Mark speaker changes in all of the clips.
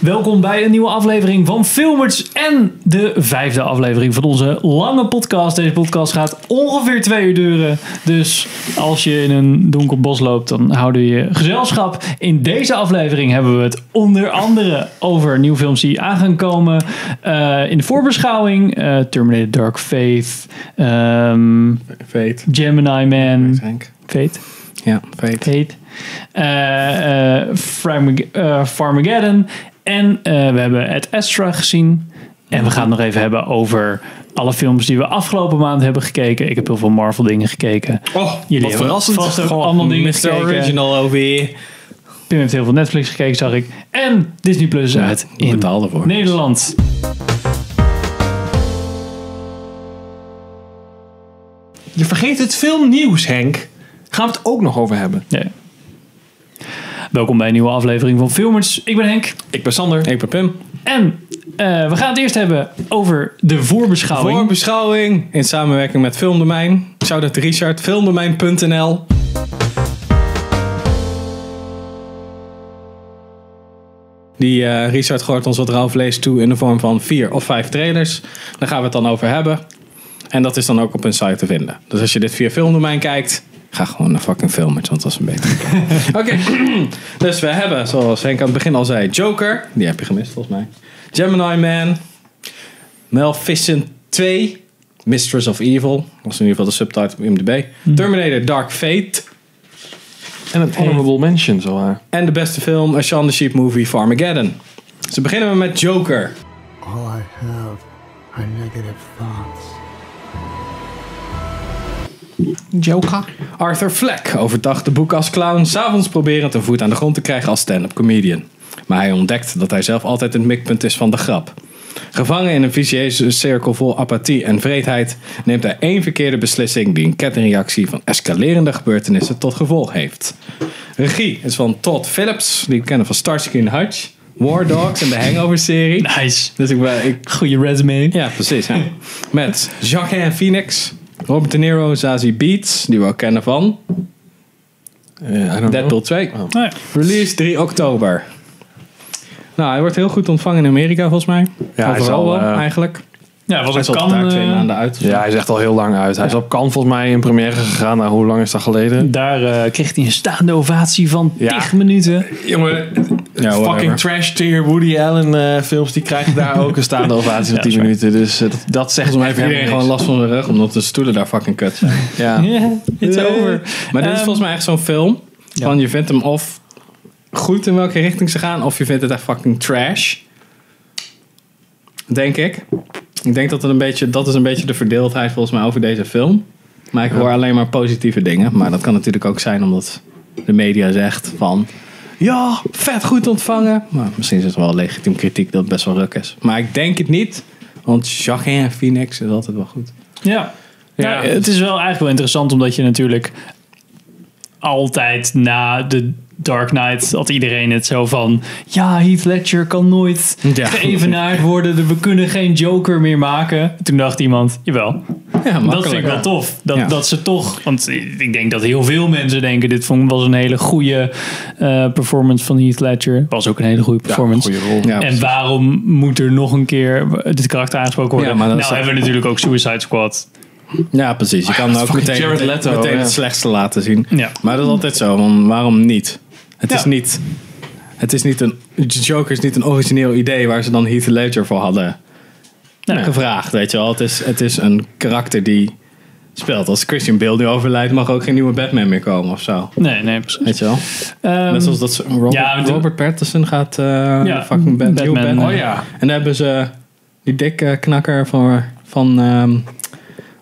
Speaker 1: Welkom bij een nieuwe aflevering van Filmers en de vijfde aflevering van onze lange podcast. Deze podcast gaat ongeveer twee uur duren. Dus als je in een donker bos loopt, dan houden we je gezelschap. In deze aflevering hebben we het onder andere over nieuwe films die aan gaan komen. Eh, in de voorbeschouwing eh, Terminator Dark Faith, ehm,
Speaker 2: Veet.
Speaker 1: Gemini Man,
Speaker 2: Henk.
Speaker 1: Fate.
Speaker 2: Ja, veet.
Speaker 1: Heet. Eh eh, Farmag- eh, Farmageddon. En eh, we hebben Ed Astra gezien. En we gaan het nog even hebben over alle films die we afgelopen maand hebben gekeken. Ik heb heel veel Marvel dingen gekeken.
Speaker 2: Oh,
Speaker 1: Jullie hebben vast ook allemaal dingen
Speaker 2: Mr.
Speaker 1: gekeken.
Speaker 2: Original over hier.
Speaker 1: Pim heeft heel veel Netflix gekeken, zag ik. En Disney Plus is uit
Speaker 2: ik
Speaker 1: in
Speaker 2: betaal ervoor.
Speaker 1: Nederland.
Speaker 2: Je vergeet het filmnieuws, Henk. Gaan we het ook nog over hebben.
Speaker 1: Ja. Welkom bij een nieuwe aflevering van Filmers. Ik ben Henk.
Speaker 2: Ik ben Sander. Ik ben Pim.
Speaker 1: En eh, we gaan het eerst hebben over de voorbeschouwing.
Speaker 2: Voor beschouwing in samenwerking met Filmdomein. Shout out Richard. Filmdomein.nl Die eh, Richard gooit ons wat raufvlees toe in de vorm van vier of vijf trailers. Daar gaan we het dan over hebben. En dat is dan ook op hun site te vinden. Dus als je dit via Filmdomein kijkt, ga gewoon naar fucking Filmers, want dat is een beter. Oké, dus we hebben, zoals Henk aan het begin al zei, Joker. Die heb je gemist volgens mij. Gemini Man. Maleficent 2. Mistress of Evil. Dat was in ieder geval de subtitle op IMDb. Terminator Dark Fate.
Speaker 3: En een honorable mention, zo waar.
Speaker 2: En de beste film, A Shaun the Sheep Movie, Farmageddon. Ze beginnen we met Joker.
Speaker 4: All I have are negative thoughts.
Speaker 2: Arthur Fleck, overdag de boek als clown, s'avonds proberend een voet aan de grond te krijgen als stand-up comedian. Maar hij ontdekt dat hij zelf altijd het mikpunt is van de grap. Gevangen in een vicieuze cirkel vol apathie en vreedheid, neemt hij één verkeerde beslissing die een kettingreactie van escalerende gebeurtenissen tot gevolg heeft. Regie is van Todd Phillips, die we kennen van Starsky and Hutch, War Dogs en de Hangover-serie.
Speaker 1: Nice.
Speaker 2: Dus ik, ben, ik
Speaker 1: Goede resume.
Speaker 2: ja, precies. Ja. Met Jacques en Phoenix, Robert De Niro, Zazie Beats, die we ook kennen van Deadpool 2.
Speaker 3: Oh.
Speaker 1: Nou ja.
Speaker 2: Release 3 oktober. Nou, hij wordt heel goed ontvangen in Amerika volgens mij.
Speaker 3: hij
Speaker 2: Overal
Speaker 3: is al,
Speaker 2: wel,
Speaker 3: eh,
Speaker 2: eigenlijk.
Speaker 1: Ja, was
Speaker 2: Hij
Speaker 1: een
Speaker 2: is al
Speaker 1: kan.
Speaker 2: daar twee
Speaker 1: eh,
Speaker 2: maanden uit.
Speaker 3: Ja, hij is echt al heel lang uit. Hij is op Cannes volgens mij in première gegaan. Nou, hoe lang is dat geleden?
Speaker 1: daar eh, kreeg hij een staande ovatie van
Speaker 3: Ja.
Speaker 1: 10 minuten.
Speaker 3: Jongen,
Speaker 2: whatever.
Speaker 3: fucking trash tier Woody Allen eh, films, die krijgen daar ook een staande ovatie van 10 minuten. Dus eh, dat, dat
Speaker 2: Volgens
Speaker 3: zegt mij
Speaker 2: mij heeft
Speaker 3: even
Speaker 2: iedereen gewoon last van zijn rug, omdat de stoelen daar fucking kut zijn.
Speaker 3: Ja.
Speaker 1: Ja, it's over.
Speaker 2: Maar dit is
Speaker 1: Ehm,
Speaker 2: volgens mij echt zo'n film. Van je vindt hem of goed in welke richting ze gaan, of je vindt het echt fucking trash. Denk ik. Ik denk dat het een beetje, dat is een beetje de verdeeldheid volgens mij over deze film. Maar ik hoor alleen maar positieve dingen. Maar dat kan natuurlijk ook zijn omdat de media zegt van... Ja, vet goed ontvangen. Maar misschien is het wel legitiem kritiek dat het best wel ruk is. Maar ik denk het niet. Want Jacques en Phoenix is altijd wel goed.
Speaker 1: Ja.
Speaker 3: Ja,
Speaker 1: Nou, het is wel eigenlijk wel interessant, omdat je natuurlijk altijd na de Dark Knight had iedereen het zo van... Ja, Heath Ledger kan nooit
Speaker 2: Ja.
Speaker 1: geëvenaard worden. We kunnen geen Joker meer maken. Toen dacht iemand, jawel,
Speaker 2: Ja,
Speaker 1: Dat vind ik wel tof. Dat,
Speaker 2: Ja.
Speaker 1: dat ze toch. Want ik denk dat heel veel mensen denken: dit vond, was een hele goede eh, performance van Heath Ledger. Was ook een hele goede performance.
Speaker 3: goede rol.
Speaker 2: Ja,
Speaker 1: en waarom moet er nog een keer dit karakter aangesproken worden?
Speaker 2: Ja, maar dat
Speaker 1: nou,
Speaker 2: is-
Speaker 1: hebben we natuurlijk ook Suicide Squad.
Speaker 2: Ja, precies.
Speaker 1: Oh
Speaker 2: Je kan ook
Speaker 3: fucking
Speaker 2: meteen,
Speaker 3: Jared Leto,
Speaker 2: meteen
Speaker 3: ja.
Speaker 2: het slechtste laten zien.
Speaker 1: Ja.
Speaker 2: Maar dat is altijd zo, want waarom niet? Het
Speaker 1: Ja.
Speaker 2: is niet... Het is niet een... Joker is niet een origineel idee waar ze dan Heath Ledger voor hadden
Speaker 1: Nou,
Speaker 2: gevraagd, weet je wel. Het is, het is een karakter die speelt. Als Christian Bale nu overlijdt, mag ook geen nieuwe Batman meer komen of zo.
Speaker 1: Nee, nee, precies.
Speaker 2: Weet je wel?
Speaker 1: Ehm,
Speaker 2: Net zoals dat ze- Robert,
Speaker 1: ja, maar de-
Speaker 2: Robert Pattinson gaat eh,
Speaker 1: Ja,
Speaker 2: fucking Bat- nieuwe
Speaker 1: Batman.
Speaker 2: Batman.
Speaker 1: Oh
Speaker 3: ja.
Speaker 2: En daar hebben ze die dikke knakker van, van ehm,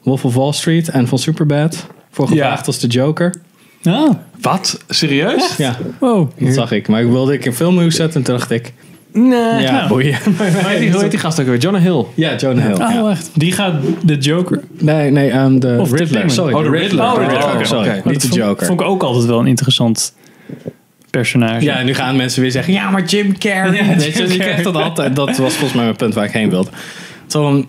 Speaker 2: Wolf of Wall Street en van Superbad voor gevraagd
Speaker 3: Ja.
Speaker 2: als de Joker.
Speaker 1: ah,
Speaker 3: Wat? Serieus?
Speaker 2: Ja,
Speaker 1: wow.
Speaker 2: dat zag ik. Maar ik wilde ik in filmnieuws zetten en toen dacht ik,
Speaker 3: Nee.
Speaker 2: ja,
Speaker 1: nou.
Speaker 2: boeien.
Speaker 3: Hoe heet die- hoe heet die gast ook weer? Jonah Hill.
Speaker 2: ja, Jonah Hill.
Speaker 1: Oh,
Speaker 2: ja.
Speaker 1: echt. Die gaat de Joker.
Speaker 2: Nee, nee, ehm, de
Speaker 1: Of de
Speaker 2: Riddler.
Speaker 1: Penguin.
Speaker 2: sorry.
Speaker 3: Oh, de Riddler.
Speaker 1: Oh, de
Speaker 2: Riddler,
Speaker 1: Riddler, oké.
Speaker 2: sorry.
Speaker 1: Maar
Speaker 2: Niet
Speaker 1: dat
Speaker 2: de
Speaker 1: vond-
Speaker 2: Joker.
Speaker 1: Vond ik ook altijd wel een interessant personage.
Speaker 2: Dus Ja, en nu gaan mensen weer zeggen, ja, maar Jim Carrey.
Speaker 1: Ja, Jim
Speaker 2: Weet je, je
Speaker 1: Carrey.
Speaker 2: krijgt dat altijd. Dat was volgens mij mijn punt waar ik heen wilde. Zo'n,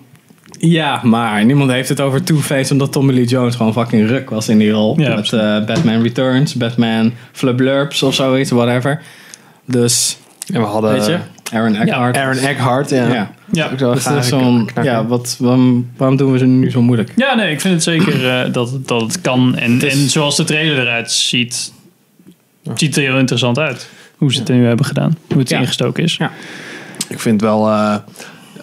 Speaker 2: ja, maar niemand heeft het over Two-Face omdat Tommy Lee Jones gewoon fucking ruk was in die rol.
Speaker 1: Ja,
Speaker 2: met eh, Batman Returns, Batman Flubblurps of zoiets, whatever. Dus,
Speaker 3: En we hadden...
Speaker 2: weet je, Eh, Aaron Eckhart.
Speaker 3: Aaron Eckhart, ja.
Speaker 2: Ja.
Speaker 1: Ja.
Speaker 3: Ook wel
Speaker 2: Dus dat is
Speaker 3: gare
Speaker 2: zo'n-
Speaker 3: knakker.
Speaker 2: ja, wat, waarom, waarom doen we ze nu zo moeilijk?
Speaker 1: ja, nee, ik vind het zeker eh, dat, dat het kan. En, en zoals de trailer eruit ziet, ziet er heel interessant uit. Hoe ze het nu hebben gedaan. Hoe het
Speaker 2: Ja.
Speaker 1: ingestoken is.
Speaker 2: Ja.
Speaker 3: Ik vind wel, eh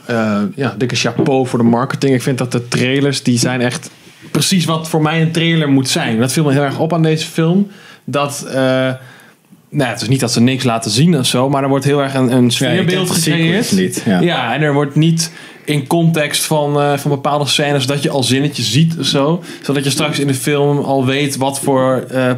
Speaker 3: eh ja, dikke chapeau voor de marketing. Ik vind dat de trailers, die zijn echt precies wat voor mij een trailer moet zijn. Dat viel me heel erg op aan deze film. Dat, eh, nou ja, het is niet dat ze niks laten zien of zo, maar er wordt heel erg een, een sfeerbeeld gecreëerd.
Speaker 2: niet. Ja.
Speaker 3: Ja, en er wordt niet in context van, eh, van bepaalde scènes dat je al zinnetjes ziet of zo. Zodat je straks in de film al weet wat voor eh,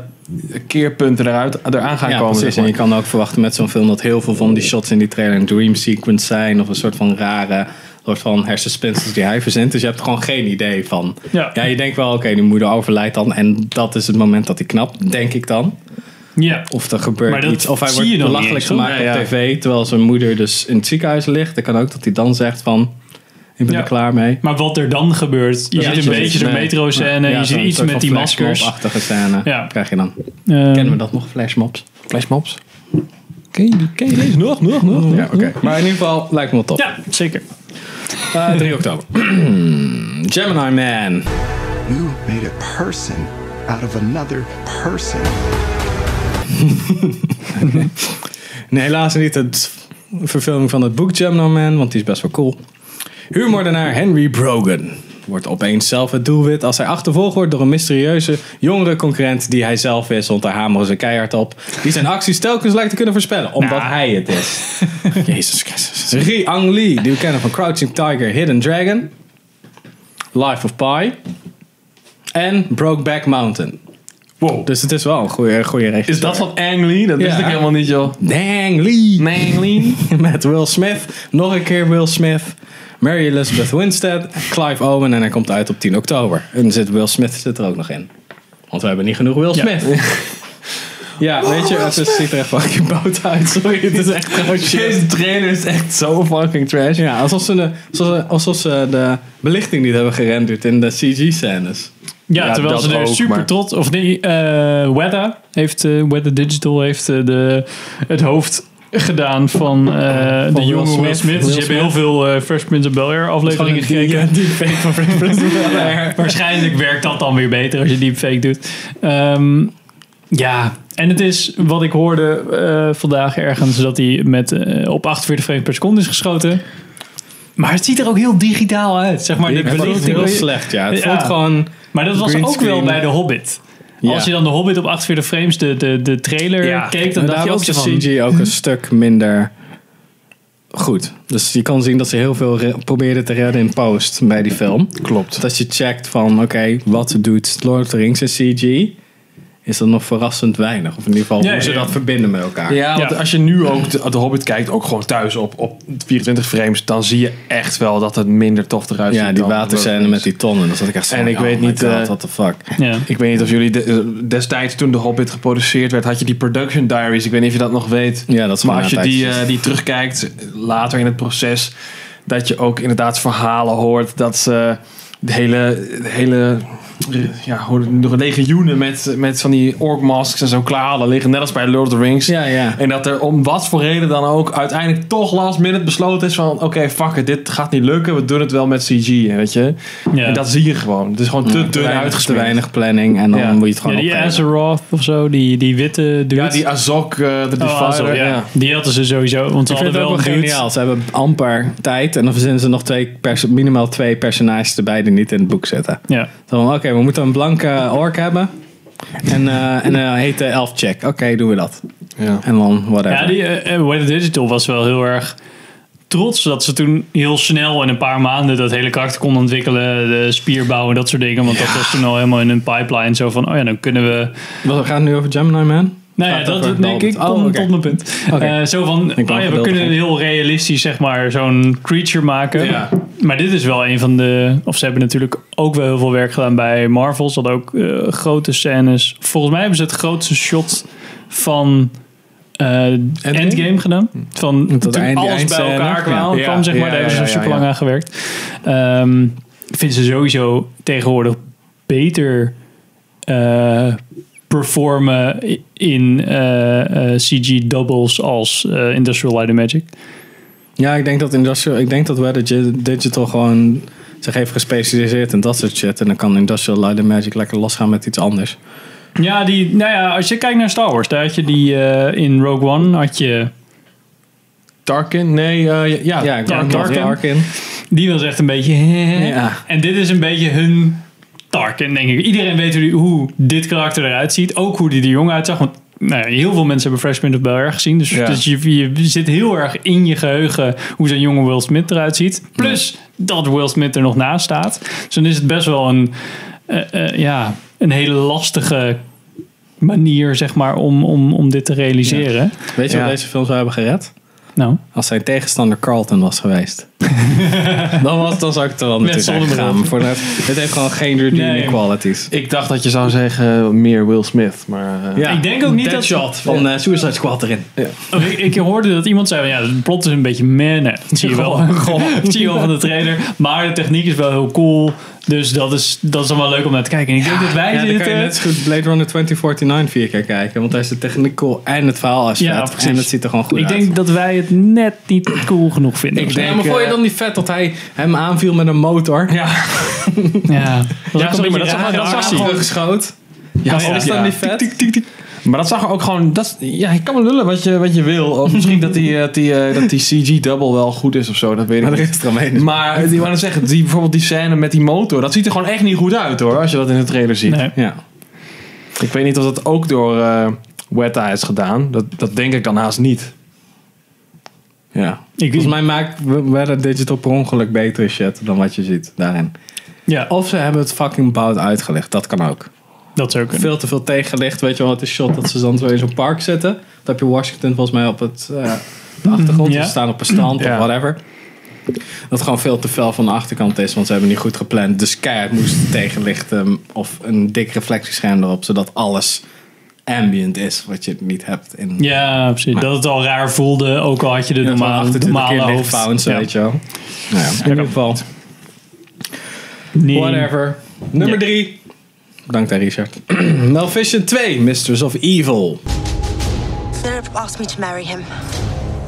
Speaker 3: keerpunten eruit, eraan gaan
Speaker 2: Ja,
Speaker 3: komen.
Speaker 2: precies.
Speaker 3: zeg
Speaker 2: En
Speaker 3: maar.
Speaker 2: je kan ook verwachten met zo'n film dat heel veel van die shots in die trailer een dream sequence zijn. Of een soort van rare soort van hersenspinsels die hij verzint. Dus je hebt gewoon geen idee van.
Speaker 1: Ja.
Speaker 2: Ja, je denkt wel, oké, die moeder overlijdt dan. En dat is het moment dat hij knapt, denk ik dan.
Speaker 1: ja.
Speaker 2: Of er gebeurt
Speaker 1: Maar dat
Speaker 2: iets. Of hij
Speaker 1: zie
Speaker 2: wordt
Speaker 1: je nog niet
Speaker 2: belachelijk
Speaker 1: eens, hoor.
Speaker 2: gemaakt
Speaker 3: Ja,
Speaker 2: op
Speaker 3: ja.
Speaker 2: tv. Terwijl zijn moeder dus in het ziekenhuis ligt. Dan kan ook dat hij dan zegt van, ik ben
Speaker 1: Ja.
Speaker 2: er klaar mee.
Speaker 1: Maar wat er dan gebeurt, je
Speaker 2: Ja,
Speaker 1: ziet een
Speaker 2: precies.
Speaker 1: beetje zo'n
Speaker 2: Nee.
Speaker 1: metro-scène,
Speaker 2: Ja,
Speaker 1: eh, je ziet
Speaker 2: zo'n
Speaker 1: iets
Speaker 2: soort
Speaker 1: met
Speaker 2: van
Speaker 1: die maskers.
Speaker 2: flashmob-achtige scène
Speaker 1: Ja.
Speaker 2: krijg je dan.
Speaker 1: Ehm,
Speaker 2: Ah, Kennen we dat nog, flashmobs?
Speaker 3: Flashmobs. Ken je, ken je deze nog, nog, nog?
Speaker 2: Ja, oké. Maar in ieder geval lijkt me wel top.
Speaker 1: Ja, zeker.
Speaker 2: Eh, 3 oktober. Gemini Man.
Speaker 5: You made a person out of another person.
Speaker 2: Nee, helaas niet het verfilming van het boek Gemini Man, want die is best wel cool. Huurmoordenaar Henry Brogan wordt opeens zelf het doelwit als hij achtervolgd wordt door een mysterieuze jongere concurrent die hij zelf is, want daar hameren ze keihard op. Die zijn acties telkens lijkt te kunnen voorspellen, omdat
Speaker 3: Nou.
Speaker 2: hij het is. Jezus Christus. Ri Ang Lee, die we kennen van Crouching Tiger, Hidden Dragon, Life of Pi en Brokeback Mountain.
Speaker 3: Wow.
Speaker 2: Dus het is wel een goede, goede regisseur.
Speaker 3: Is dat van Ang Lee? Dat wist
Speaker 2: Ja.
Speaker 3: ik helemaal niet, joh.
Speaker 2: Dang Lee?
Speaker 3: Ang Lee?
Speaker 2: Met Will Smith. Nog een keer Will Smith. Mary Elizabeth Winstead. Clive Owen. En hij komt uit op 10 oktober. En zit Will Smith zit er ook nog in. Want we hebben niet genoeg Will Smith. Ja, weet je, het is- ziet er echt fucking bout uit. Sorry, het is echt gewoon shit.
Speaker 3: Deze trailer is echt zo fucking trash.
Speaker 2: Ja, alsof ze, de, alsof, ze- alsof ze de belichting niet hebben gerenderd in de CG-scènes.
Speaker 1: Ja,
Speaker 3: Ja,
Speaker 1: terwijl
Speaker 3: dat
Speaker 1: ze er
Speaker 3: ook,
Speaker 1: super
Speaker 3: maar-
Speaker 1: trots... Of nee, eh Weather, heeft, eh, Weather Digital heeft eh, de, het hoofd gedaan van, eh, de
Speaker 2: Will
Speaker 1: jonge Will Smith.
Speaker 2: Smith. Will
Speaker 1: Dus je
Speaker 2: Smith.
Speaker 1: hebt heel veel eh Fresh Prince of Bel-Air afleveringen
Speaker 2: Gewoon een
Speaker 1: gekeken.
Speaker 2: die- die fake van Fresh Prince of Bel-Air.
Speaker 1: Waarschijnlijk werkt dat dan weer beter als je deepfake doet. Ehm, ja, en het is wat ik hoorde eh, vandaag ergens dat hij met, eh, op 48 frames per seconde is geschoten. Maar het ziet er ook heel digitaal uit. Zeg maar, de
Speaker 2: Het voelt
Speaker 1: belichting.
Speaker 2: heel slecht, ja. Het
Speaker 1: Ja.
Speaker 2: voelt gewoon...
Speaker 1: Maar dat was
Speaker 2: Green
Speaker 1: ook wel
Speaker 2: screen.
Speaker 1: bij de Hobbit.
Speaker 2: Ja.
Speaker 1: Als je dan de Hobbit op 48 frames de, de, de trailer
Speaker 3: Ja.
Speaker 1: keek, dan
Speaker 2: En
Speaker 1: dacht je
Speaker 2: daar
Speaker 1: ook
Speaker 2: was
Speaker 1: zo
Speaker 2: de
Speaker 1: van... Mhm.
Speaker 2: CG ook een stuk minder goed. Dus je kan zien dat ze heel veel re- probeerden te redden in post bij die film.
Speaker 3: Klopt.
Speaker 2: Dat je checkt van, oké, wat doet Lord of the Rings in CG? Is dat nog verrassend weinig? Of in ieder geval
Speaker 1: Ja,
Speaker 2: hoe ze
Speaker 1: ja.
Speaker 2: dat verbinden met elkaar.
Speaker 3: Ja, want
Speaker 1: Ja.
Speaker 3: als je nu ook de, de Hobbit kijkt, ook gewoon thuis op, op 24 frames, dan zie je echt wel dat het minder tof eruit ziet.
Speaker 2: Ja, die
Speaker 3: dan-
Speaker 2: waterscène met die tonnen. Dat zat ik echt zo
Speaker 3: En
Speaker 2: van,
Speaker 3: ik
Speaker 2: oh
Speaker 3: weet
Speaker 2: my
Speaker 3: niet,
Speaker 2: God,
Speaker 3: eh,
Speaker 2: what the fuck.
Speaker 1: Ja.
Speaker 3: Ik weet niet of jullie de- destijds toen de Hobbit geproduceerd werd, had je die production diaries. Ik weet niet of je dat nog weet.
Speaker 2: Ja, dat is gewoon
Speaker 3: maar als je
Speaker 2: een
Speaker 3: die,
Speaker 2: tijdje.
Speaker 3: eh, die terugkijkt later in het proces, dat je ook inderdaad verhalen hoort dat ze de hele, de hele ja, hoe- de legioenen met, met van die orc masks en zo klaar hadden liggen, net als bij Lord of the Rings.
Speaker 2: Ja, ja.
Speaker 3: En dat er om wat voor reden dan ook uiteindelijk toch last minute besloten is van... oké, fuck it, dit gaat niet lukken, we doen het wel met CG, weet je.
Speaker 1: Ja.
Speaker 3: En dat zie je gewoon. Het is gewoon te dun
Speaker 2: weinig, te
Speaker 3: uitgesmeerd.
Speaker 2: weinig planning en dan
Speaker 3: Ja.
Speaker 2: moet je het gewoon
Speaker 1: Ja, die
Speaker 2: opgeven.
Speaker 1: Azeroth of zo, die, die witte dude.
Speaker 3: Ja, die Azok, eh, de
Speaker 1: Oh,
Speaker 3: Defiler.
Speaker 1: Azeroth, ja.
Speaker 3: ja.
Speaker 1: Die hadden ze sowieso, want ze
Speaker 2: Ik vind
Speaker 1: hadden
Speaker 2: het ook
Speaker 1: wel
Speaker 2: wel
Speaker 1: een dude.
Speaker 2: geniaal. Ze hebben amper tijd en dan verzinnen ze nog twee perso- minimaal twee personages erbij die niet in het boek zitten.
Speaker 1: Ja.
Speaker 2: Zo van, Oké, we moeten een blanke ork hebben. En, eh en eh heet de elf check. Oké, doen we dat.
Speaker 3: Ja.
Speaker 2: En dan whatever.
Speaker 1: Ja, die eh, eh, Weather Digital was wel heel erg trots dat ze toen heel snel in een paar maanden dat hele karakter konden ontwikkelen, de spierbouw en dat soort dingen. Want dat was toen al helemaal in hun pipeline. Zo van, oh ja, dan kunnen we...
Speaker 2: Wat, we gaan het nu over Gemini Man.
Speaker 1: Nou ja,
Speaker 2: Gaat
Speaker 1: dat
Speaker 2: over
Speaker 1: denk ik
Speaker 2: Dalton.
Speaker 1: tot,
Speaker 2: Oh, oké.
Speaker 1: tot mijn punt.
Speaker 2: Oké.
Speaker 1: Eh, zo van,
Speaker 2: ben
Speaker 1: oh ja, we
Speaker 2: geduldig,
Speaker 1: kunnen
Speaker 2: hè.
Speaker 1: heel realistisch zeg maar zo'n creature maken.
Speaker 3: Ja.
Speaker 1: Maar dit is wel een van de... Of ze hebben natuurlijk ook wel heel veel werk gedaan bij Marvel. Ze hadden ook eh, grote scènes. Volgens mij hebben ze het grootste shot van eh, Endgame? gedaan. Van
Speaker 2: Tot
Speaker 1: toen
Speaker 2: eind- die
Speaker 1: alles bij
Speaker 2: eindscène.
Speaker 1: elkaar kwam,
Speaker 2: Ja.
Speaker 1: kwam, zeg maar.
Speaker 3: Hm. Ja,
Speaker 1: daar hebben
Speaker 3: ja,
Speaker 1: ze
Speaker 3: ja,
Speaker 1: super
Speaker 3: ja,
Speaker 1: lang
Speaker 3: ja.
Speaker 1: aan gewerkt. Ehm, ik vind ze sowieso tegenwoordig beter eh, performen in eh, eh, CG doubles als eh, Industrial Light and Magic.
Speaker 2: Ja, ik denk dat industrial, ik denk dat Weather Gi- Digital gewoon zich heeft gespecialiseerd in dat soort shit. En dan kan Industrial Light and Magic lekker losgaan met iets anders.
Speaker 1: Ja, die, nou ja, als je kijkt naar Star Wars, daar had je die eh, in Rogue One, had je,
Speaker 3: Tarkin? Nee, eh, ja.
Speaker 2: ja,
Speaker 1: ja,
Speaker 2: Darkin.
Speaker 1: Tarkin. die was echt een beetje.
Speaker 2: Ja.
Speaker 1: En dit is een beetje hun Tarkin, denk ik. Iedereen weet hoe, die- hoe dit karakter eruit ziet, ook hoe die er jong uitzag. Want nou ja, heel veel mensen hebben Fresh Prince of Bel Air gezien, dus,
Speaker 2: Ja.
Speaker 1: dus je, je zit heel erg in je geheugen hoe zo'n jonge Will Smith eruit ziet. Plus dat Will Smith er nog naast staat. Dus dan is het best wel een, eh, eh, ja, een hele lastige manier, zeg maar, om, om, om dit te realiseren.
Speaker 2: Weet je
Speaker 3: Ja.
Speaker 2: wat deze film zou hebben gered?
Speaker 1: Nou.
Speaker 2: Als zijn tegenstander Carlton was geweest. dan, was, dan zou ik het er wel naartoe zijn
Speaker 1: zonder
Speaker 2: gegaan.
Speaker 1: bril.
Speaker 2: Maar Voor de, het heeft gewoon geen redeeming
Speaker 1: Nee.
Speaker 2: qualities.
Speaker 3: Ik dacht dat je zou zeggen eh, meer Will Smith, maar... eh,
Speaker 1: Ik denk ook niet dat-
Speaker 2: Deadshot van eh, Suicide Squad erin.
Speaker 1: Oh, Ik, ik hoorde dat iemand zei, van, ja, de plot is een beetje meh. Nee, dat zie je wel. Dat zie je wel van de trailer. Maar de techniek is wel heel cool. Dus dat is, dat is dan wel leuk om naar te kijken. En ik denk dat wij
Speaker 2: Ja, dan kan je
Speaker 1: zitten...
Speaker 2: net zo goed Blade Runner 2049 vier keer kijken. Want daar is de technical en het verhaal als
Speaker 1: Ja,
Speaker 2: vet.
Speaker 1: precies.
Speaker 2: En dat ziet er gewoon goed
Speaker 1: ik
Speaker 2: uit.
Speaker 1: denk dat wij het net niet cool genoeg vinden.
Speaker 2: Ik
Speaker 1: of zo.
Speaker 2: denk, eh, ja, maar vond je dan niet vet dat hij hem aanviel met een motor? Ja,
Speaker 1: Ja, dat was ook een
Speaker 3: sorry,
Speaker 1: beetje
Speaker 3: maar dat is
Speaker 1: raar.
Speaker 3: allemaal- dat is
Speaker 1: Gewoon-
Speaker 2: gewoon geschoten.
Speaker 1: Ja,
Speaker 2: Ja, is dat
Speaker 3: ja.
Speaker 2: niet vet?
Speaker 3: Maar dat zag er ook gewoon... Dat, is- ja, je kan wel lullen wat je, wat je wil. Of misschien dat die, eh, dat die, eh, dat die CG-double wel goed is of zo, dat weet ik
Speaker 2: Maar er
Speaker 3: niet.
Speaker 2: is er omheen. Dus-
Speaker 3: Maar die wou net zeggen, die, bijvoorbeeld die scène met die motor, dat ziet er gewoon echt niet goed uit hoor, als je dat in de trailer ziet.
Speaker 1: Nee.
Speaker 2: Ja.
Speaker 3: Ik weet niet of dat ook door eh Weta is gedaan. Dat, dat denk ik dan haast niet.
Speaker 2: ja.
Speaker 1: Ik-
Speaker 2: Volgens mij maakt Weather Digital per ongeluk betere shit dan wat je ziet daarin.
Speaker 1: Ja,
Speaker 2: Of ze hebben het fucking bout uitgelegd. Dat kan ook.
Speaker 1: dat is ook een...
Speaker 2: Veel te veel tegenlicht. Weet je wel, het is shot dat ze dan zo in zo'n park zitten. Dan heb je Washington volgens mij op het, eh, de achtergrond.
Speaker 1: Ja.
Speaker 2: Ze staan op een strand
Speaker 3: Ja.
Speaker 2: of whatever. Dat gewoon veel te fel van de achterkant is. Want ze hebben niet goed gepland. Dus keihard moest tegenlicht ehm, of een dik reflectiescherm erop. Zodat alles ambient is wat je niet hebt in...
Speaker 1: Ja, precies. Dat het al raar voelde, ook al had je de
Speaker 2: Ja,
Speaker 1: normale,
Speaker 2: 28 keer
Speaker 1: normale hoofd.
Speaker 2: lichtbounce,
Speaker 1: Ja.
Speaker 2: weet je wel. Nou ja, in ieder geval.
Speaker 1: Nee.
Speaker 2: Whatever. Nummer
Speaker 1: Ja.
Speaker 2: 3. Bedankt aan Richard. Malvision 2, Mistress of Evil.
Speaker 6: Philip asked me to marry him.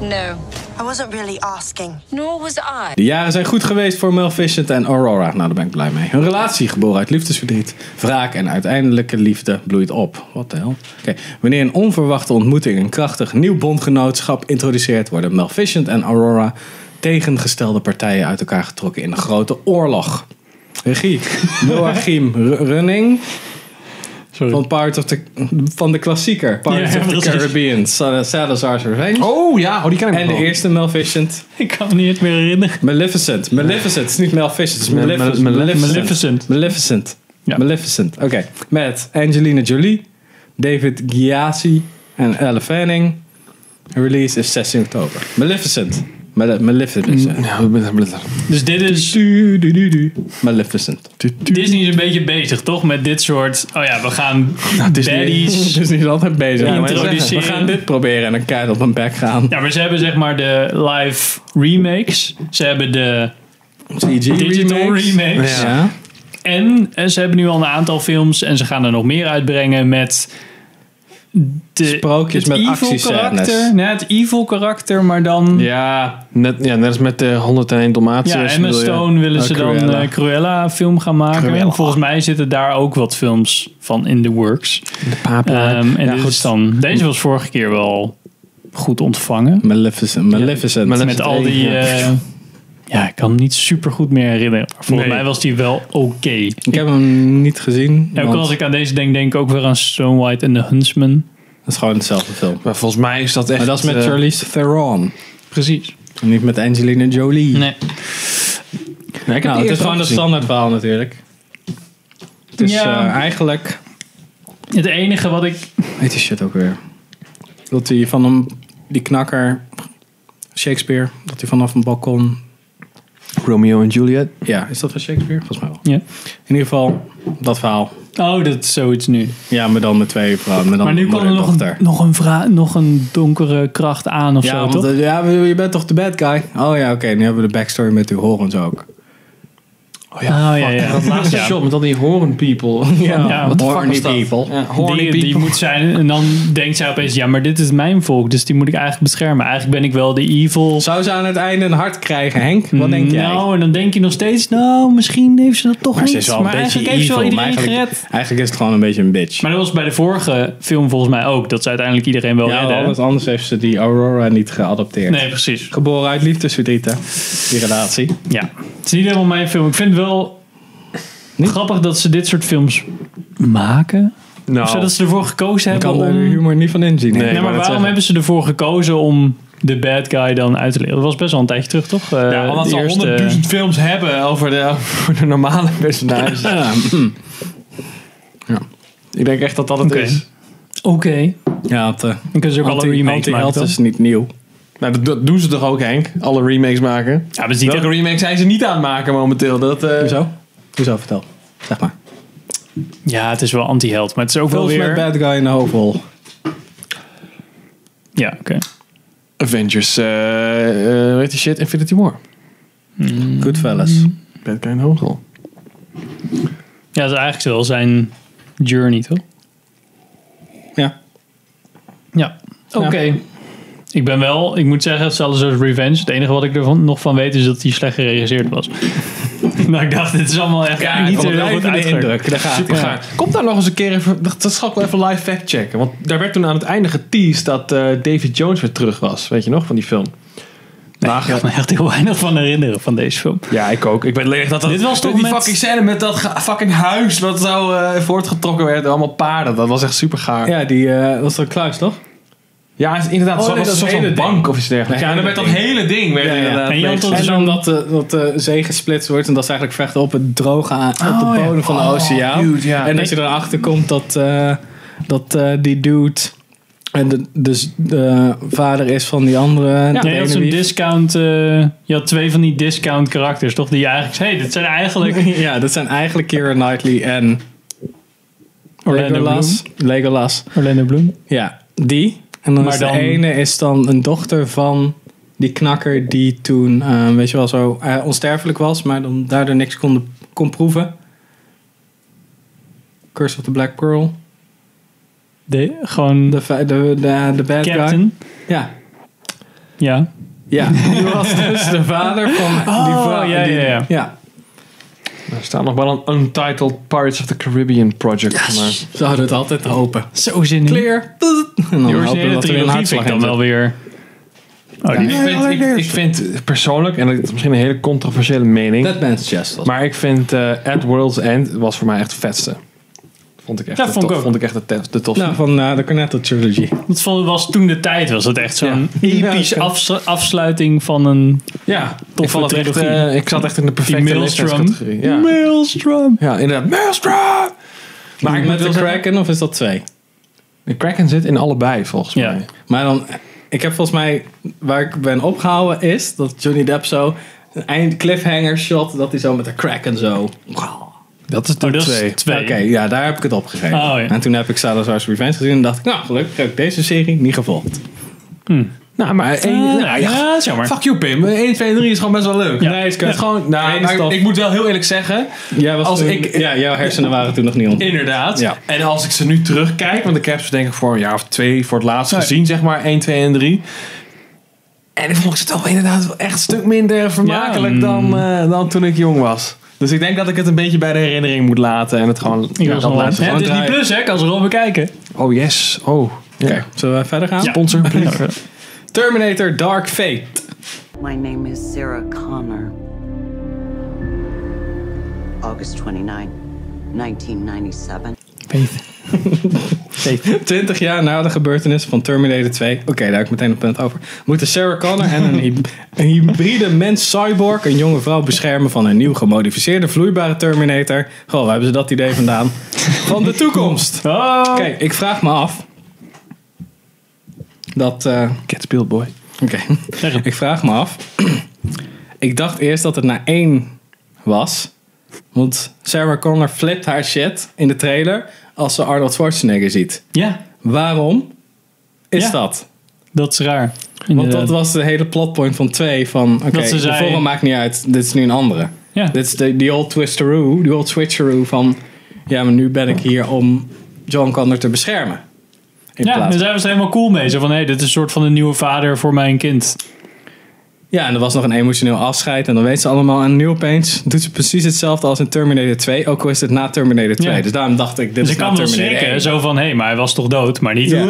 Speaker 7: No,
Speaker 6: I wasn't really asking.
Speaker 7: nor was I.
Speaker 2: De jaren zijn goed geweest voor Maleficent en Aurora. Nou, daar ben ik blij mee. Hun relatie, geboren uit liefdesverdriet, wraak en uiteindelijke liefde, bloeit op. Wat de hel? Oké. Wanneer een onverwachte ontmoeting een krachtig nieuw bondgenootschap introduceert, worden Maleficent en Aurora tegengestelde partijen uit elkaar getrokken in een grote oorlog. Regie. Joachim Ru- Running.
Speaker 1: Sorry.
Speaker 2: Van, Part of the, van de klassieker. Pirates
Speaker 1: Ja,
Speaker 2: of the
Speaker 1: precies.
Speaker 2: Caribbean. Sa- Salazar's Revenge.
Speaker 3: Oh ja, oh, die ken ik
Speaker 2: En de eerste Maleficent.
Speaker 1: Ik kan me niet eens meer herinneren.
Speaker 2: Maleficent. Maleficent. Het is niet Maleficent. Het is
Speaker 3: Mal-
Speaker 2: Maleficent.
Speaker 3: Mal- Mal-
Speaker 1: Maleficent.
Speaker 2: Maleficent.
Speaker 1: Ja.
Speaker 2: Maleficent. Oké. Met Angelina Jolie, David Giassi en Elle Fanning. Release is 16 oktober. Maleficent. Male- Maleficent.
Speaker 1: Dus dit is...
Speaker 2: Du- du- du- du. Maleficent.
Speaker 1: Disney is een beetje bezig, toch? Met dit soort... Oh ja, we gaan
Speaker 2: Nou,
Speaker 1: baddies...
Speaker 2: Dus die is altijd bezig.
Speaker 1: Ja, maar
Speaker 2: We
Speaker 1: introduceren.
Speaker 2: gaan dit proberen en dan keihard op mijn bek gaan.
Speaker 1: Ja, maar ze hebben zeg maar de live remakes. Ze hebben de
Speaker 2: CG
Speaker 1: digital remakes.
Speaker 2: Ja.
Speaker 1: En eh, ze hebben nu al een aantal films. En ze gaan er nog meer uitbrengen met... De,
Speaker 2: Sprookjes met actiescènes.
Speaker 1: karakter. Nee, het evil karakter, maar dan... Ja,
Speaker 3: Ja, net, ja, net als met de 101 Dalmatiërs.
Speaker 1: Emma
Speaker 3: bedoel je.
Speaker 1: Stone willen
Speaker 2: Oh,
Speaker 1: ze dan
Speaker 2: Cruella.
Speaker 1: eh, Cruella film gaan maken.
Speaker 3: Cruella.
Speaker 1: Volgens mij zitten daar ook wat films van in the works. Ehm, en
Speaker 2: Ja,
Speaker 1: dit
Speaker 2: goed.
Speaker 1: is dan, deze was vorige keer wel goed ontvangen.
Speaker 2: Maleficent. Maleficent.
Speaker 1: Met al die. eh, ja, ik kan hem niet super goed meer herinneren. Maar volgens
Speaker 2: Nee.
Speaker 1: mij was die wel oké.
Speaker 2: Ik heb hem niet gezien.
Speaker 1: Ja, ook
Speaker 2: want
Speaker 1: als ik aan deze denk, denk ik ook weer aan Stone White en The Huntsman.
Speaker 2: Dat is gewoon hetzelfde film.
Speaker 3: Maar volgens mij is dat echt...
Speaker 2: Maar dat is met
Speaker 3: eh,
Speaker 2: Charlize Theron.
Speaker 1: Precies.
Speaker 2: En niet met Angelina Jolie.
Speaker 1: Nee.
Speaker 3: nee, ik heb
Speaker 2: Nou,
Speaker 3: die
Speaker 2: het is
Speaker 3: eerst
Speaker 2: gewoon een
Speaker 3: gezien.
Speaker 2: standaard verhaal natuurlijk. Het is
Speaker 1: Ja.
Speaker 2: eh, eigenlijk...
Speaker 1: Het enige wat ik.
Speaker 2: Heet die shit ook weer? Dat hij van een... Die knakker... Shakespeare. Dat hij vanaf een balkon...
Speaker 3: Romeo en Juliet.
Speaker 2: Ja, is dat van Shakespeare? Volgens mij wel.
Speaker 1: Ja.
Speaker 2: In ieder geval, dat verhaal.
Speaker 1: Oh, dat is zoiets nu.
Speaker 2: Ja, maar dan met twee vrouwen. Maar, dan
Speaker 1: maar nu
Speaker 2: moeder
Speaker 1: kwam
Speaker 2: en
Speaker 1: er nog een,
Speaker 2: dochter.
Speaker 1: nog, een vra- nog een donkere kracht aan of
Speaker 2: Ja,
Speaker 1: zo,
Speaker 2: want,
Speaker 1: toch?
Speaker 2: eh, ja, je bent toch de bad guy? Oh ja, oké. nu hebben we de backstory met u horen ze ook.
Speaker 1: Oh ja, ja,
Speaker 3: Dat laatste
Speaker 1: Ja.
Speaker 3: shot met al die horn people.
Speaker 2: Ja,
Speaker 1: Ja,
Speaker 2: wat
Speaker 1: horny
Speaker 2: Oh, horny people.
Speaker 3: Ja, horny
Speaker 1: die, die
Speaker 3: people.
Speaker 1: moet zijn. En dan denkt zij opeens, ja, maar dit is mijn volk, dus die moet ik eigenlijk beschermen. Eigenlijk ben ik wel de evil.
Speaker 2: Zou ze aan het einde een hart krijgen, Henk? Wat denk jij?
Speaker 1: Nou, en dan denk je nog steeds, nou, misschien heeft ze dat toch
Speaker 2: maar
Speaker 1: niet.
Speaker 2: ze is wel een
Speaker 1: maar
Speaker 2: beetje
Speaker 1: eigenlijk
Speaker 2: evil.
Speaker 1: heeft ze wel
Speaker 2: maar
Speaker 1: iedereen
Speaker 2: eigenlijk,
Speaker 1: gered.
Speaker 2: eigenlijk is het gewoon een beetje een bitch.
Speaker 1: Maar dat was bij de vorige film volgens mij ook, dat ze uiteindelijk iedereen wel
Speaker 2: ja,
Speaker 1: redden.
Speaker 2: want anders heeft ze die Aurora niet geadopteerd.
Speaker 1: Nee, precies.
Speaker 2: Geboren uit liefdesverdriet, hè? Die relatie.
Speaker 1: Ja. Het is niet helemaal mijn film. Ik vind het wel grappig dat ze dit soort films maken. Of zo
Speaker 3: Nou,
Speaker 1: dat ze ervoor gekozen
Speaker 2: Ik
Speaker 1: hebben
Speaker 2: kan
Speaker 1: om...
Speaker 2: er de humor niet van inzien.
Speaker 1: nee, maar waarom hebben ze ervoor gekozen om de bad guy dan uit te leren? Dat was best wel een tijdje terug, toch? Eh,
Speaker 3: ja, omdat
Speaker 1: de
Speaker 3: ze al
Speaker 1: eerste-
Speaker 3: honderdduizend films hebben over de, over de normale personages. Ja. Ik denk echt dat dat het
Speaker 1: Oké.
Speaker 3: is.
Speaker 1: Oké.
Speaker 2: Ja, het, eh,
Speaker 1: Dan kunnen ze ook alle
Speaker 2: anti-
Speaker 1: remakes maken,
Speaker 2: anti-held
Speaker 1: toch?
Speaker 2: is niet nieuw.
Speaker 3: Nou, dat, dat doen ze toch ook, Henk? Alle remakes maken.
Speaker 1: Ja, we zien
Speaker 3: Welke remake zijn ze niet aan het maken momenteel? Dat, eh,
Speaker 2: Hoezo? Hoezo, vertel. Zeg maar.
Speaker 1: Ja, het is wel anti-held, maar het is ook wel
Speaker 2: Wel met
Speaker 1: weer...
Speaker 2: bad guy in de hoofdrol.
Speaker 1: Ja, oké.
Speaker 3: Avengers, eh eh, hoe heet die shit? Infinity War.
Speaker 2: Goodfellas.
Speaker 1: Mm.
Speaker 3: Bad Guy in de hoofdrol.
Speaker 1: Ja, dat is eigenlijk wel zijn journey, toch?
Speaker 2: Ja.
Speaker 1: Ja. Oké. Ik ben wel, ik moet zeggen, zelfs als Revenge, het enige wat ik er nog van weet is dat hij slecht geregisseerd was. nou, ik dacht, dit is allemaal echt
Speaker 3: Ja,
Speaker 1: niet
Speaker 3: ik
Speaker 1: zo heel
Speaker 3: blijf
Speaker 1: goed
Speaker 3: in de
Speaker 1: uitgewerkt.
Speaker 3: indruk. Daar gaat
Speaker 1: Super
Speaker 3: Super Komt daar nog eens een keer even. Dat, dat zal ik wel even live fact checken. Want daar werd toen aan het einde geteased dat eh, David Jones weer terug was. Weet je nog van die film?
Speaker 1: Ik kan me echt heel weinig van herinneren van deze film.
Speaker 3: Ja, ik ook. Ik ben leeg dat dat.
Speaker 1: Dit was toch
Speaker 3: die
Speaker 1: met-
Speaker 3: fucking scène met dat ge- fucking huis wat zo eh, voortgetrokken werd. Allemaal paarden. Dat was echt super gaar. Ja,
Speaker 2: Ja, die eh, was toch Kluis, toch?
Speaker 3: is inderdaad.
Speaker 2: Oh,
Speaker 3: zo,
Speaker 2: nee,
Speaker 3: was
Speaker 2: dat
Speaker 3: zo'n
Speaker 2: hele
Speaker 3: bank
Speaker 2: ding.
Speaker 3: of iets dergelijks.
Speaker 2: Nee,
Speaker 3: Ja, en dan werd
Speaker 2: hele ding.
Speaker 3: dat hele ding. Werd
Speaker 2: Ja, ja.
Speaker 3: inderdaad
Speaker 1: En je had
Speaker 3: mee-
Speaker 1: tot-
Speaker 2: En
Speaker 1: Zo'n-
Speaker 2: dan dat, eh, dat de zee gesplitst wordt en dat ze eigenlijk vechten op het droge aan, op de
Speaker 1: Oh, ja.
Speaker 2: bodem van de oceaan.
Speaker 3: dude, ja.
Speaker 2: En dat je erachter komt dat, eh, dat eh, die dude en de, dus de vader is van die andere. de
Speaker 1: Nee, je had
Speaker 2: ene
Speaker 1: zo'n
Speaker 2: wie-
Speaker 1: discount, eh, je had twee van die discount karakters, toch? Die je eigenlijk, hé, hey, dit zijn eigenlijk
Speaker 2: ja, dat zijn eigenlijk Keira Knightley en
Speaker 1: Orlando
Speaker 2: Legolas. Legolas.
Speaker 1: Bloom. Orlando Bloom.
Speaker 2: Ja, die. En dan
Speaker 1: Maar
Speaker 2: is
Speaker 1: dan-
Speaker 2: de ene is dan een dochter van die knakker die toen, eh, weet je wel, zo eh, onsterfelijk was, maar dan daardoor niks kon, kon proeven. Curse of the Black Pearl.
Speaker 1: De, gewoon
Speaker 2: De, fa- de, de, de bad guy.
Speaker 1: captain.
Speaker 2: Ja.
Speaker 1: Ja.
Speaker 2: Ja, die was dus de vader van die vrouw.
Speaker 1: Oh, ja,
Speaker 2: die-
Speaker 1: ja, ja.
Speaker 2: ja.
Speaker 3: Er staat nog wel een Untitled Pirates of the Caribbean project. Maar.
Speaker 2: Ze hadden het altijd hopen.
Speaker 1: Zo zin in.
Speaker 2: Clear. En
Speaker 1: De
Speaker 2: dan hopen
Speaker 1: originele
Speaker 2: dat er een
Speaker 1: trilogie
Speaker 2: hartslag
Speaker 1: vind ik
Speaker 2: in
Speaker 1: dan wel
Speaker 2: zit.
Speaker 1: weer... Oh, die
Speaker 3: Ik vind, ik, ik vind persoonlijk, en dat is misschien een hele controversiële mening.
Speaker 2: Deadman's Chest was.
Speaker 3: Maar ik vind eh, At World's End was voor mij echt het vetste. Vond ik echt,
Speaker 1: Ja,
Speaker 3: de,
Speaker 1: vond ik
Speaker 3: tof-
Speaker 1: ook.
Speaker 3: vond ik echt de, tef- de tofste.
Speaker 2: Nou, van eh, de Cornetto Trilogy.
Speaker 1: Dat vond- was toen de tijd, was het echt zo'n
Speaker 2: Ja.
Speaker 1: epische
Speaker 2: Ja,
Speaker 1: afs- afsluiting van een
Speaker 3: ja,
Speaker 1: toffe
Speaker 3: ik, vond het echt,
Speaker 1: trilogie.
Speaker 3: eh, ik zat echt in de
Speaker 1: die
Speaker 3: perfecte
Speaker 1: Maelstrom.
Speaker 3: leeftijdscategorie. Ja.
Speaker 1: Maelstrom.
Speaker 3: ja, inderdaad. Maelstrom! Maar ik
Speaker 2: met de
Speaker 3: wil zeggen-
Speaker 2: Kraken of is dat twee?
Speaker 3: De Kraken zit in allebei, volgens
Speaker 1: Ja.
Speaker 3: mij.
Speaker 2: Maar dan, ik heb volgens mij, waar ik ben opgehouden is dat Johnny Depp zo een eind cliffhanger shot, dat hij zo met de Kraken zo.
Speaker 3: Dat is de
Speaker 1: Oh, dat is
Speaker 3: twee.
Speaker 1: twee.
Speaker 2: Oké, ja, daar heb ik het opgegeven.
Speaker 1: Oh, ja.
Speaker 2: En toen heb ik Salazar's Revenge gezien en dacht ik, nou gelukkig heb ik deze serie niet gevolgd.
Speaker 3: Nou, maar één,
Speaker 1: Eh,
Speaker 3: nou, ja,
Speaker 1: ja, zeg maar.
Speaker 3: Fuck you, Pim. 1, 2, 3 is gewoon best wel leuk.
Speaker 1: Ja.
Speaker 3: Nee, het kan
Speaker 1: Ja.
Speaker 3: het gewoon... Nou,
Speaker 2: Eén
Speaker 3: maar
Speaker 2: stap.
Speaker 3: ik moet wel heel eerlijk zeggen...
Speaker 2: Jij was
Speaker 3: Als
Speaker 2: toen-
Speaker 3: ik-
Speaker 2: ja, jouw hersenen waren toen nog niet ontwikkeld.
Speaker 3: Inderdaad.
Speaker 2: Ja.
Speaker 3: En als ik ze nu terugkijk, want ik heb ze denk ik voor een jaar of twee voor het laatst gezien, zeg maar. 1, 2 en 3. En ik vond ik ze toch wel inderdaad wel echt een stuk minder vermakelijk
Speaker 1: Ja,
Speaker 3: dan, eh, dan toen ik jong was. Dus ik denk dat ik het een beetje bij de herinnering moet laten en het gewoon...
Speaker 1: Ik
Speaker 3: ja,
Speaker 1: was
Speaker 3: dat
Speaker 1: al
Speaker 3: laten
Speaker 1: aan. Het
Speaker 3: gewoon
Speaker 1: is niet
Speaker 3: draaien.
Speaker 1: plus, hè? Kan ze erom bekijken.
Speaker 3: Oh yes. Oh. ja.
Speaker 2: Oké, zullen we verder gaan?
Speaker 3: Sponsor, please.
Speaker 2: Terminator Dark Fate.
Speaker 8: My name is Sarah Connor. August 29, 1997.
Speaker 2: 20 jaar na de gebeurtenissen van Terminator 2. Oké, daar heb ik meteen een punt over. Moeten Sarah Connor en een, hy- een hybride mens-cyborg een jonge vrouw beschermen van een nieuw gemodificeerde vloeibare Terminator. Goh, waar hebben ze dat idee vandaan? Van de toekomst.
Speaker 1: Oh.
Speaker 2: Kijk, ik vraag me af. Dat. eh,
Speaker 3: Get Spilled Boy.
Speaker 2: Oké. Ik vraag me af. Ik dacht eerst dat het na één was. Want Sarah Connor flipt haar shit in de trailer als ze Arnold Schwarzenegger ziet.
Speaker 1: Ja,
Speaker 2: Waarom is
Speaker 1: Ja.
Speaker 2: dat?
Speaker 1: dat is raar.
Speaker 2: Want
Speaker 1: Inderdaad.
Speaker 2: dat was de hele plotpoint van twee. Van oké,
Speaker 1: Dat ze
Speaker 2: de
Speaker 1: zei-
Speaker 2: vorm maakt niet uit. Dit is nu een andere.
Speaker 1: Ja.
Speaker 2: Dit is de die old twisteroo, die old switcheroo van... Ja, maar nu ben ik hier om John Connor te beschermen. In
Speaker 1: Ja, dus-
Speaker 2: plaats
Speaker 1: daar zijn we helemaal cool mee. Zo van, hé, dit is een soort van een nieuwe vader voor mijn kind. Dus
Speaker 2: Ja, en er was nog een emotioneel afscheid. En dan weet ze allemaal. En nu opeens doet ze precies hetzelfde als in Terminator 2. Ook al is het na Terminator 2.
Speaker 1: Ja.
Speaker 2: Dus daarom dacht ik, dit
Speaker 1: Dus
Speaker 2: is
Speaker 1: ik
Speaker 2: na
Speaker 1: kan wel
Speaker 2: Terminator
Speaker 1: schrikken.
Speaker 2: 1.
Speaker 1: Zo van, hé, maar hij was toch dood? Maar niet...
Speaker 2: Ja.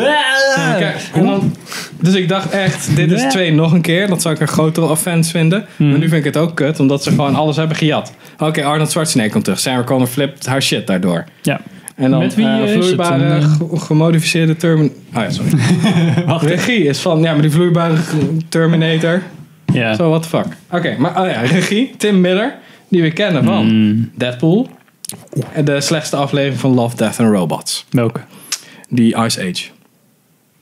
Speaker 2: Ja, kijk, en dan- dus ik dacht echt, dit is
Speaker 1: Eh, Ja. Hmm.
Speaker 2: twee nog een keer. Dat zou ik een grotere offense vinden. Maar nu vind ik het ook kut, omdat ze gewoon alles hebben gejat. Oké, Arnold Schwarzenegger komt terug. Sarah Connor flipt haar shit daardoor.
Speaker 1: Ja.
Speaker 2: En dan
Speaker 1: Met wie,
Speaker 2: eh,
Speaker 1: eh, is het
Speaker 2: vloeibare,
Speaker 1: dan, eh?
Speaker 2: ge- gemodificeerde Terminator... Oh ja, sorry.
Speaker 1: Wacht even.
Speaker 2: Regie is van, ja, maar die vloeibare Terminator...
Speaker 1: Ja.
Speaker 2: Zo, what the fuck. Oké, maar oh ja, regie, Tim Miller, die we kennen van
Speaker 1: Hmm.
Speaker 2: Deadpool. En de slechtste aflevering van Love, Death and Robots.
Speaker 1: Welke?
Speaker 2: Die Ice Age.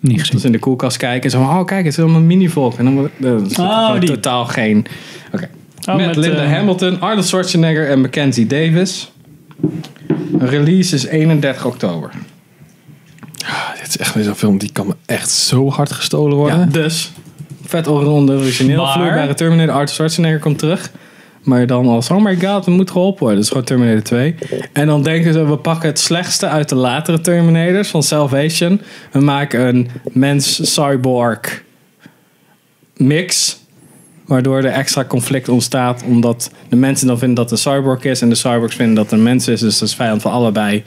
Speaker 1: Niet
Speaker 2: Dat
Speaker 1: gezien.
Speaker 2: ze in de koelkast kijken en zo van, oh kijk, het is helemaal een mini-volk. En dan wordt- eh, dat is
Speaker 1: Oh,
Speaker 2: gewoon
Speaker 1: die.
Speaker 2: totaal geen... Oké.
Speaker 1: Oh,
Speaker 2: met,
Speaker 1: met,
Speaker 2: Linda
Speaker 1: eh,
Speaker 2: Hamilton, Arnold Schwarzenegger en Mackenzie Davis. Release is 31 oktober.
Speaker 3: Dit is echt weer zo'n film die kan me echt zo hard gestolen worden.
Speaker 2: Ja, dus, vet onronde origineel,
Speaker 1: Maar-
Speaker 2: vloeibare Terminator, Arnold Schwarzenegger komt terug. Maar dan als, oh my god, het moet geholpen worden. Dat is gewoon Terminator 2. En dan denken ze, we pakken het slechtste uit de latere Terminators van Salvation. We maken een mens-cyborg mix. Waardoor er extra conflict ontstaat. Omdat de mensen dan vinden dat het een cyborg is. En de cyborgs vinden dat het een mens is. Dus dat is vijand voor allebei.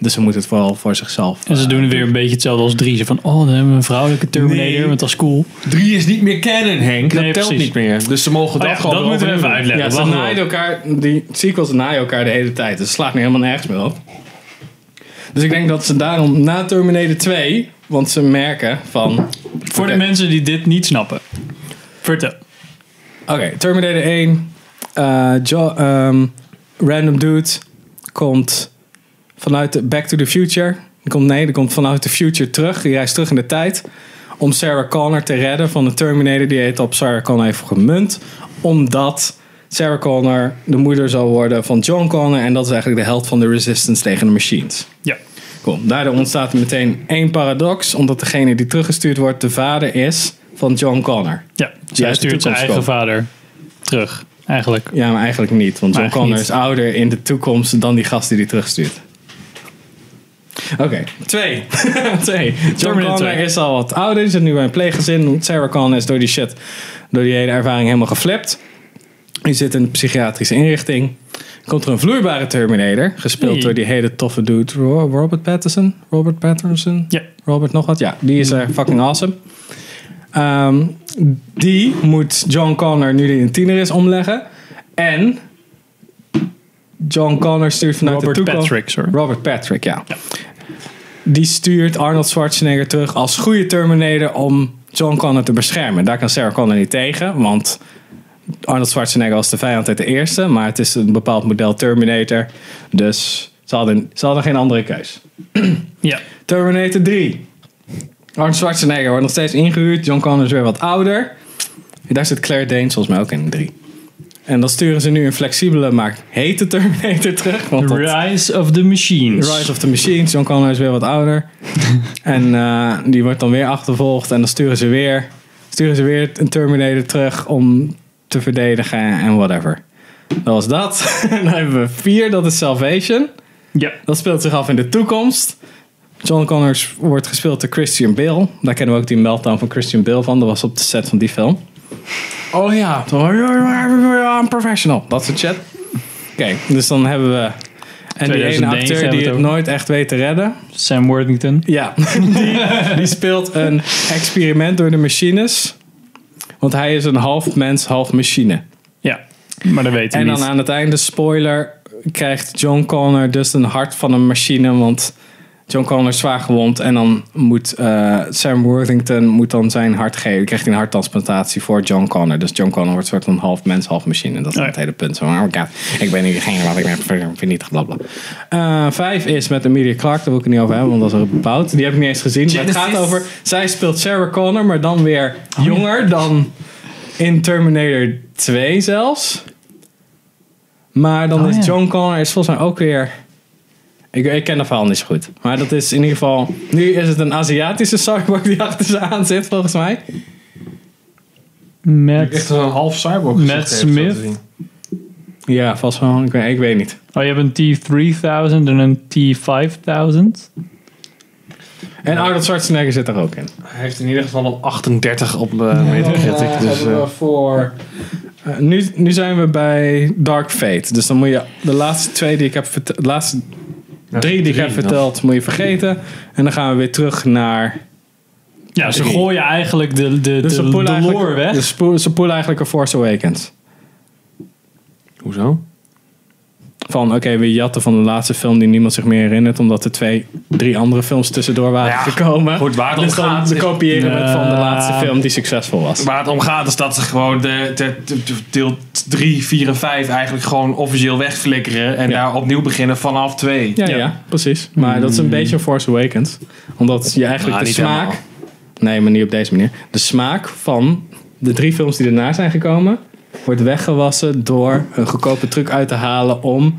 Speaker 2: Dus ze moeten het vooral voor zichzelf.
Speaker 1: En ze doen weer een beetje hetzelfde als drie. Ze van, oh, dan hebben we een vrouwelijke Terminator,
Speaker 3: Nee.
Speaker 1: want dat is cool.
Speaker 3: Drie is niet meer canon, Henk.
Speaker 1: Nee,
Speaker 3: dat telt
Speaker 1: precies.
Speaker 3: niet meer. Dus ze mogen
Speaker 1: Oh
Speaker 3: dat
Speaker 1: ja,
Speaker 3: gewoon
Speaker 1: dat
Speaker 3: weer
Speaker 1: moeten we even
Speaker 3: overnieuw doen.
Speaker 1: uitleggen.
Speaker 2: Ja, ze
Speaker 1: Wacht wel.
Speaker 2: naaien elkaar, die sequels naaien elkaar de hele tijd. Dus het slaat nu helemaal nergens meer op. Dus ik denk dat ze daarom na Terminator 2, want ze merken van...
Speaker 1: Voor
Speaker 2: Oké.
Speaker 1: de mensen die dit niet snappen. Vertel.
Speaker 2: Oké, Terminator 1, eh, Jo- ehm, Random Dude komt vanuit de Back to the Future. Die komt, nee, die komt vanuit de future terug. Die reist terug in de tijd om Sarah Connor te redden van de Terminator die heet op Sarah Connor heeft gemunt. Omdat Sarah Connor de moeder zal worden van John Connor en dat is eigenlijk de held van de Resistance tegen de machines.
Speaker 1: Ja.
Speaker 2: Cool. Daardoor ontstaat er meteen één paradox, omdat degene die teruggestuurd wordt de vader is van John Connor.
Speaker 1: Ja.
Speaker 2: Ja,
Speaker 1: Zij
Speaker 2: de
Speaker 1: stuurt zijn
Speaker 2: toekomst
Speaker 1: eigen
Speaker 2: komen.
Speaker 1: vader terug. Eigenlijk.
Speaker 2: Ja, maar eigenlijk niet. Want John
Speaker 1: eigenlijk
Speaker 2: Connor
Speaker 1: niet.
Speaker 2: is ouder in de toekomst dan die gast die die terugstuurt. Oké, twee. twee. John
Speaker 1: Terminator
Speaker 2: Connor
Speaker 1: twee.
Speaker 2: is al wat ouder. Die zit nu bij een pleeggezin. Sarah Connor is door die shit, door die hele ervaring helemaal geflipt. Die zit in een psychiatrische inrichting. Komt er een vloeibare Terminator. Gespeeld
Speaker 1: Hey.
Speaker 2: door die hele toffe dude Ro- Robert Pattinson. Robert Pattinson?
Speaker 1: Ja.
Speaker 2: Robert nog wat? Ja, die is er fucking awesome. Ehm, die moet John Connor, nu die een tiener is, omleggen. En John Connor stuurt vanuit
Speaker 1: Robert
Speaker 2: de toekomst...
Speaker 1: Patrick, sorry.
Speaker 2: Robert Patrick, ja. Die stuurt Arnold Schwarzenegger terug als goede Terminator om John Connor te beschermen. Daar kan Sarah Connor niet tegen, want Arnold Schwarzenegger was de vijand uit de eerste. Maar het is een bepaald model Terminator, dus ze hadden, ze hadden geen andere keus.
Speaker 1: Ja.
Speaker 2: Terminator 3. Arnold Schwarzenegger wordt nog steeds ingehuurd. John Connor is weer wat ouder. Daar zit Claire Danes volgens mij ook in 3. En dan sturen ze nu een flexibele, maar hete Terminator terug. Want dat-
Speaker 1: Rise of the Machines.
Speaker 2: Rise of the Machines. John Connor is weer wat ouder. en eh, die wordt dan weer achtervolgd. En dan sturen ze weer, sturen ze weer een Terminator terug om te verdedigen en whatever. Dat was dat. en dan hebben we 4, dat is Salvation.
Speaker 1: Ja.
Speaker 2: Dat speelt zich af in de toekomst. John Connors wordt gespeeld door Christian Bale. Daar kennen we ook die meltdown van Christian Bale van. Dat was op de set van die film. Oh ja. I'm professional. Dat soort shit. Oké, dus dan hebben we... En die ene
Speaker 1: 2001
Speaker 2: acteur
Speaker 1: hebben we
Speaker 2: die
Speaker 1: het
Speaker 2: het
Speaker 1: over.
Speaker 2: nooit echt weet te redden.
Speaker 1: Sam Worthington.
Speaker 2: Ja, die, die speelt een experiment door de machines. Want hij is een half mens, half machine.
Speaker 1: Ja. Maar dat weten we
Speaker 2: En
Speaker 1: niet.
Speaker 2: dan eh, aan het einde, spoiler, krijgt John Connor dus een hart van een machine, want John Connor is zwaar gewond en dan moet eh, Sam Worthington moet dan zijn hart geven. Krijgt hij een harttransplantatie voor John Connor. Dus John Connor wordt een soort van half mens, half machine. En dat is
Speaker 1: ja.
Speaker 2: het hele punt. Zo, oh my God, ik ben hier degene wat ik ben vernietigd, bla bla. Eh, vijf is met Amelia Clark, daar wil ik het niet over hebben, want dat is ook bepaald. Die heb ik niet eens gezien. Maar het gaat over, zij speelt Sarah Connor, maar dan weer jonger dan in Terminator 2 zelfs. Maar dan
Speaker 1: Oh,
Speaker 2: is
Speaker 1: ja.
Speaker 2: John Connor is volgens mij ook weer. Ik, ik ken de verhaal niet zo goed. Maar dat is in ieder geval. Nu is het een Aziatische cyborg die achter ze aan zit, volgens mij.
Speaker 1: Met...
Speaker 3: Echt een half cyborg gezicht
Speaker 1: Matt
Speaker 3: heeft, zo te
Speaker 1: Smith.
Speaker 3: zien.
Speaker 2: Ja, vast wel. Ik weet, ik weet niet.
Speaker 1: Oh, je hebt een T3000 en een T5000.
Speaker 2: En Arnold Schwarzenegger zit daar ook in.
Speaker 3: Hij heeft in ieder geval een 38 op uh, Metacritic. Dus, eh,
Speaker 2: voor... eh, nu, nu zijn we bij Dark Fate. Dus dan moet je de laatste twee die ik heb verteld... De laatste drie die ik heb
Speaker 3: drie,
Speaker 2: verteld moet je vergeten. En dan gaan we weer terug naar...
Speaker 1: Ja, ze gooien eigenlijk de, de,
Speaker 2: Dus
Speaker 1: de,
Speaker 2: ze
Speaker 1: de
Speaker 2: poelen
Speaker 1: lore
Speaker 2: eigenlijk,
Speaker 1: weg.
Speaker 2: dus ze poelen- ze poelen eigenlijk een Force Awakens.
Speaker 3: hoezo?
Speaker 2: Van oké, we jatten van de laatste film die niemand zich meer herinnert. Omdat er twee, drie andere films tussendoor waren
Speaker 3: Ja,
Speaker 2: gekomen.
Speaker 3: goed, waar het om
Speaker 2: dus dan
Speaker 3: gaat is-
Speaker 2: kopiëren we het van de
Speaker 1: Ja.
Speaker 2: laatste film die succesvol was.
Speaker 3: Waar het om gaat is dat ze gewoon de, de, de- de- deel 3, 4 en 5 eigenlijk gewoon officieel wegflikkeren. En
Speaker 2: Ja.
Speaker 3: daar opnieuw beginnen vanaf 2.
Speaker 2: Ja, ja. precies. Maar dat
Speaker 1: Hmm.
Speaker 2: is een beetje een Force Awakens. Omdat je eigenlijk
Speaker 1: Ah,
Speaker 3: Nou,
Speaker 2: de
Speaker 3: niet
Speaker 2: smaak...
Speaker 3: helemaal.
Speaker 2: Nee, maar niet op deze manier. De smaak van de drie films die erna zijn gekomen... wordt weggewassen door een goedkope truc uit te halen om...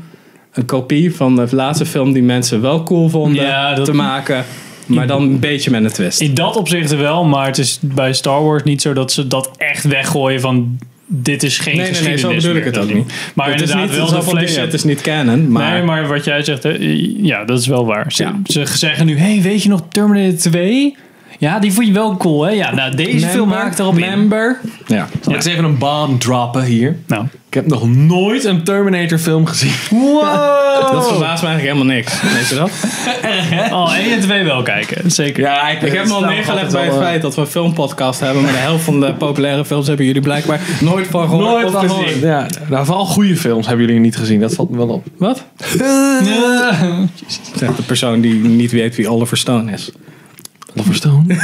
Speaker 2: een kopie van de laatste film die mensen wel cool vonden
Speaker 1: Ja, dat-
Speaker 2: te maken... maar dan een beetje met een twist.
Speaker 1: In dat opzicht wel, maar het is bij Star Wars niet zo dat ze dat echt weggooien van dit is geen
Speaker 2: Nee, nee, nee,
Speaker 1: geschiedenis
Speaker 2: zo bedoel ik
Speaker 1: meer,
Speaker 2: het
Speaker 1: dat
Speaker 2: ook niet.
Speaker 1: Maar
Speaker 2: het is
Speaker 1: inderdaad
Speaker 2: niet
Speaker 1: wel
Speaker 2: zo
Speaker 1: de
Speaker 2: van,
Speaker 1: flex.
Speaker 2: dit is niet canon, maar...
Speaker 1: Nee, maar wat jij zegt, hè, ja, dat is wel waar. Ze,
Speaker 2: Ja.
Speaker 1: ze zeggen nu, hey, weet je nog Terminator 2? Ja, die vond je wel cool, hè? Ja, nou, deze film maakt erop in.
Speaker 2: member. Ja.
Speaker 3: Zal ik eens even een bomb droppen hier?
Speaker 1: Nou.
Speaker 3: Ik heb nog nooit een Terminator film gezien.
Speaker 1: Wow!
Speaker 2: Dat verbaast me eigenlijk helemaal niks. Weet je dat?
Speaker 1: Al 1 en 2 wel kijken, zeker.
Speaker 3: Ja,
Speaker 2: Ik heb hem al neergelegd bij het feit dat we een filmpodcast hebben. Maar de helft van de populaire films hebben jullie blijkbaar nooit van gehoord.
Speaker 3: Nooit
Speaker 2: of
Speaker 3: van
Speaker 2: gezien.
Speaker 3: gehoord. Ja, nou, vooral goede films hebben jullie niet gezien. Dat valt me wel op.
Speaker 2: Wat? Zegt de persoon die niet weet wie Oliver Stone is.
Speaker 3: Oliver Stone.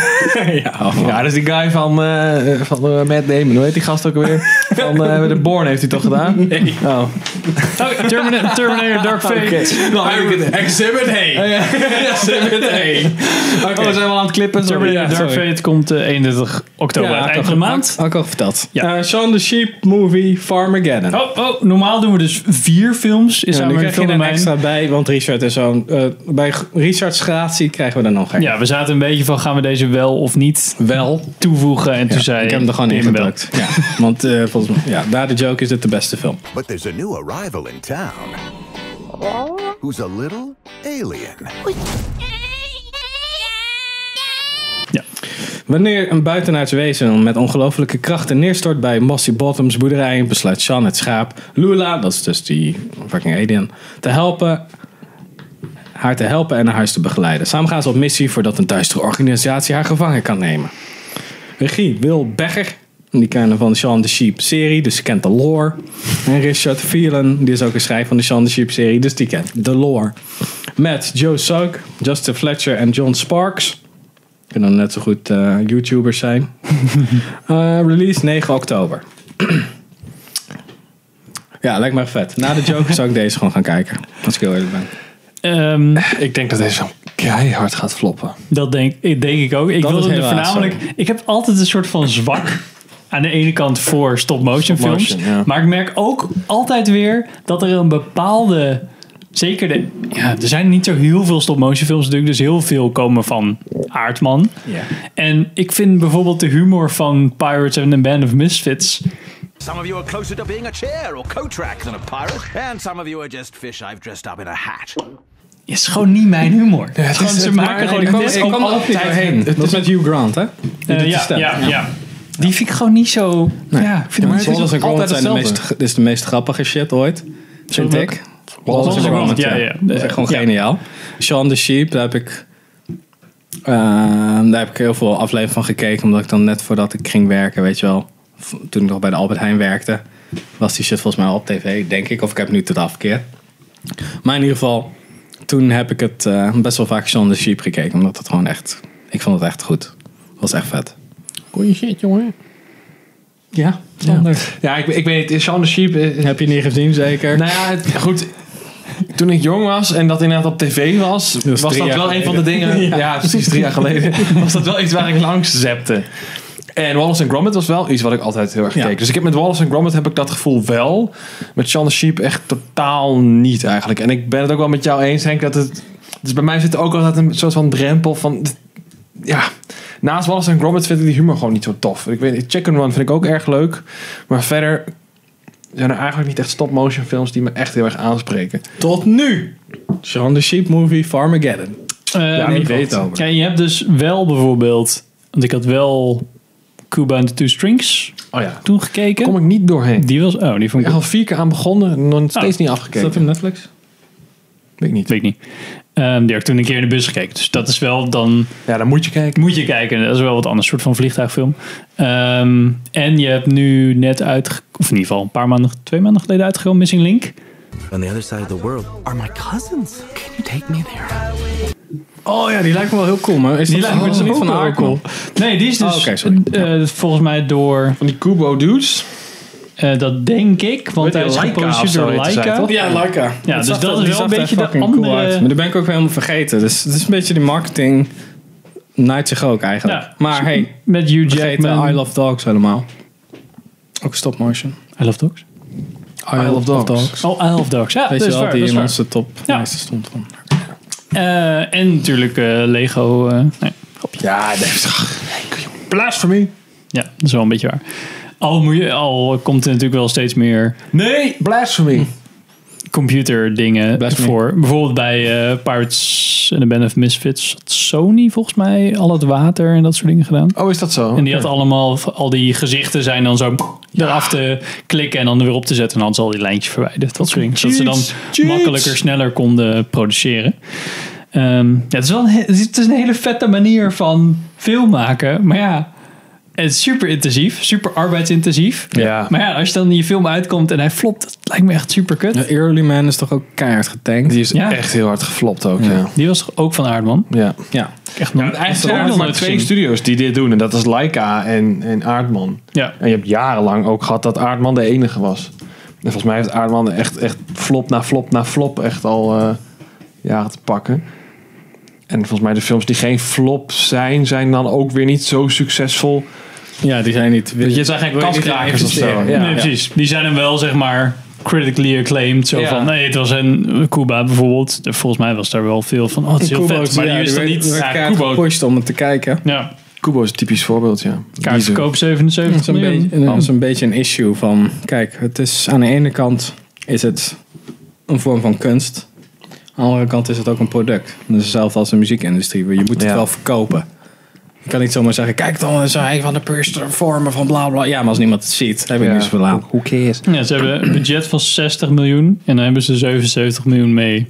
Speaker 2: ja,
Speaker 3: Ja, dat is die guy van, eh van eh, Matt Damon. Hoe heet die gast ook alweer? Van eh The Born heeft hij toch gedaan? Nee. Oh.
Speaker 1: Oké, Terminator, Terminator Dark Fate.
Speaker 3: Nou, heb ik het.
Speaker 2: Exhibit A. Oh, Exhibit A.
Speaker 3: Oh, we zijn wel aan het klippen. Sorry.
Speaker 1: Terminator
Speaker 2: Ja,
Speaker 1: Dark
Speaker 2: sorry.
Speaker 1: Fate komt eh, 31 oktober,
Speaker 2: had
Speaker 1: eind van
Speaker 2: ik al-
Speaker 1: de maand.
Speaker 2: Had ik al verteld.
Speaker 1: Ja.
Speaker 2: Eh, Shaun the Sheep movie Farmageddon.
Speaker 1: Oh, oh, normaal doen we dus vier films in
Speaker 2: Ja, nu krijg je er een
Speaker 1: samenwerking
Speaker 2: extra bij, want Richard is zo'n... eh, bij G- Richards gratie krijgen we dan nog een.
Speaker 1: Ja, we zaten een beetje van gaan we deze wel of niet
Speaker 2: Wel.
Speaker 1: toevoegen. En toen zei
Speaker 2: ik heb hem er gewoon
Speaker 1: Tim
Speaker 2: in gedrukt. Ja, want eh, volgens mij, ja, daar de joke is dit de beste film.
Speaker 9: But there's a new arrival in town who's a little alien.
Speaker 2: Wanneer een buitenaards wezen met ongelofelijke krachten neerstort bij Mossy Bottoms boerderij, besluit Sean het schaap Lula, dat is dus die fucking alien, te helpen. Haar te helpen en naar huis te begeleiden. Samen gaan ze op missie voordat een duistere organisatie haar gevangen kan nemen. Regie Wil Begger, die kennen van de Sean the Sheep serie, dus die kent de lore. En Richard Phelan, die is ook een schrijver van de Sean the Sheep serie, dus die kent de lore. Met Joe Sugg, Justin Fletcher en John Sparks. Kunnen net zo goed eh, YouTubers zijn. Eh, release 9 oktober. ja, lijkt me echt vet. Na de Joker zou ik deze gewoon gaan kijken. Als ik heel eerlijk ben.
Speaker 1: Ehm,
Speaker 3: Ik denk dat deze film keihard gaat floppen.
Speaker 1: dat denk, ik- denk ik ook. Ik
Speaker 2: Dat
Speaker 1: wilde
Speaker 2: is
Speaker 1: er
Speaker 2: helaas,
Speaker 1: voornamelijk. Ik heb altijd een soort van zwak. Aan de ene kant voor stop-motion
Speaker 3: Stop-motion,
Speaker 1: films.
Speaker 3: ja.
Speaker 1: Maar ik merk ook altijd weer dat er een bepaalde. Zeker de. Ja, er zijn niet zo heel veel stop-motion films natuurlijk. Dus heel veel komen van Aardman. En ik vind bijvoorbeeld de humor van Pirates and the Band of Misfits.
Speaker 9: Some of you are closer to being a chair or coat rack than a pirate, and some of you are just fish I've dressed up in a hat.
Speaker 1: is gewoon niet mijn humor. Gewoon, ze maken gewoon
Speaker 2: kom,
Speaker 1: dit
Speaker 2: ik
Speaker 1: om
Speaker 2: kom er ook niet
Speaker 1: altijd-
Speaker 2: doorheen. Dat is met Hugh Grant, hè? Die
Speaker 1: Eh,
Speaker 2: doet de
Speaker 1: ja,
Speaker 2: stem.
Speaker 1: ja, ja. Die vind ik gewoon niet zo. Ja, ik vind
Speaker 2: Maar
Speaker 1: hem niet
Speaker 2: Wallace
Speaker 1: zo.
Speaker 2: en Gromit
Speaker 3: altijd
Speaker 2: zijn de
Speaker 3: hetzelfde.
Speaker 2: meest, is de meest grappige shit ooit. Vind
Speaker 1: Sorry,
Speaker 2: ik.
Speaker 1: Wallace en Gromit, ja, ja.
Speaker 2: Dat is echt gewoon
Speaker 1: Ja.
Speaker 2: geniaal. Sean the Sheep, daar heb ik... eh, daar heb ik heel veel afleveringen van gekeken. Omdat ik dan net voordat ik ging werken, weet je wel. v- Toen ik nog bij de Albert Heijn werkte. Was die shit volgens mij al op tv, denk ik. Of ik heb nu tot afgekeerd. Maar in ieder geval, toen heb ik het eh, best wel vaak Sean the Sheep gekeken. Omdat het gewoon echt... Ik vond het echt goed. was echt vet.
Speaker 3: Goeie shit, jongen.
Speaker 2: Ja,
Speaker 3: Ja, ik, ik weet niet. Shaun the Sheep... eh,
Speaker 2: Heb je niet gezien, zeker?
Speaker 3: Nou ja, het- goed. Toen ik jong was en dat inderdaad op tv was,
Speaker 2: is
Speaker 3: was
Speaker 2: drie
Speaker 3: dat
Speaker 2: jaar
Speaker 3: wel een van de
Speaker 2: geleden.
Speaker 3: dingen. Ja. precies drie jaar geleden. Was dat wel iets waar ik langs zepte. En Wallace and Gromit was wel iets wat ik altijd heel erg
Speaker 2: Ja.
Speaker 3: keek. Dus ik heb met Wallace and Gromit heb ik dat gevoel wel. Met Shaun the Sheep echt totaal niet eigenlijk. En ik ben het ook wel met jou eens, Henk, dat het. Dus bij mij zit er ook altijd een soort van drempel van. Ja, naast Wallace and Gromit vind ik die humor gewoon niet zo tof. Ik weet, Chicken Run vind ik ook erg leuk. Maar verder zijn er eigenlijk niet echt stop-motion films die me echt heel erg aanspreken.
Speaker 2: Tot nu. Shaun the Sheep Movie Farmageddon.
Speaker 1: ja,
Speaker 2: wie weet over.
Speaker 1: je hebt dus wel bijvoorbeeld... Want ik had wel Cuba and the Two Strings
Speaker 3: Oh ja.
Speaker 1: toen gekeken.
Speaker 3: Kom ik niet doorheen.
Speaker 1: Die was... Oh, die vond
Speaker 3: Ik
Speaker 1: ik...
Speaker 3: heb al vier keer aan begonnen, nog steeds
Speaker 1: Oh,
Speaker 3: niet
Speaker 2: Is
Speaker 3: afgekeken.
Speaker 2: dat op Netflix?
Speaker 3: Weet ik niet.
Speaker 1: Weet ik niet. Ehm, die heb ik toen een keer in de bus gekeken. Dus dat is wel dan...
Speaker 3: Ja, dan moet je kijken.
Speaker 1: Moet je kijken. Dat is wel wat anders. soort van vliegtuigfilm. Ehm, en je hebt nu net uit... Of in ieder geval een paar maanden... Twee maanden geleden uitgekomen Missing Link.
Speaker 10: On the other side of the world,
Speaker 4: Are my cousins? Can you take me there?
Speaker 2: Oh ja, die lijkt me wel heel cool. Maar is
Speaker 1: Die
Speaker 2: dat
Speaker 1: lijkt me
Speaker 2: oh,
Speaker 1: dus
Speaker 2: niet
Speaker 1: ook
Speaker 2: van
Speaker 1: wel
Speaker 2: Arkel?
Speaker 1: Nee, die is dus
Speaker 2: Oh, oké, sorry.
Speaker 1: eh, volgens mij door...
Speaker 3: Van die Kubo dudes.
Speaker 1: eh, dat denk ik, want
Speaker 3: Weet je,
Speaker 1: hij is
Speaker 3: Laika of
Speaker 1: geproduceerd
Speaker 3: zo
Speaker 1: door
Speaker 3: heet zij,
Speaker 1: Laika.
Speaker 3: toch?
Speaker 2: Ja, Laika.
Speaker 1: Ja, dus
Speaker 2: zag
Speaker 1: dat
Speaker 2: er-
Speaker 1: is
Speaker 2: die
Speaker 1: wel
Speaker 2: zag
Speaker 1: een
Speaker 2: er
Speaker 1: beetje de
Speaker 2: fucking cool
Speaker 1: andere-
Speaker 2: uit. Maar daar ben ik ook weer helemaal vergeten. Dus het is een beetje die marketing naait zich ook eigenlijk.
Speaker 1: Ja.
Speaker 2: Maar hey,
Speaker 1: Met Hugh
Speaker 2: vergeten
Speaker 1: Jackman.
Speaker 2: I Love Dogs helemaal. Ook stop motion.
Speaker 1: I Love Dogs.
Speaker 2: I, Love Dogs.
Speaker 1: Oh, I Love Dogs. Ja,
Speaker 2: Weet
Speaker 1: dat
Speaker 2: je
Speaker 1: is
Speaker 2: wel,
Speaker 1: waar,
Speaker 2: die
Speaker 1: dat is
Speaker 2: in
Speaker 1: waar.
Speaker 2: onze top
Speaker 1: Ja.
Speaker 2: lijsten stond van.
Speaker 1: Eh, en natuurlijk eh, Lego. eh, nee, grapje.
Speaker 3: Ja, dat is toch... Blasphemy.
Speaker 1: Ja, dat is wel een beetje waar. Al, moet je, al komt er natuurlijk wel steeds meer
Speaker 3: Nee, blasphemy.
Speaker 1: computerdingen
Speaker 2: Best mee.
Speaker 1: voor. Bijvoorbeeld bij eh, Pirates and the Band of Misfits had Sony volgens mij al het water en dat soort dingen gedaan.
Speaker 3: Oh, is dat zo?
Speaker 1: En die had allemaal, al die gezichten zijn dan zo eraf te klikken en dan weer op te zetten. En dan zal die lijntjes verwijderd. Dat soort dingen. Zodat ze dan
Speaker 3: Cheats, cheats.
Speaker 1: makkelijker, sneller konden produceren. Ehm, ja, het, is wel een, he- het is een hele vette manier van film maken. Maar ja, het is super intensief, super arbeidsintensief.
Speaker 3: Ja.
Speaker 1: Maar ja, als je dan in je film uitkomt en hij flopt, dat lijkt me echt super kut.
Speaker 2: De Early Man is toch ook keihard getankt?
Speaker 3: Die is
Speaker 1: Ja.
Speaker 3: echt heel hard geflopt ook, ja.
Speaker 1: Die was toch ook van Aardman?
Speaker 3: Ja.
Speaker 2: ja.
Speaker 1: Echt nog,
Speaker 3: Eigenlijk
Speaker 1: ook
Speaker 3: zijn er
Speaker 1: nog
Speaker 3: maar
Speaker 1: nooit
Speaker 3: twee
Speaker 1: gezien.
Speaker 3: studios die dit doen. En dat is Laika en, en Aardman.
Speaker 1: Ja.
Speaker 3: En je hebt jarenlang ook gehad dat Aardman de enige was. En volgens mij heeft Aardman echt, echt flop na flop na flop echt al eh, jaren te pakken. En volgens mij de films die geen flop zijn, zijn dan ook weer niet zo succesvol.
Speaker 2: ja, die zijn
Speaker 1: Dus
Speaker 2: niet...
Speaker 3: Dat je zegt eigenlijk kaskrakers of zo.
Speaker 2: Ja.
Speaker 1: nee, precies. Die zijn hem wel, zeg maar, critically acclaimed. Zo
Speaker 3: Ja.
Speaker 1: van, nee, het was een Cuba bijvoorbeeld. Volgens mij was daar wel veel van, oh, het is heel
Speaker 2: Kubo's,
Speaker 1: vet. Maar die is dan niet...
Speaker 2: werd
Speaker 1: Ja,
Speaker 2: keihard
Speaker 1: Kubo.
Speaker 2: gepusht om het te kijken.
Speaker 1: Ja,
Speaker 3: Kubo is een typisch voorbeeld, ja.
Speaker 1: kaartverkoop
Speaker 2: Dat is
Speaker 1: 77
Speaker 2: een,
Speaker 1: miljoen.
Speaker 2: beetje, dat is een beetje een issue van... Kijk, het is, aan de ene kant is het een vorm van kunst. Aan de andere kant is het ook een product. Dat is hetzelfde als de muziekindustrie. Je moet het
Speaker 3: Ja.
Speaker 2: wel verkopen. Je kan niet zomaar zeggen... Kijk dan, is hij van de performer van bla bla. Ja, maar als niemand het ziet, heb je
Speaker 3: Ja.
Speaker 2: niets verlaten. Hoe cares?
Speaker 1: Ja, ze hebben een budget van 60 miljoen. En daar hebben ze 77 miljoen mee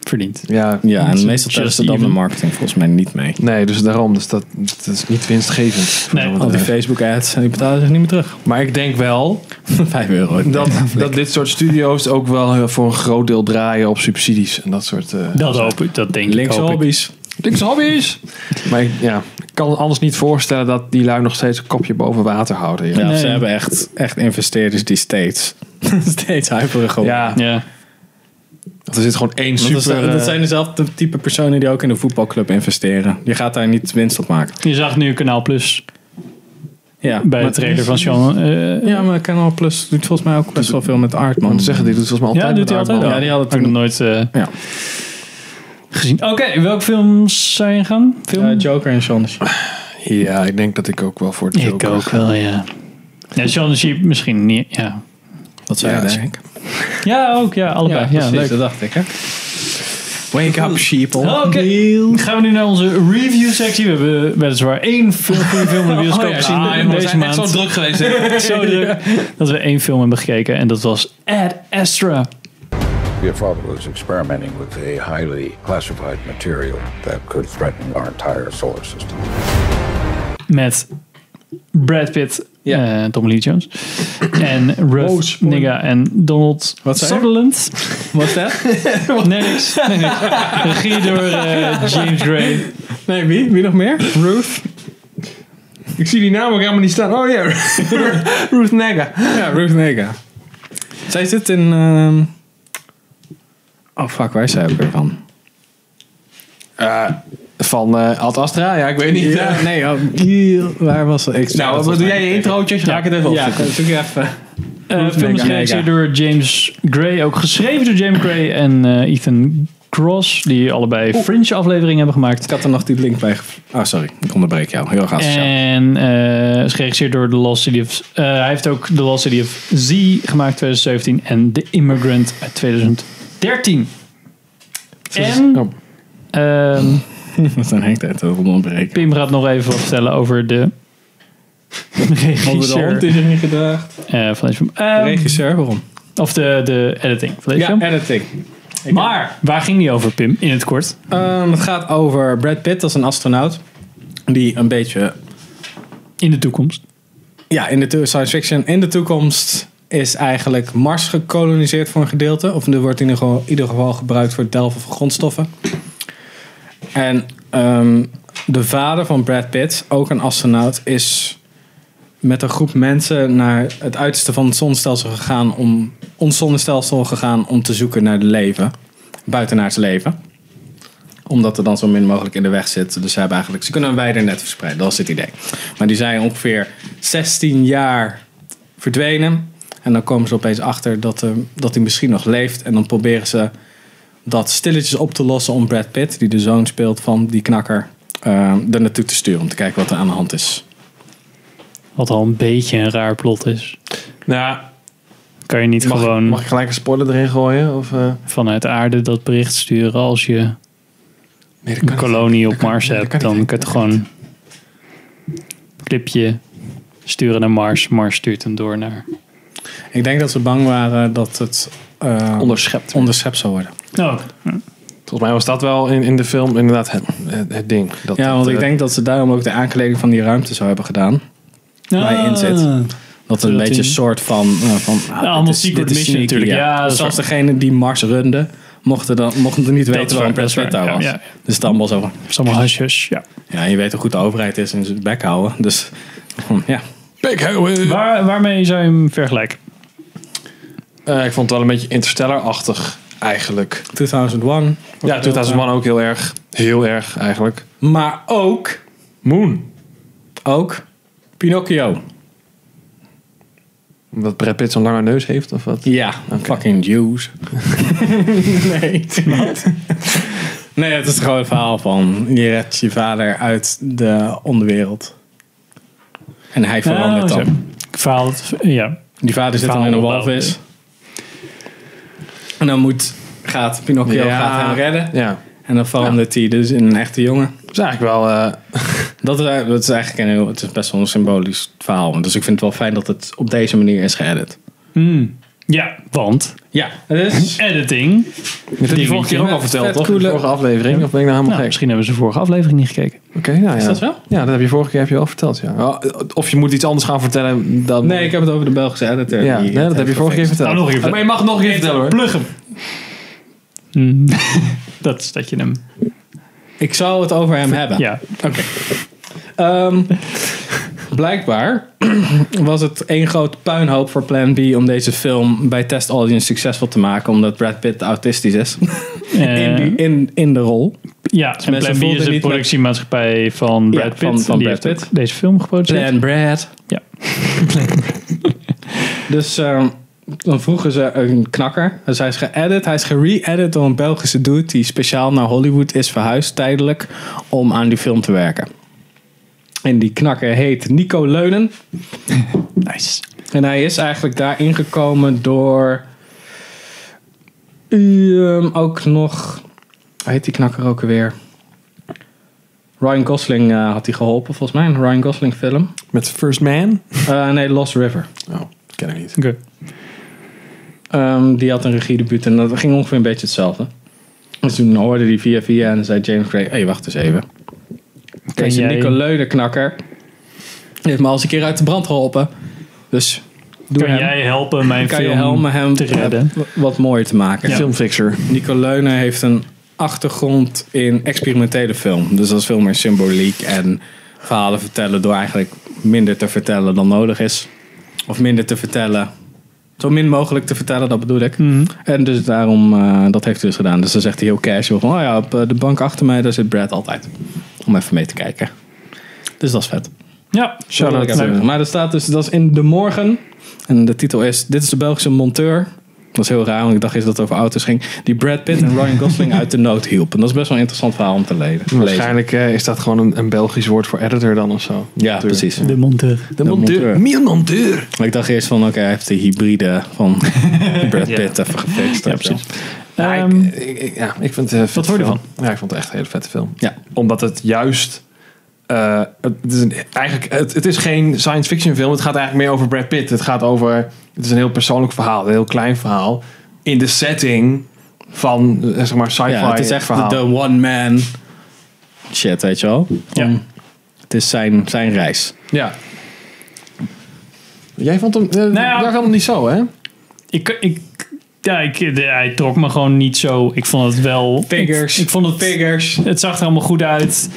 Speaker 1: verdiend.
Speaker 3: Ja,
Speaker 2: Ja, en
Speaker 1: Just
Speaker 2: meestal tellen ze dan de
Speaker 1: even.
Speaker 2: marketing volgens mij niet mee.
Speaker 3: nee, dus daarom. Dus dat, dat is niet winstgevend. voor
Speaker 1: Nee.
Speaker 3: zo'n
Speaker 2: Al die
Speaker 3: bedrijf.
Speaker 2: Facebook-ads, die betalen zich niet meer terug.
Speaker 3: Maar ik denk wel
Speaker 2: 5 euro.
Speaker 3: dat, dat dit soort studio's ook wel eh, voor een groot deel draaien op subsidies en dat soort. eh,
Speaker 1: Dat hoop ik, dat denk
Speaker 2: Links
Speaker 1: ik. hoop ik.
Speaker 2: hobby's.
Speaker 3: Links hobby's. Maar ik, ja, ik kan het anders niet voorstellen dat die lui nog steeds een kopje boven water houden. Ja,
Speaker 2: Ja,
Speaker 1: Nee.
Speaker 2: Ze hebben echt, echt investeerders die steeds, steeds hyperen gewoon.
Speaker 3: ja,
Speaker 1: Ja,
Speaker 3: want er zit gewoon één
Speaker 2: Want
Speaker 3: super.
Speaker 2: dat, zijn, dat
Speaker 3: eh,
Speaker 2: zijn dezelfde type personen die ook in een voetbalclub investeren. Je gaat daar niet winst op maken.
Speaker 1: je zag nu Kanaal Plus
Speaker 2: Ja,
Speaker 1: bij de trailer van Sean. eh,
Speaker 2: Ja, maar Canal Plus doet volgens mij ook best wel veel met Artman.
Speaker 3: moet zeggen, die doet volgens mij altijd.
Speaker 1: ja, doet hij
Speaker 3: met
Speaker 1: altijd
Speaker 3: Aardman.
Speaker 1: al.
Speaker 2: Ja, die hadden
Speaker 1: Had ik nog nooit eh,
Speaker 2: Ja.
Speaker 1: gezien. Oké, welke films zou je gaan? Film?
Speaker 2: Eh, Joker en Sean.
Speaker 3: Ja, ik denk dat ik ook wel voor de
Speaker 1: Ik
Speaker 3: Joker
Speaker 1: ook
Speaker 3: ga.
Speaker 1: wel, ja. Ja, Sean the Sheep misschien niet. Ja,
Speaker 2: Dat zei
Speaker 3: Ja,
Speaker 2: je,
Speaker 3: dat is-
Speaker 2: denk ik.
Speaker 1: ja ook. Ja, allebei. Ja, leuk.
Speaker 2: dat dacht ik, hè. Oh, Wake up, sheeple.
Speaker 1: Oké, gaan we nu naar onze review-sectie. We hebben weliswaar één film, goede film in de
Speaker 2: Oh,
Speaker 1: bioscoop gezien
Speaker 2: ah,
Speaker 1: deze maand. Zo druk geweest. zo druk dat we één film hebben gekeken en dat was Ad Astra.
Speaker 9: Your father was experimenting with a highly classified material that could threaten our entire solar system.
Speaker 1: met Brad Pitt,
Speaker 2: Ja.
Speaker 1: eh, Tommy Lee Jones en Ruff
Speaker 2: spoiler.
Speaker 1: Nigga en Donald
Speaker 2: Wat zei je?
Speaker 1: Sutherland.
Speaker 2: Wat dat?
Speaker 1: Nee, niks. Nee, niks. Regie door eh, James Gray.
Speaker 2: Nee, wie? Wie nog meer? Ruth.
Speaker 3: Ik zie die naam ook helemaal niet staan. Oh ja, Ruth Negga.
Speaker 2: Ja, Ruth Nega. Zij zit in... ehm, Oh fuck, waar is zij ook weer van?
Speaker 3: Van eh Ad Astra? Ja, ik weet niet.
Speaker 2: Ja, nee, oh, giel, waar was ze? Ik
Speaker 3: Nou, wat doe jij je introotjes? Ga ik het even
Speaker 2: Ja,
Speaker 3: opzoeken.
Speaker 2: zoek je even.
Speaker 1: Eh film is
Speaker 2: Nigga.
Speaker 1: geregisseerd door James Gray. Ook geschreven door James Gray en eh, Ethan Cross, die allebei Fringe afleveringen hebben gemaakt.
Speaker 2: Ik had er nog die link bij. ge- Ah, sorry. Ik onderbreek jou. Heel erg asociaal.
Speaker 1: En eh, is geregisseerd door The Lost City of... eh, hij heeft ook The Lost City of Z gemaakt 2017 en The Immigrant uit 2013. En
Speaker 3: Oh.
Speaker 1: ehm,
Speaker 2: Dat is een hele tijd over onderbreken.
Speaker 1: Pim gaat nog even wat vertellen over de regisseur
Speaker 2: is erin gedraagd.
Speaker 1: eh, van deze film. Ehm,
Speaker 2: Regisseur, waarom?
Speaker 1: of de, de editing van deze
Speaker 2: Ja, eh,
Speaker 1: film.
Speaker 2: editing.
Speaker 1: Maar waar ging die over, Pim, in het kort?
Speaker 2: Ehm, het gaat over Brad Pitt als een astronaut. Die een beetje
Speaker 1: In de toekomst.
Speaker 2: Ja, in de to- science fiction in de toekomst is eigenlijk Mars gekoloniseerd voor een gedeelte. Of er wordt in ieder geval, ieder geval gebruikt voor het delven van grondstoffen. En ehm, de vader van Brad Pitt, ook een astronaut, is met een groep mensen naar het uiterste van het zonnestelsel gegaan om ons zonnestelsel gegaan om te zoeken naar de leven, buitenaards leven omdat er dan zo min mogelijk in de weg zit. Dus ze hebben eigenlijk, ze kunnen een wijder net verspreiden. Dat is het idee. Maar die zijn ongeveer 16 jaar verdwenen. En dan komen ze opeens achter dat, eh, dat hij misschien nog leeft. En dan proberen ze dat stilletjes op te lossen om Brad Pitt, die de zoon speelt van die knakker, eh er naartoe te sturen. Om te kijken wat er aan de hand is.
Speaker 1: Wat al een beetje een raar plot is.
Speaker 3: Nou,
Speaker 1: Kan je niet
Speaker 3: mag,
Speaker 1: gewoon
Speaker 3: mag ik gelijk een spoiler erin gooien? Of, eh?
Speaker 1: vanuit de aarde dat bericht sturen als je
Speaker 3: Nee, dat
Speaker 1: een
Speaker 3: kan niet.
Speaker 1: kolonie op
Speaker 3: kan
Speaker 1: Mars
Speaker 3: niet, dat
Speaker 1: hebt?
Speaker 3: kan
Speaker 1: Dan
Speaker 3: niet.
Speaker 1: kun je het gewoon een clipje sturen naar Mars. Mars stuurt hem door naar...
Speaker 2: Ik denk dat ze bang waren dat het eh,
Speaker 3: Onderschept.
Speaker 2: onderschept zou worden.
Speaker 1: Oh,
Speaker 3: Volgens mij was dat wel in, in de film inderdaad het, het, het ding. Dat,
Speaker 2: Ja, want
Speaker 3: dat,
Speaker 2: ik
Speaker 3: eh,
Speaker 2: denk dat ze daarom ook de aankleding van die ruimte zou hebben gedaan. Waar
Speaker 1: Ah.
Speaker 2: je in zit. Dat een
Speaker 1: Dat
Speaker 2: beetje
Speaker 1: die-
Speaker 2: een soort van... eh, van ah, dit
Speaker 1: allemaal
Speaker 2: is-
Speaker 1: secret
Speaker 2: dit is
Speaker 1: mission
Speaker 2: sneaky,
Speaker 1: natuurlijk. Ja, dat is
Speaker 2: Zelfs
Speaker 1: waar.
Speaker 2: degene die Mars runde, mochten, dan, mochten er niet
Speaker 1: is
Speaker 2: weten waar
Speaker 1: waar,
Speaker 2: een Brad
Speaker 1: dat is
Speaker 2: Pitt
Speaker 1: waar.
Speaker 2: daar was.
Speaker 1: Ja, ja.
Speaker 2: Dus dan wel zo van,
Speaker 1: Sommige huisjes, ja.
Speaker 2: Ja, je weet hoe goed de overheid is en ze het bek houden. Dus hm, ja.
Speaker 1: Waar, waarmee zou je hem vergelijken?
Speaker 3: eh, ik vond het wel een beetje Interstellar-achtig eigenlijk.
Speaker 2: 2001.
Speaker 3: Ja, 2001 ook heel erg. Heel erg eigenlijk.
Speaker 2: Maar ook,
Speaker 3: Moon.
Speaker 2: ook Pinocchio.
Speaker 3: Omdat Brad Pitt zo'n lange neus heeft of wat?
Speaker 2: Ja, fucking Jews. nee, nee, het is gewoon een verhaal van je redt je vader uit de onderwereld. En hij verandert
Speaker 1: Ah,
Speaker 3: Oh,
Speaker 2: dan.
Speaker 1: zo. Ik verhaal het, ja.
Speaker 2: Die vader zit dan in een
Speaker 1: Verhaal
Speaker 2: walvis. En dan moet, gaat Pinocchio
Speaker 3: Ja.
Speaker 2: gaat hem redden.
Speaker 3: Ja.
Speaker 2: En dan verandert hij dus in een echte jongen.
Speaker 3: Dat is eigenlijk wel... eh,
Speaker 2: Dat is, dat is eigenlijk een heel, het is best wel een symbolisch verhaal. Dus ik vind het wel fijn dat het op deze manier is geëdit.
Speaker 1: Ja, want
Speaker 2: Ja, het is...
Speaker 1: editing.
Speaker 3: dat heb je vorige
Speaker 1: dingetje.
Speaker 3: keer ook al verteld, toch? In de vorige aflevering. Of ben ik nou helemaal
Speaker 1: Nou,
Speaker 3: gek?
Speaker 1: misschien hebben ze de vorige aflevering niet gekeken.
Speaker 3: Oké, nou ja. Is
Speaker 2: dat wel?
Speaker 3: Ja, dat heb je vorige keer heb je al verteld, ja. Wel, Of je moet iets anders gaan vertellen dan...
Speaker 2: Nee, ik heb het over de Belgische editor.
Speaker 3: Ja,
Speaker 2: die
Speaker 3: nee, dat
Speaker 2: het
Speaker 3: heb je
Speaker 2: heeft
Speaker 3: vorige keer
Speaker 2: gefixt.
Speaker 3: verteld.
Speaker 1: Nou, nog een keer vertellen.
Speaker 3: maar je mag nog een keer vertellen, hoor.
Speaker 1: Plug hem. dat is dat je hem...
Speaker 2: Ik zou het over hem hebben.
Speaker 1: Ja.
Speaker 2: Ehm, blijkbaar was het één groot puinhoop voor Plan B om deze film bij Test Audience succesvol te maken. Omdat Brad Pitt autistisch is. in,
Speaker 1: Eh,
Speaker 2: die, in, in de rol.
Speaker 1: Ja, en Plan
Speaker 2: mensen
Speaker 1: B
Speaker 2: voelden
Speaker 1: is de
Speaker 2: niet met-
Speaker 1: productiemaatschappij van Brad
Speaker 2: Ja,
Speaker 1: Pitt.
Speaker 2: van- van
Speaker 1: die
Speaker 2: Brad
Speaker 1: heeft
Speaker 2: Pitt.
Speaker 1: ook deze film geproduceerd.
Speaker 2: Plan Brad.
Speaker 1: Ja.
Speaker 2: Dus ehm, dan vroegen ze een knakker. Dus hij is geëdit. Hij is gere-edit door een Belgische dude die speciaal naar Hollywood is verhuisd tijdelijk om aan die film te werken. En die knakker heet Nico Leunen.
Speaker 1: Nice.
Speaker 2: En hij is eigenlijk daar ingekomen door. ehm, ook nog. Hoe heet die knakker ook weer? Ryan Gosling eh, had hij geholpen, volgens mij. Een Ryan Gosling film.
Speaker 3: Met First Man?
Speaker 2: Eh, nee, Lost River.
Speaker 3: Oh, ken ik niet.
Speaker 1: Oké.
Speaker 2: Ehm, die had een regiedebuut en dat ging ongeveer een beetje hetzelfde. Dus toen hoorde hij via via en dan zei James Gray, hé, hey, wacht eens even. Deze
Speaker 1: jij-
Speaker 2: Nico Leunenknakker heeft me al eens een keer uit de brand geholpen. Dus doe
Speaker 1: Kan
Speaker 2: hem.
Speaker 1: jij helpen mijn
Speaker 2: kan
Speaker 1: film
Speaker 2: je helpen hem
Speaker 1: te redden?
Speaker 2: w- wat mooier te maken.
Speaker 3: Filmfixer.
Speaker 2: Nico Leunen heeft een achtergrond in experimentele film. Dus dat is veel meer symboliek en verhalen vertellen door eigenlijk minder te vertellen dan nodig is. Of minder te vertellen. Zo min mogelijk te vertellen, dat bedoel ik.
Speaker 1: Mhm.
Speaker 2: En dus daarom, eh, dat heeft hij dus gedaan. Dus dan zegt hij heel casual van, oh ja, op eh, de bank achter mij, daar zit Brad altijd. Om even mee te kijken. Dus dat is vet.
Speaker 1: Ja,
Speaker 2: Leuk. Maar er staat dus, dat is in de morgen. En de titel is, dit is de Belgische monteur Dat is heel raar, want ik dacht eerst dat het over auto's ging. Die Brad Pitt en Ryan Gosling uit de nood hielp. En dat is best wel een interessant verhaal om te le- lezen.
Speaker 3: Waarschijnlijk eh, is dat gewoon een, een Belgisch woord voor editor dan of zo.
Speaker 2: Ja,
Speaker 3: Monteur.
Speaker 2: precies.
Speaker 1: De monteur.
Speaker 3: De
Speaker 2: monteur.
Speaker 3: monteur. Meer monteur.
Speaker 2: Maar ik dacht eerst van, oké, hij heeft de hybride van Brad
Speaker 3: Ja.
Speaker 2: Pitt even gefixt.
Speaker 1: Ja,
Speaker 2: of zo.
Speaker 1: precies.
Speaker 3: Ja,
Speaker 1: Ehm,
Speaker 3: ik, ik- ik- ja, ik vind het eh,
Speaker 1: Wat
Speaker 3: vond
Speaker 1: vond je ervan?
Speaker 3: Ja, ik vond het echt een hele vette film.
Speaker 2: Ja.
Speaker 3: Omdat het juist... eh, het, is een, eigenlijk, het, het is geen science fiction film. Het gaat eigenlijk meer over Brad Pitt. Het gaat over... Het is een heel persoonlijk verhaal. Een heel klein verhaal. In de setting van, eh, zeg maar, sci-fi
Speaker 2: Ja, het is echt
Speaker 3: verhaal.
Speaker 2: de, de one man shit, weet je wel.
Speaker 1: Ja.
Speaker 2: Het is zijn, zijn reis.
Speaker 3: Ja. Jij vond hem... eh,
Speaker 1: ja.
Speaker 3: Daar kan hem niet zo, hè?
Speaker 1: ik, ik, ja, ik, de- hij trok me gewoon niet zo. Ik vond het wel.
Speaker 2: Figures.
Speaker 1: Ik, ik vond het.
Speaker 2: Figures.
Speaker 1: Het zag er allemaal goed uit.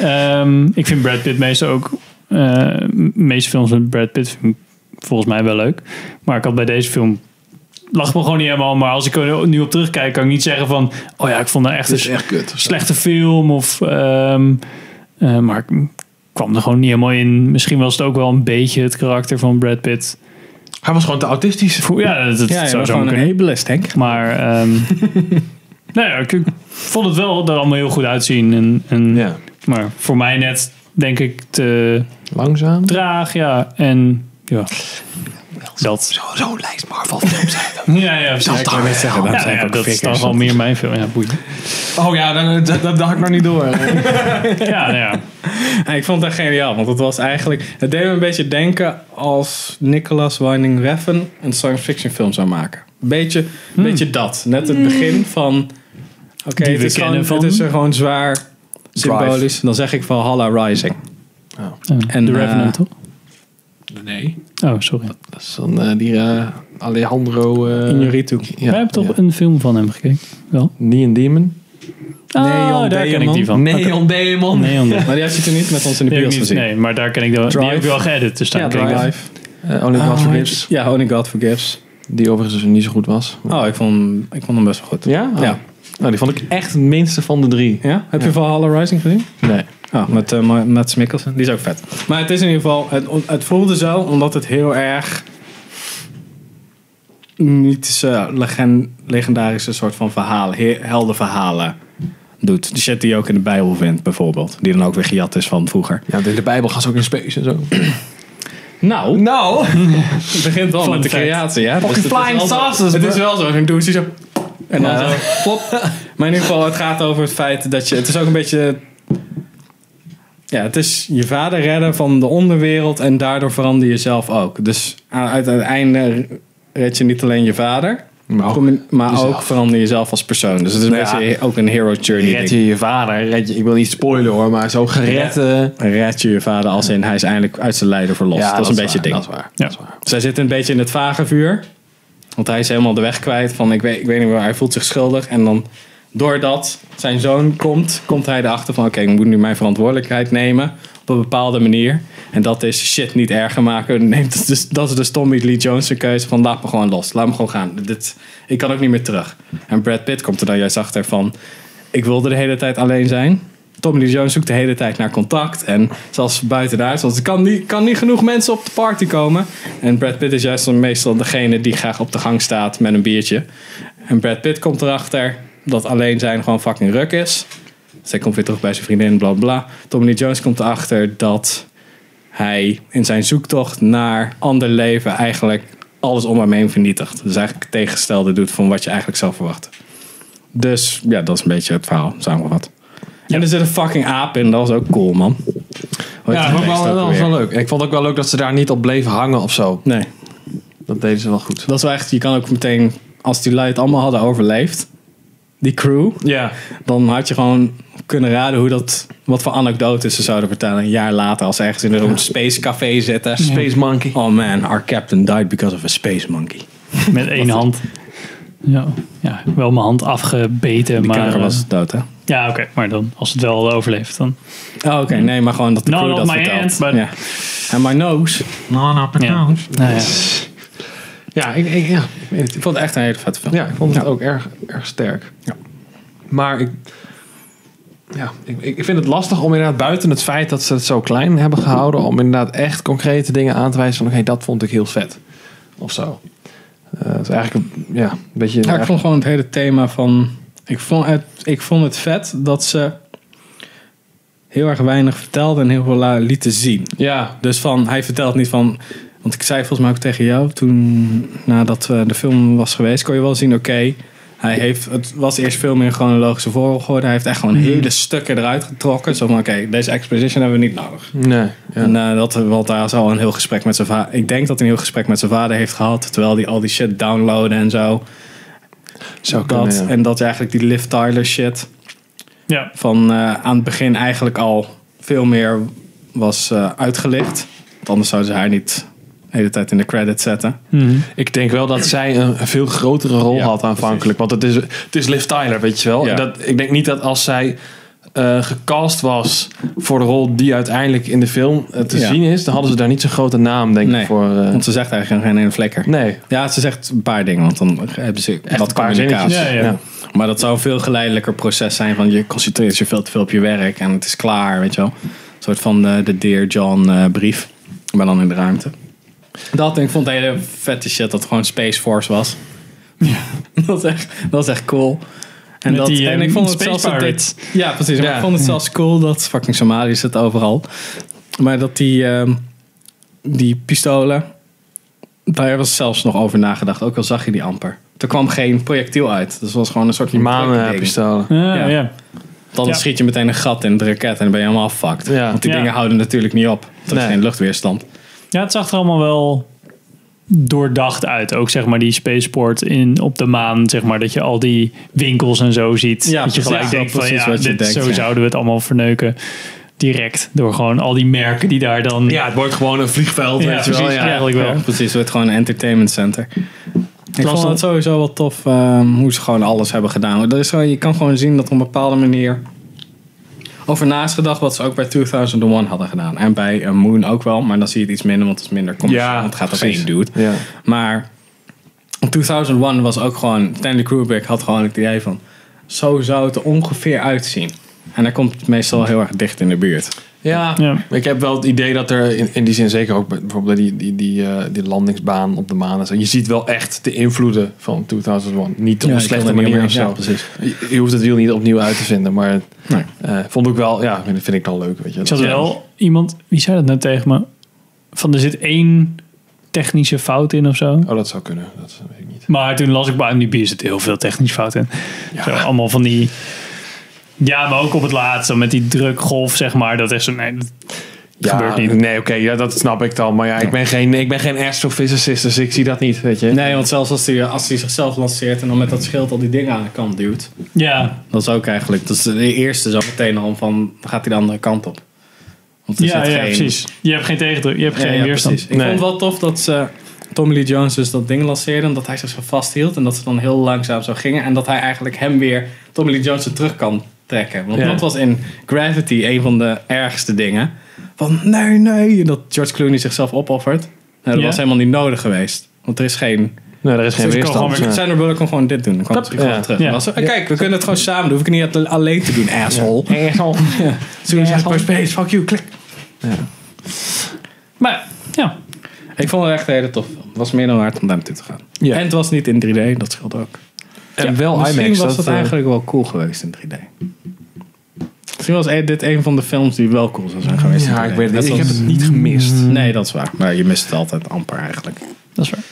Speaker 1: Ehm, ik vind Brad Pitt meestal ook. eh, de meeste films met Brad Pitt vind ik volgens mij wel leuk. Maar ik had bij deze film. Lag me gewoon niet helemaal. Maar als ik er nu op terugkijk, kan ik niet zeggen van. Oh ja, ik vond het echt
Speaker 2: Dus
Speaker 1: een
Speaker 3: echt kut.
Speaker 1: slechte film. Of, ehm, eh, maar ik kwam er gewoon niet helemaal in. Misschien was het ook wel een beetje het karakter van Brad Pitt.
Speaker 3: Hij was gewoon te autistisch.
Speaker 1: Ja, dat, dat
Speaker 2: Ja, je
Speaker 1: zou
Speaker 2: was
Speaker 1: zo
Speaker 2: gewoon een
Speaker 1: kunnen.
Speaker 2: ableist, Henk.
Speaker 1: Maar ehm nou ja, ik, ik vond het wel er allemaal heel goed uitzien. En, en,
Speaker 3: Ja.
Speaker 1: Maar voor mij net, denk ik, te
Speaker 3: Langzaam.
Speaker 1: traag. Ja, en ja. Dat.
Speaker 3: Oh, Zo'n zo lijst Marvel films.
Speaker 1: Ja, ja. precies.
Speaker 2: Ik wou net zeggen, daarom
Speaker 1: Ja,
Speaker 2: zei ik
Speaker 1: ja,
Speaker 2: ook
Speaker 1: dat is dan
Speaker 2: figures.
Speaker 1: wel meer mijn film. Ja, boeit.
Speaker 3: oh ja, dat, dat, dat dacht ik nog niet door.
Speaker 1: Ja, nou ja.
Speaker 2: Ja, ik vond dat geniaal, want het was eigenlijk... Het deed me een beetje denken als Nicolas Winding Refn een science fiction film zou maken. Beetje, beetje dat. Net het begin van...
Speaker 1: Hmm. Die
Speaker 2: Oké, het,
Speaker 1: we
Speaker 2: is gewoon-
Speaker 1: kennen van-
Speaker 2: het is er gewoon zwaar symbolisch. Dan zeg ik Valhalla Rising. En,
Speaker 1: En, The Revenant,
Speaker 2: eh,
Speaker 1: toch?
Speaker 3: Nee.
Speaker 1: Oh, sorry.
Speaker 3: Dat is dan eh, die eh, Alejandro... eh,
Speaker 2: Inarritu.
Speaker 3: ja,
Speaker 1: Wij hebben toch
Speaker 3: ja.
Speaker 1: een film van hem gekeken? Wel?
Speaker 3: Neon Demon.
Speaker 1: oh, daar
Speaker 2: Neon
Speaker 1: ken ik
Speaker 2: Demon.
Speaker 1: die van. Oké.
Speaker 3: Demon.
Speaker 1: Neon Demon.
Speaker 2: Maar die had je toen niet met ons in de
Speaker 1: Die heb ik
Speaker 2: bios
Speaker 1: niet-
Speaker 2: gezien.
Speaker 1: Nee, maar daar ken ik de, die
Speaker 2: Drive.
Speaker 1: heb ik wel geëdit. Dus daar
Speaker 2: Ja,
Speaker 1: ken ik
Speaker 2: Drive.
Speaker 1: wel.
Speaker 3: Eh, Only
Speaker 2: Oh,
Speaker 1: Ah,
Speaker 3: God Forgives.
Speaker 2: Ja, Only God Forgives.
Speaker 3: Die overigens dus niet zo goed was.
Speaker 2: Oh, ik vond, hem- ik vond hem best wel goed.
Speaker 3: Ja? Oh.
Speaker 2: Ja.
Speaker 3: Nou, die vond ik echt het minste van de drie.
Speaker 2: Ja? Heb je Valhalla Rising gezien?
Speaker 3: Nee.
Speaker 2: Ja, met eh, Ma- Mads Mikkelsen. Die is ook vet. Maar het is in ieder geval... Het, on- het voelde zo, omdat het heel erg... mythische, legen, legendarische soort van verhaal, he- heldenverhalen doet. De shit die je ook in de Bijbel vindt, bijvoorbeeld. Die dan ook weer gejat is van vroeger.
Speaker 3: Ja, want in de Bijbel gaan ze ook in space en zo.
Speaker 2: Nou,
Speaker 3: Nou!
Speaker 2: het begint wel met de
Speaker 1: fact.
Speaker 2: creatie, ja. Dus het is
Speaker 3: flying
Speaker 2: wel zo-
Speaker 3: saucers,
Speaker 2: Het
Speaker 3: bro.
Speaker 2: is wel zo. Zo'n douche die zo... En dan zo, plop. Maar in ieder geval, het gaat over het feit dat je... Het is ook een beetje... Ja, het is je vader redden van de onderwereld en daardoor verander je zelf ook. Dus aan- uit het einde red je niet alleen je vader,
Speaker 3: Maar ook
Speaker 2: maar
Speaker 3: jezelf.
Speaker 2: ook verander jezelf als persoon. Dus het is een
Speaker 3: Nou ja,
Speaker 2: beetje ook een hero journey.
Speaker 3: Red
Speaker 2: ding.
Speaker 3: je je vader, red je, ik wil niet spoilen hoor, maar zo gered. eh,
Speaker 2: Red je je vader als in hij is eindelijk uit zijn lijden verlost. dat, is een beetje het
Speaker 3: waar,
Speaker 2: ding.
Speaker 3: Dat is waar.
Speaker 1: Ja.
Speaker 2: Zij zit een beetje in het vage vuur. Want hij is helemaal de weg kwijt. Van ik weet, ik weet niet waar. Hij voelt zich schuldig. En dan doordat zijn zoon komt, komt hij erachter van oké, ik moet nu mijn verantwoordelijkheid nemen. Op een bepaalde manier. En dat is shit niet erger maken. Neemt het dus, dat is dus Tommy Lee Jones' keuze van laat me gewoon los. Laat me gewoon gaan. Dit, ik kan ook niet meer terug. En Brad Pitt komt er dan juist achter van ik wilde de hele tijd alleen zijn. Tommy Lee Jones zoekt de hele tijd naar contact. En zelfs buiten de huis. Want er kan niet, kan niet genoeg mensen op de party komen. En Brad Pitt is juist dan meestal degene die graag op de gang staat met een biertje. En Brad Pitt komt erachter dat alleen zijn gewoon fucking ruk is. Dus hij komt weer terug bij zijn vriendin, bla bla. Tommy Lee Jones komt erachter dat hij in zijn zoektocht naar ander leven eigenlijk alles om hem heen vernietigt. Dus eigenlijk het tegenstelde doet van wat je eigenlijk zou verwachten. Dus ja, dat is een beetje het verhaal, samengevat. En er zit een fucking aap in, dat was ook cool, man. Hoe heet
Speaker 3: Ja,
Speaker 2: die
Speaker 3: dat was
Speaker 2: beest
Speaker 3: wel,
Speaker 2: ook
Speaker 3: Oh, dat was wel
Speaker 2: weer?
Speaker 3: leuk. Ik vond ook wel leuk dat ze daar niet op bleven hangen of zo.
Speaker 2: Nee,
Speaker 3: Dat deden ze wel goed.
Speaker 2: dat is wel echt, je kan ook meteen, als die lui het allemaal hadden overleefd, die crew,
Speaker 3: Ja.
Speaker 2: dan had je gewoon kunnen raden hoe dat, wat voor anekdotes ze zouden vertellen een jaar later als ze ergens in een room space café zitten.
Speaker 3: Space Monkey.
Speaker 2: Oh man, our captain died because of a space monkey.
Speaker 1: Met één hand. Ja, ja, wel mijn hand afgebeten.
Speaker 2: Die
Speaker 1: maar,
Speaker 2: kanker
Speaker 1: eh,
Speaker 2: was dood, hè?
Speaker 1: Ja, oké. Maar dan, als het wel overleeft, dan...
Speaker 2: Oh, oké, nee, maar gewoon dat de
Speaker 1: No,
Speaker 2: crew
Speaker 1: not
Speaker 2: dat
Speaker 1: my
Speaker 2: vertelt.
Speaker 1: hand, but-
Speaker 2: ja. And my nose.
Speaker 1: Ja. Nou ja.
Speaker 3: Ja, ik, ik- ja. ik weet het.
Speaker 2: Ik vond het echt een hele vette film.
Speaker 3: ja, ik vond het ook erg, erg sterk.
Speaker 2: Ja.
Speaker 3: Maar ik, ja, ik, ik ik vind het lastig om inderdaad buiten het feit dat ze het zo klein hebben gehouden... om inderdaad echt concrete dingen aan te wijzen van... oké, dat vond ik heel vet. Of zo. Eh, het is eigenlijk een- ja, een beetje...
Speaker 2: Ja, Nou, ik vond gewoon het hele thema van. Ik vond het, ik vond het vet dat ze heel erg weinig vertelde en heel veel la- lieten zien.
Speaker 3: ja,
Speaker 2: Dus van, hij vertelt niet van. Want ik zei volgens mij ook tegen jou toen, nadat eh, de film was geweest, kon je wel zien: oké, hij heeft. Het was eerst veel meer chronologische volgorde. Hij heeft echt gewoon hele stukken eruit getrokken. Zo van: oké, deze exposition hebben we niet nodig.
Speaker 3: nee. Ja.
Speaker 2: En eh, dat, want daar is al een heel gesprek met zijn vader. Ik denk dat hij een heel gesprek met zijn vader heeft gehad. Terwijl hij al die shit downloaden en zo.
Speaker 3: Zou
Speaker 2: dat,
Speaker 3: kunnen, ja.
Speaker 2: En dat is eigenlijk die Liv Tyler shit.
Speaker 1: Ja.
Speaker 2: Van eh, aan het begin eigenlijk al veel meer was eh, uitgelicht. Want anders zouden ze haar niet de hele tijd in de credits zetten.
Speaker 3: Ik denk wel dat zij een veel grotere rol
Speaker 2: Ja,
Speaker 3: had aanvankelijk. Want het is, het is Liv Tyler, weet je wel.
Speaker 2: Ja.
Speaker 3: Dat, ik denk niet dat als zij eh, gecast was voor de rol die uiteindelijk in de film eh, te
Speaker 2: Ja.
Speaker 3: zien is, dan hadden ze daar niet zo'n grote naam, denk
Speaker 2: Nee,
Speaker 3: ik, voor. eh,
Speaker 2: want ze zegt eigenlijk geen ene vlekker.
Speaker 3: nee.
Speaker 2: Ja, ze zegt een paar dingen, want dan hebben ze echt wat
Speaker 3: een paar
Speaker 2: communicatie.
Speaker 1: zinnetjes. Ja, ja.
Speaker 2: Maar dat zou een veel geleidelijker proces zijn van je concentreert je veel te veel op je werk en het is klaar, weet je wel. Een soort van de, de Dear John eh, brief, maar dan in de ruimte. Dat en ik vond het hele vette shit dat het gewoon Space Force was. dat, is echt, dat is echt cool. En,
Speaker 1: Met
Speaker 2: dat,
Speaker 1: die,
Speaker 2: en
Speaker 1: eh,
Speaker 2: ik vond het
Speaker 1: Space
Speaker 2: zelfs dat
Speaker 1: Pirates.
Speaker 2: dit, Ja, precies. Maar
Speaker 3: Ja.
Speaker 2: ik vond het zelfs cool dat fucking Somalië zit overal. Maar dat die, ehm, die pistolen, daar was zelfs nog over nagedacht. Ook al zag je die amper. Er kwam geen projectiel uit. Dus het was gewoon een soort
Speaker 3: Die
Speaker 2: van drukding.
Speaker 3: manenpistolen.
Speaker 1: Ja,
Speaker 2: Ja.
Speaker 1: ja.
Speaker 2: Dan
Speaker 1: Ja.
Speaker 2: schiet je meteen een gat in het raket en dan ben je helemaal fucked.
Speaker 3: Ja.
Speaker 2: Want die
Speaker 1: Ja.
Speaker 2: dingen houden natuurlijk niet op. Er is
Speaker 3: Nee.
Speaker 2: geen luchtweerstand.
Speaker 1: Ja, het zag er allemaal wel doordacht uit. Ook zeg maar die spaceport in, op de maan, zeg maar, dat je al die winkels en zo ziet.
Speaker 2: Ja,
Speaker 1: dat je
Speaker 2: precies.
Speaker 1: gelijk
Speaker 2: Ja,
Speaker 1: denkt van
Speaker 2: precies
Speaker 1: ja,
Speaker 2: wat je
Speaker 1: dit,
Speaker 2: denkt,
Speaker 1: zo
Speaker 2: ja.
Speaker 1: zouden we het allemaal verneuken. Direct door gewoon al die merken die daar dan...
Speaker 3: Ja, het wordt gewoon een vliegveld,
Speaker 1: Ja,
Speaker 3: weet je wel.
Speaker 1: precies,
Speaker 3: Ja.
Speaker 1: eigenlijk wel.
Speaker 2: Ja, precies, het wordt gewoon een entertainment center. Ik
Speaker 1: las
Speaker 2: vond
Speaker 1: dat-
Speaker 2: het sowieso wel tof ehm, hoe ze gewoon alles hebben gedaan. Dat is zo, je kan gewoon zien dat op een bepaalde manier over naast gedacht wat ze ook bij 2001 hadden gedaan. En bij eh, Moon ook wel, maar dan zie je het iets minder, want het is minder commercieel.
Speaker 3: Ja,
Speaker 2: want het gaat op
Speaker 3: precies.
Speaker 2: één dude.
Speaker 3: Ja.
Speaker 2: Maar 2001 was ook gewoon, Stanley Kubrick had gewoon het idee van, zo zou het er ongeveer uitzien. En daar komt het meestal heel erg dicht in de buurt.
Speaker 3: Ja,
Speaker 1: Ja.
Speaker 3: ik heb wel het idee dat er in, in die zin zeker ook bij- bijvoorbeeld die, die, die, eh, die landingsbaan op de maan en zo. Je ziet wel echt de invloeden van 2001. Niet op
Speaker 2: Ja,
Speaker 3: een
Speaker 2: ik wil
Speaker 3: slechte
Speaker 2: er niet
Speaker 3: manier
Speaker 2: omheen.
Speaker 3: of zo.
Speaker 2: Ja, precies.
Speaker 3: Je, je hoeft het wiel niet opnieuw uit te vinden, maar
Speaker 2: Nee.
Speaker 3: eh, vond ik wel, ja, vind vind ik dan leuk. Weet je.
Speaker 1: Ik zat wel iemand, wie zei dat nou tegen me? Van er zit één technische fout in of zo.
Speaker 3: Oh, dat zou kunnen. Dat weet ik niet.
Speaker 1: Maar toen las ik bij IMDb zit heel veel technische fouten in. Zo, allemaal van die... Ja, maar ook op het laatste met die drukgolf, zeg maar. Dat echt zo... Nee, dat gebeurt niet.
Speaker 3: Nee, oké, ja, dat snap ik dan. Maar ja, ik ben geen, ik ben geen astrophysicist, dus ik zie dat niet, weet je.
Speaker 2: Nee, want zelfs als hij als die zichzelf lanceert en dan met dat schild al die dingen aan de kant duwt.
Speaker 1: Ja,
Speaker 2: Dat is ook eigenlijk, dat is de eerste zo meteen al van, dan gaat hij de andere kant op. Want er
Speaker 1: ja,
Speaker 2: zit
Speaker 1: ja
Speaker 2: geen-
Speaker 1: precies. Je hebt geen tegendruk, je hebt
Speaker 2: Ja,
Speaker 1: geen
Speaker 2: ja,
Speaker 1: weerstand.
Speaker 2: precies. Ik vond het wel tof dat ze, Tommy Lee Jones dus dat ding lanceerde en dat hij zich zo vasthield en dat ze dan heel langzaam zo gingen. En dat hij eigenlijk hem weer, Tommy Lee Jones, er terug kan trekken. Want
Speaker 1: Ja.
Speaker 2: dat was in Gravity een van de ergste dingen. Van nee, nee, dat George Clooney zichzelf opoffert. Nou, dat
Speaker 1: Ja.
Speaker 2: was helemaal niet nodig geweest. Want er is geen
Speaker 3: Nee, er is geen
Speaker 1: Dus ik kan
Speaker 2: Oh,
Speaker 3: weerstand.
Speaker 1: gewoon weer-
Speaker 3: Ja.
Speaker 2: Sandra Bullock kon gewoon dit doen. Dan kwam het gewoon
Speaker 3: ja.
Speaker 2: terug.
Speaker 1: Ja.
Speaker 2: Dan was ze, "Hey, kijk, we kunnen het gewoon samen doen. Hoef ik niet alle- alleen te doen, asshole. Suicide for Space, fuck you, klik.
Speaker 1: Maar ja,
Speaker 2: Ik vond het echt een hele tof film. Het was meer dan waard om daar naartoe te gaan.
Speaker 3: Ja.
Speaker 2: En het was niet in 3D, dat scheelt ook.
Speaker 3: En wel
Speaker 2: Misschien
Speaker 3: IMAX.
Speaker 2: was
Speaker 3: dat,
Speaker 2: dat
Speaker 3: eh,
Speaker 2: eigenlijk wel cool geweest in 3D. Misschien was e- dit een van de films die wel cool zou zijn geweest. in
Speaker 3: Ja,
Speaker 2: 3D.
Speaker 3: ik weet het
Speaker 2: Net
Speaker 3: niet. Ik heb
Speaker 2: zoals-
Speaker 3: het niet gemist.
Speaker 2: Nee, dat is waar. Maar je mist het altijd amper eigenlijk.
Speaker 1: dat is waar.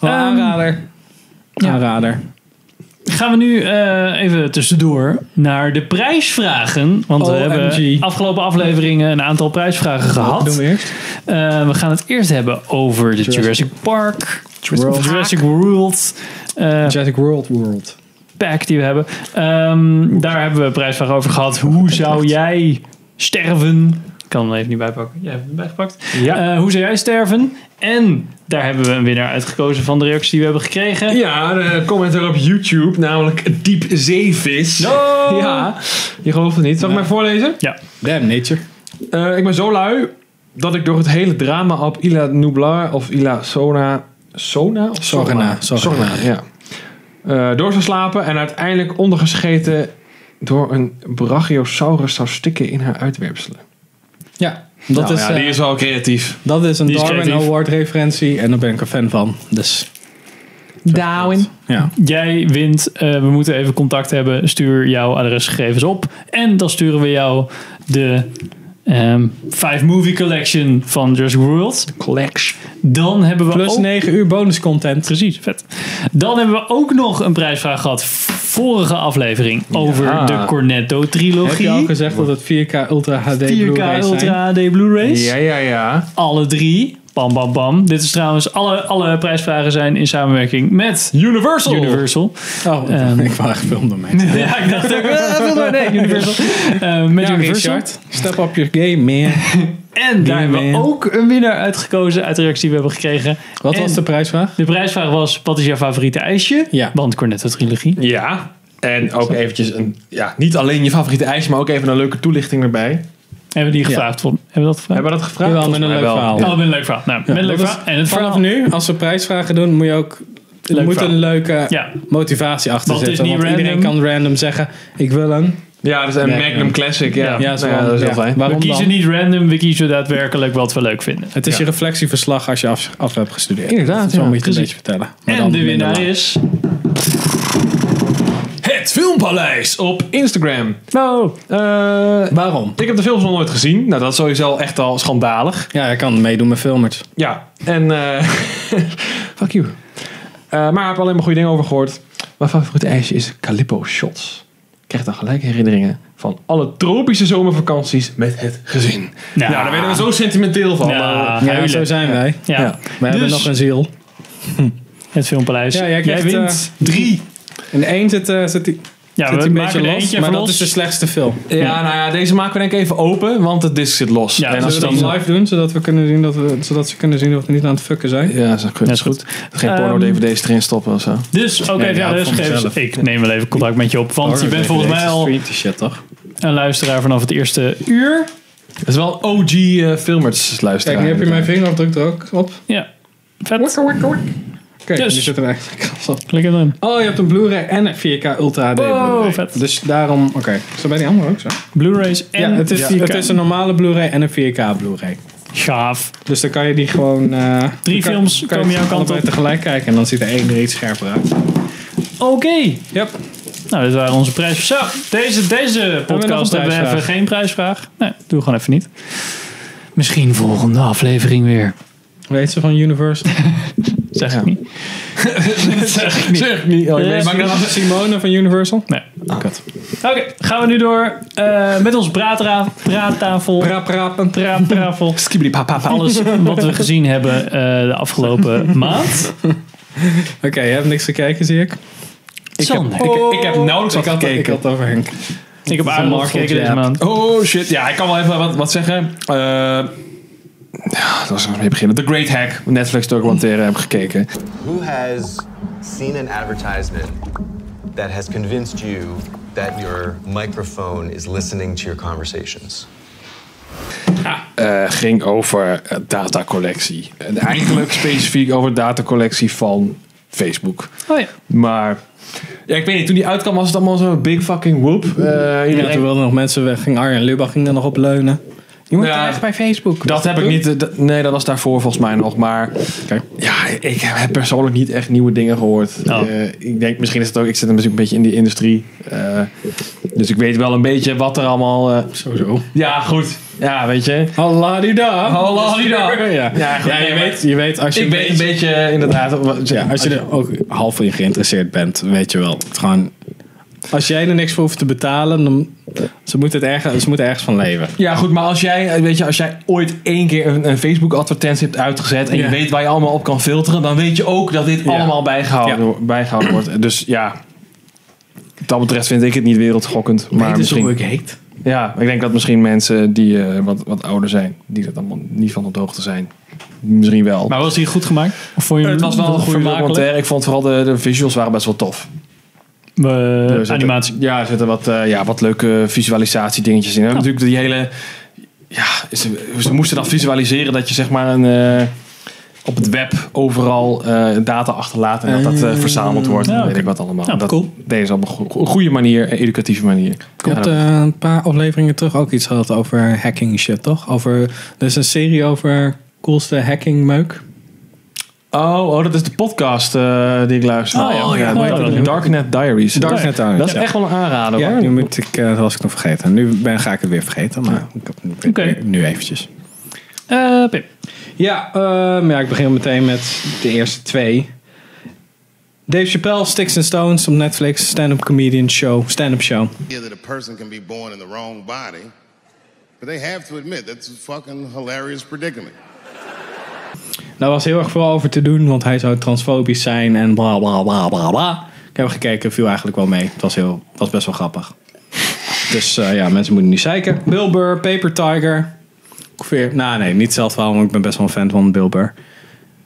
Speaker 2: Wel
Speaker 1: Ehm,
Speaker 2: aanrader.
Speaker 1: ja.
Speaker 2: Aanrader.
Speaker 1: Gaan we nu eh, even tussendoor naar de prijsvragen. Want we hebben
Speaker 2: OMG.
Speaker 1: afgelopen afleveringen een aantal prijsvragen gehad.
Speaker 2: Doe we eerst.
Speaker 1: Eh, we gaan het eerst hebben over de Jurassic, Park,
Speaker 2: World.
Speaker 1: Jurassic World eh,
Speaker 2: Jurassic World World.
Speaker 1: pack die we hebben. Ehm, daar hebben we een prijsvraag over gehad. Hoe zou jij sterven? Ik kan hem even niet bijpakken. Jij hebt hem bijgepakt.
Speaker 3: Ja.
Speaker 1: Eh, hoe zou jij sterven? En daar hebben we een winnaar uitgekozen van de reacties die we hebben gekregen.
Speaker 3: Ja, de commenter op YouTube, namelijk Diep Zeevis.
Speaker 1: Oh!
Speaker 3: Ja, je gelooft het niet. Zal ik maar voorlezen?
Speaker 1: Ja.
Speaker 2: Damn nature.
Speaker 3: Eh, ik ben zo lui dat ik door het hele drama op Ila Nublar of Ila Sona... Sona? Of
Speaker 2: Sorna,
Speaker 3: Sorna,
Speaker 2: Sorna.
Speaker 3: Sorna, ja. Eh, door zou slapen en uiteindelijk ondergescheten door een brachiosaurus zou stikken in haar uitwerpselen.
Speaker 2: Ja, dat
Speaker 3: Nou
Speaker 2: is... eh,
Speaker 3: wel creatief.
Speaker 2: Dat is een
Speaker 1: Die is
Speaker 2: Darwin
Speaker 1: creatief.
Speaker 2: Award referentie en daar ben ik een fan van. Dus Darwin. Ja.
Speaker 1: Jij wint. Eh, we moeten even contact hebben. Stuur jouw adresgegevens op. En dan sturen we jou de ehm 5 Movie Collection van Jurassic World. Collection. Dan hebben we
Speaker 2: Plus
Speaker 1: ook...
Speaker 2: 9 uur bonus content.
Speaker 1: Precies, vet. Dan hebben we ook nog een prijsvraag gehad. Vorige aflevering over de
Speaker 2: Heb je al
Speaker 1: Cornetto-trilogie.
Speaker 2: gezegd dat het 4K Ultra HD
Speaker 1: 4K
Speaker 2: Blu-ray zijn?
Speaker 1: Ultra HD Blu-rays.
Speaker 3: Ja, ja, ja.
Speaker 1: Alle drie. Bam, bam, bam. Dit is trouwens... Alle, alle prijsvragen zijn in samenwerking met
Speaker 3: Universal.
Speaker 1: Universal.
Speaker 2: Oh,
Speaker 1: Ehm.
Speaker 2: ik wou echt film door mee.
Speaker 1: Ja, ik dacht ook... eh, veel door- Nee, Universal. Eh, met
Speaker 2: Ja,
Speaker 1: Universal.
Speaker 2: Richard, step up your game, man.
Speaker 1: En daar hebben we
Speaker 2: man.
Speaker 1: ook een winnaar uitgekozen uit de reactie die we hebben gekregen.
Speaker 2: Wat
Speaker 1: En
Speaker 2: was de prijsvraag?
Speaker 1: De prijsvraag was, wat is jouw favoriete ijsje?
Speaker 2: Ja.
Speaker 1: Want Cornetto-trilogie.
Speaker 3: Ja. En ook eventjes een, ja, niet alleen je favoriete ijs, maar ook even een leuke toelichting erbij.
Speaker 1: Hebben we die gevraagd? Von? Hebben we dat gevraagd?
Speaker 3: Hebben we dat gevraagd?
Speaker 2: Jawel, met een
Speaker 3: Volgens mij
Speaker 2: leuk verhaal.
Speaker 1: Oh, met een leuk verhaal. Nou, met een leuk
Speaker 2: Dat
Speaker 1: verhaal.
Speaker 2: is-
Speaker 1: En het
Speaker 2: vanaf
Speaker 1: verhaal
Speaker 2: nu, als we prijsvragen doen, moet je ook er moet
Speaker 1: verhaal.
Speaker 2: een leuke
Speaker 1: Ja.
Speaker 2: motivatie achter
Speaker 1: Want het is
Speaker 2: zitten.
Speaker 1: niet
Speaker 2: Want iedereen
Speaker 1: random.
Speaker 2: kan random zeggen, ik wil een.
Speaker 3: Ja, dat is een
Speaker 2: Ja,
Speaker 3: Magnum
Speaker 2: ja.
Speaker 3: Classic. Ja,
Speaker 1: Ja,
Speaker 3: Nou
Speaker 2: Ja,
Speaker 3: ja,
Speaker 2: is wel-
Speaker 3: dat is heel
Speaker 2: ja.
Speaker 3: fijn.
Speaker 1: We
Speaker 2: Waarom
Speaker 1: kiezen
Speaker 2: dan?
Speaker 1: niet random, we kiezen daadwerkelijk wat we leuk vinden.
Speaker 2: Het is je reflectieverslag als je af, af hebt gestudeerd.
Speaker 1: Inderdaad,
Speaker 2: Zo
Speaker 1: ja,
Speaker 2: moet je het een
Speaker 1: precies.
Speaker 2: beetje vertellen. Maar
Speaker 1: En
Speaker 2: dan
Speaker 1: de
Speaker 2: minder
Speaker 1: winnaar
Speaker 2: lang.
Speaker 1: is...
Speaker 3: Het Filmpaleis op Instagram.
Speaker 1: Wow.
Speaker 3: Eh,
Speaker 2: Waarom?
Speaker 3: ik heb de films nog nooit gezien. Nou, dat is sowieso echt al schandalig.
Speaker 2: Ja, hij kan meedoen met filmers.
Speaker 3: Ja, en eh fuck you. Eh, maar ik heb alleen maar goede dingen over gehoord. Mijn favoriete ijsje is Calippo Shots. Ik krijg dan gelijk herinneringen van alle tropische zomervakanties met het gezin.
Speaker 1: Nou,
Speaker 3: ja, daar werden we zo sentimenteel van.
Speaker 1: Ja.
Speaker 3: maar-
Speaker 2: Ja,
Speaker 1: huilen.
Speaker 2: zo zijn wij.
Speaker 1: Ja.
Speaker 2: We hebben
Speaker 1: Dus-
Speaker 2: nog een ziel.
Speaker 1: Het Filmpaleis.
Speaker 2: Ja, jij krijgt, eh,
Speaker 1: wint drie.
Speaker 2: In één zit, eh, zit die...
Speaker 1: Ja,
Speaker 2: zit
Speaker 1: we
Speaker 2: die een
Speaker 1: maken
Speaker 2: beetje
Speaker 1: er
Speaker 2: los,
Speaker 1: eentje
Speaker 2: maar
Speaker 1: van
Speaker 2: dat is dus- de
Speaker 1: los.
Speaker 2: slechtste film.
Speaker 3: ja, nou ja, deze maken we denk ik even open, want de disc zit los.
Speaker 1: Ja,
Speaker 3: en
Speaker 1: zullen
Speaker 3: als
Speaker 2: Zullen
Speaker 3: je
Speaker 1: we
Speaker 2: we
Speaker 3: dan
Speaker 2: dat live doen, zodat, we kunnen zien dat we, zodat ze kunnen zien dat we niet aan het fucken zijn?
Speaker 3: Ja, is goed.
Speaker 1: Dat is goed.
Speaker 3: Geen
Speaker 1: Ehm,
Speaker 3: porno-dvd's erin stoppen of zo.
Speaker 1: Dus, oké,
Speaker 2: Nee,
Speaker 1: ja,
Speaker 2: ja,
Speaker 1: dus
Speaker 2: voor
Speaker 1: gegevens.
Speaker 2: mezelf.
Speaker 1: Ik neem wel even contact met je op, want je bent volgens mij al
Speaker 2: shit, toch?
Speaker 1: een luisteraar vanaf het eerste uur.
Speaker 3: Het is wel een OG eh, filmers luisteraar.
Speaker 2: Kijk, nu heb je mijn vingerafdruk er ook op.
Speaker 1: Ja, vet.
Speaker 2: Oké,
Speaker 1: Dus.
Speaker 2: nu zit er eigenlijk kans op.
Speaker 1: Klik erin.
Speaker 2: Oh, je hebt een Blu-ray en een 4K Ultra HD
Speaker 1: Wow,
Speaker 2: Blu-ray.
Speaker 1: vet.
Speaker 2: Dus daarom, oké. Zo bij die andere ook zo.
Speaker 1: Blu-rays en
Speaker 2: ja, het is,
Speaker 1: 4K.
Speaker 2: het is een normale Blu-ray en een 4K Blu-ray.
Speaker 1: Gaaf.
Speaker 2: Dus dan kan je die gewoon... eh,
Speaker 1: Drie
Speaker 2: kan-
Speaker 1: films
Speaker 2: kan je
Speaker 1: komen jouw kant
Speaker 2: allebei
Speaker 1: op.
Speaker 2: tegelijk kijken en dan ziet er één er iets scherper uit.
Speaker 1: Oké.
Speaker 2: Yep.
Speaker 1: Nou, dit waren onze prijzen. Zo, deze, deze
Speaker 2: nog een
Speaker 1: podcast hebben we
Speaker 2: prijsvraag?
Speaker 1: even geen prijsvraag. Nee, doe gewoon even niet. Misschien volgende aflevering weer.
Speaker 2: Weet ze van Universal?
Speaker 1: Zeg ik niet. zeg ik niet.
Speaker 3: Zeg niet. Oh, ik weet-
Speaker 1: Yes.
Speaker 3: maar ik-
Speaker 2: Simone van Universal?
Speaker 1: Nee. Oké, gaan we nu door eh, met onze praatra- praattafel.
Speaker 2: Raap, raap, en raap.
Speaker 1: Praattafel.
Speaker 3: Skibidi pa, pa, pa.
Speaker 1: Alles wat we gezien hebben eh, de afgelopen maand.
Speaker 2: Oké, je hebt niks gekeken, zie ik.
Speaker 1: Sander.
Speaker 3: Ik, ik heb nauwelijks
Speaker 2: Ik
Speaker 3: wat
Speaker 2: had, ik
Speaker 3: gekeken.
Speaker 2: had het over Henk.
Speaker 1: Ik heb Arnold
Speaker 2: Marvel
Speaker 1: gekeken deze
Speaker 2: Jab.
Speaker 1: maand.
Speaker 3: Oh shit, ja, ik kan wel even wat, wat zeggen. Eh, ja, daar zal ik mee beginnen. The Great Hack, Netflix documentaire heb ik gekeken.
Speaker 11: Who has seen an advertisement that has convinced you that your microphone is listening to your conversations?
Speaker 3: Eh, ging over eh, datacollectie. En eigenlijk specifiek over datacollectie van Facebook.
Speaker 1: Oh ja.
Speaker 3: Maar ja, ik weet niet, toen die uitkwam was het allemaal zo'n big fucking whoop. Eh,
Speaker 2: Ja,
Speaker 3: iedereen-
Speaker 2: toen wilden nog mensen weg. Ging Arjen Lubach ging daar nog op leunen. Je moet
Speaker 3: Ja.
Speaker 2: echt bij Facebook.
Speaker 3: dat heb ik niet. eh, dat- nee, dat was daarvoor volgens mij nog. Maar
Speaker 2: Oké.
Speaker 3: ja, ik heb persoonlijk niet echt nieuwe dingen gehoord.
Speaker 1: Oh.
Speaker 3: Eh, ik denk misschien is het ook. Ik zit natuurlijk een beetje in die industrie. Eh, dus ik weet wel een beetje wat er allemaal. eh,
Speaker 2: Sowieso.
Speaker 3: ja, goed. Ja, weet je.
Speaker 2: Hallo die daar.
Speaker 3: Hallo die
Speaker 2: Ja,
Speaker 3: daar. Ja,
Speaker 2: ja,
Speaker 3: goed,
Speaker 2: je,
Speaker 3: nee,
Speaker 2: weet, je weet als je...
Speaker 3: Ik weet een beetje eh, inderdaad. wat-
Speaker 2: Ja, als je er ook half in geïnteresseerd bent, weet je wel. Het gewoon... Als jij er niks voor hoeft te betalen, dan... Ze moeten, het ergens, ze moeten ergens van leven.
Speaker 3: Ja, goed, maar als jij, eh, weet je, als jij ooit één keer een, een Facebook-advertentie hebt uitgezet en
Speaker 2: Ja.
Speaker 3: je weet waar je allemaal op kan filteren, dan weet je ook dat dit allemaal bijgehouden,
Speaker 2: Ja.
Speaker 3: wo- bijgehouden wordt. Dus ja, wat dat betreft vind ik het niet wereldgokkend. Maar misschien,
Speaker 2: heet.
Speaker 3: ja, ik denk dat misschien mensen die eh, wat, wat ouder zijn, die dat allemaal niet van op de hoogte zijn, misschien wel.
Speaker 1: Maar was die goed gemaakt? Of vond je hem
Speaker 3: het was wel een goede
Speaker 1: vermakelijk?
Speaker 3: documentaire. Ik vond vooral de, de visuals waren best wel tof.
Speaker 1: Eh,
Speaker 3: Er zitten-
Speaker 1: animatie.
Speaker 3: Ja, er zitten wat, eh, ja, wat leuke visualisatie dingetjes in. We hebben Natuurlijk die hele... Ja, ze, ze moesten dan visualiseren dat je zeg maar een, eh, op het web overal eh, data achterlaat en dat dat eh, verzameld wordt. en
Speaker 1: Ja,
Speaker 3: weet
Speaker 1: oké.
Speaker 3: ik wat allemaal.
Speaker 1: Ja,
Speaker 3: dat
Speaker 1: cool.
Speaker 3: deden ze op een go- goede manier, een educatieve manier.
Speaker 2: Je hebt
Speaker 3: Ja,
Speaker 2: eh, een paar afleveringen terug ook iets gehad over hacking shit, toch? Over, er is een serie over coolste hacking meuk.
Speaker 3: Oh, oh, dat is de podcast eh, die ik luister.
Speaker 2: Oh, ja.
Speaker 3: hoe heet
Speaker 2: Oh,
Speaker 3: dat?
Speaker 2: ja.
Speaker 3: Darknet Diaries.
Speaker 2: Darknet Diaries,
Speaker 3: Dat is
Speaker 2: ja.
Speaker 3: echt wel een aanrader.
Speaker 2: Ja,
Speaker 3: hoor.
Speaker 2: nu moet ik, eh, dat was ik nog vergeten. Nu ben, ga ik het weer vergeten, maar ik heb het nu-
Speaker 1: Oké.
Speaker 2: nu eventjes.
Speaker 1: Eh, Pip.
Speaker 2: Ja, ehm, ja, ik begin meteen met de eerste twee. Dave Chappelle, Sticks and Stones op Netflix. Stand-up comedian show. Stand-up show.
Speaker 12: idea that a person can be born in the wrong body, but they have to admit that's a fucking hilarious predicament.
Speaker 2: Daar was heel erg veel over te doen, want hij zou transfobisch zijn en bla bla bla bla bla. Ik heb gekeken, viel eigenlijk wel mee. Het was, heel, was best wel grappig. Dus eh, ja, mensen moeten niet zeiken. Bill Burr, Paper Tiger. Ongeveer, nou nee, niet hetzelfde verhaal, want ik ben best wel een fan van Bill Burr.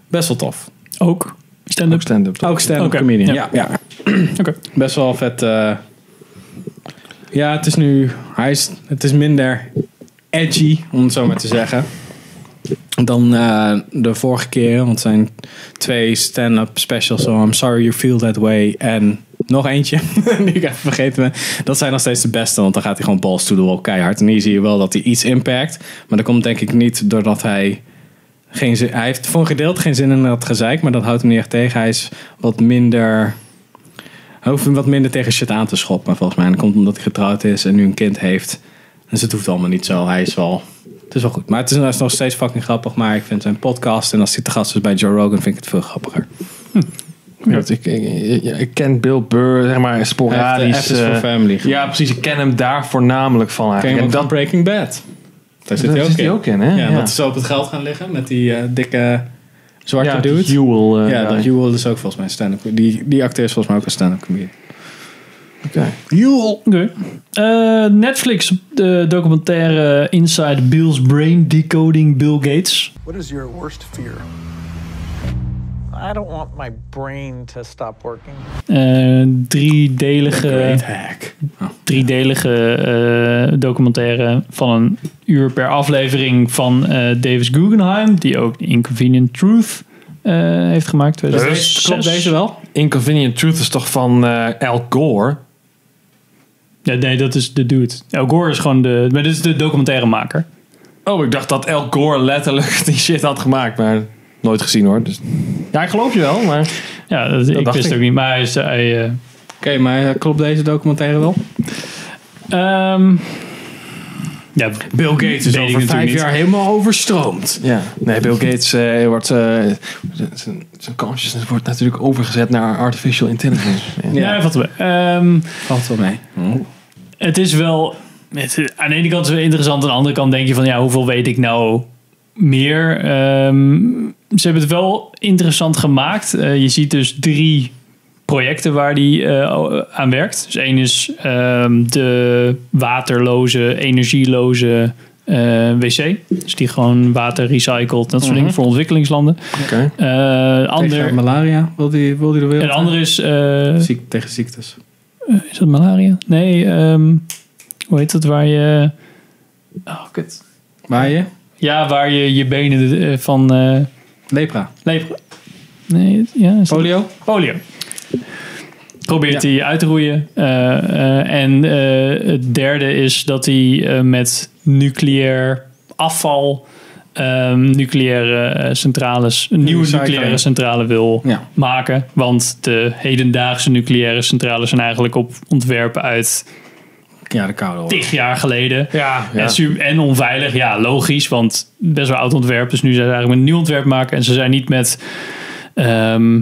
Speaker 2: Best wel tof.
Speaker 1: Ook stand-up?
Speaker 3: Ook stand-up.
Speaker 2: Ook stand-up
Speaker 1: Oké,
Speaker 2: comedian,
Speaker 1: ja.
Speaker 2: ja. ja. Best wel vet. eh, ja, het is nu, hij is, het is minder edgy, om het zo maar te zeggen. Dan eh, de vorige keer, want het zijn twee stand-up specials. So I'm sorry you feel that way. En nog eentje, die ik even vergeten ben. Dat zijn nog steeds de beste, want dan gaat hij gewoon balls to the wall keihard. En hier zie je wel dat hij iets impact. Maar dat komt denk ik niet doordat hij... Geen zin, hij heeft voor een gedeelte geen zin in dat gezeik, maar dat houdt hem niet echt tegen. Hij is wat minder... Hij hoeft hem wat minder tegen shit aan te schoppen, volgens mij. En dat komt omdat hij getrouwd is en nu een kind heeft. Dus het hoeft allemaal niet zo. Hij is wel... Het is wel goed. Maar het is, het is nog steeds fucking grappig. Maar ik vind zijn podcast en als hij te gast is bij Joe Rogan, vind ik het veel grappiger.
Speaker 3: Ja, want Ik, ik, ik- ja, ik ken Bill Burr, zeg maar, sporadisch.
Speaker 2: F is for
Speaker 3: eh,
Speaker 2: Family.
Speaker 3: Ja, precies. Ik ken hem daar voornamelijk van
Speaker 2: Ken je
Speaker 3: eigenlijk.
Speaker 2: hem
Speaker 3: En
Speaker 2: ook
Speaker 3: dat
Speaker 2: van Breaking Bad? Daar zit
Speaker 3: Dat
Speaker 2: hij ook
Speaker 3: zit hij
Speaker 2: in.
Speaker 3: ook in, hè?
Speaker 2: Ja,
Speaker 3: Ja.
Speaker 2: dat is zo op het geld gaan liggen met die eh, dikke zwarte
Speaker 3: Ja, die
Speaker 2: dude.
Speaker 3: Jewel, eh,
Speaker 2: ja, dat
Speaker 3: guy.
Speaker 2: Jewel is ook volgens mij een stand-up. Die, die acteur is volgens mij ook een stand-up comedian.
Speaker 1: Oké. Eh, Netflix, de documentaire Inside Bill's Brain Decoding Bill Gates.
Speaker 13: What is your worst fear? I don't want my brain to stop working.
Speaker 1: Eh, driedelige.
Speaker 13: Great
Speaker 2: hack.
Speaker 1: Driedelige eh, documentaire van een uur per aflevering van eh Davis Guggenheim, die ook Inconvenient Truth eh, heeft gemaakt.
Speaker 3: Dus, klopt deze
Speaker 1: wel?
Speaker 3: Inconvenient Truth is toch van eh Al Gore?
Speaker 1: Ja, nee, dat is de dude. Al Gore is gewoon de. Maar dit is de documentairemaker.
Speaker 3: Oh, ik dacht dat Al Gore letterlijk die shit had gemaakt, maar nooit gezien hoor. Dus, ja, ik geloof je wel, maar...
Speaker 1: Ja, dat, ik
Speaker 3: dacht
Speaker 1: wist
Speaker 3: ik.
Speaker 1: ook niet, maar hij eh, is... Oké,
Speaker 2: maar eh, klopt deze documentaire wel?
Speaker 1: Ehm, ja,
Speaker 3: Bill Gates
Speaker 1: weet
Speaker 3: is
Speaker 1: ik
Speaker 3: over
Speaker 1: natuurlijk
Speaker 3: vijf
Speaker 1: niet.
Speaker 3: jaar helemaal overstroomd. Ja, nee, Bill Gates eh, wordt... eh, zijn- zijn consciousness wordt natuurlijk overgezet naar artificial intelligence.
Speaker 1: Ja, valt wel mee. Ehm,
Speaker 2: Valt wel mee.
Speaker 1: Het is wel... het- aan de ene kant is het wel interessant. Aan de andere kant denk je van... Ja, hoeveel weet ik nou meer? Ehm, ze hebben het wel interessant gemaakt. Eh, je ziet dus drie projecten waar die eh, aan werkt. Dus één is ehm, de waterloze, energieloze eh, wc. Dus die gewoon water recycelt. Dat soort
Speaker 2: Mhm.
Speaker 1: dingen voor ontwikkelingslanden.
Speaker 2: Oké.
Speaker 1: Eh,
Speaker 2: Tegen
Speaker 1: ander,
Speaker 2: malaria wil die, wil die de wereld.
Speaker 1: een ander is... eh,
Speaker 2: Ziek, tegen ziektes.
Speaker 1: eh, is dat malaria? Nee, ehm, hoe heet dat waar je... Oh, kut.
Speaker 2: Waar je?
Speaker 1: Ja, waar je je benen eh, van... eh,
Speaker 2: Lepra.
Speaker 1: lepra. Nee, ja. is dat-
Speaker 2: Polio?
Speaker 1: Polio. Probeert
Speaker 2: Ja.
Speaker 1: hij uit te roeien. Eh, eh, en eh, het derde is dat hij eh, met nucleair afval... ehm, nucleaire eh, centrales, een nieuwe
Speaker 2: Recycling.
Speaker 1: nucleaire centrale wil
Speaker 2: Ja.
Speaker 1: maken. Want de hedendaagse nucleaire centrales zijn eigenlijk op ontwerpen uit
Speaker 2: Ja, de koude oorlog.
Speaker 1: tig jaar geleden. Ja,
Speaker 2: ja.
Speaker 1: En, su- en onveilig, ja, logisch, want best wel oud ontwerp. Dus nu zijn ze eigenlijk een nieuw ontwerp maken. En ze zijn niet met ehm,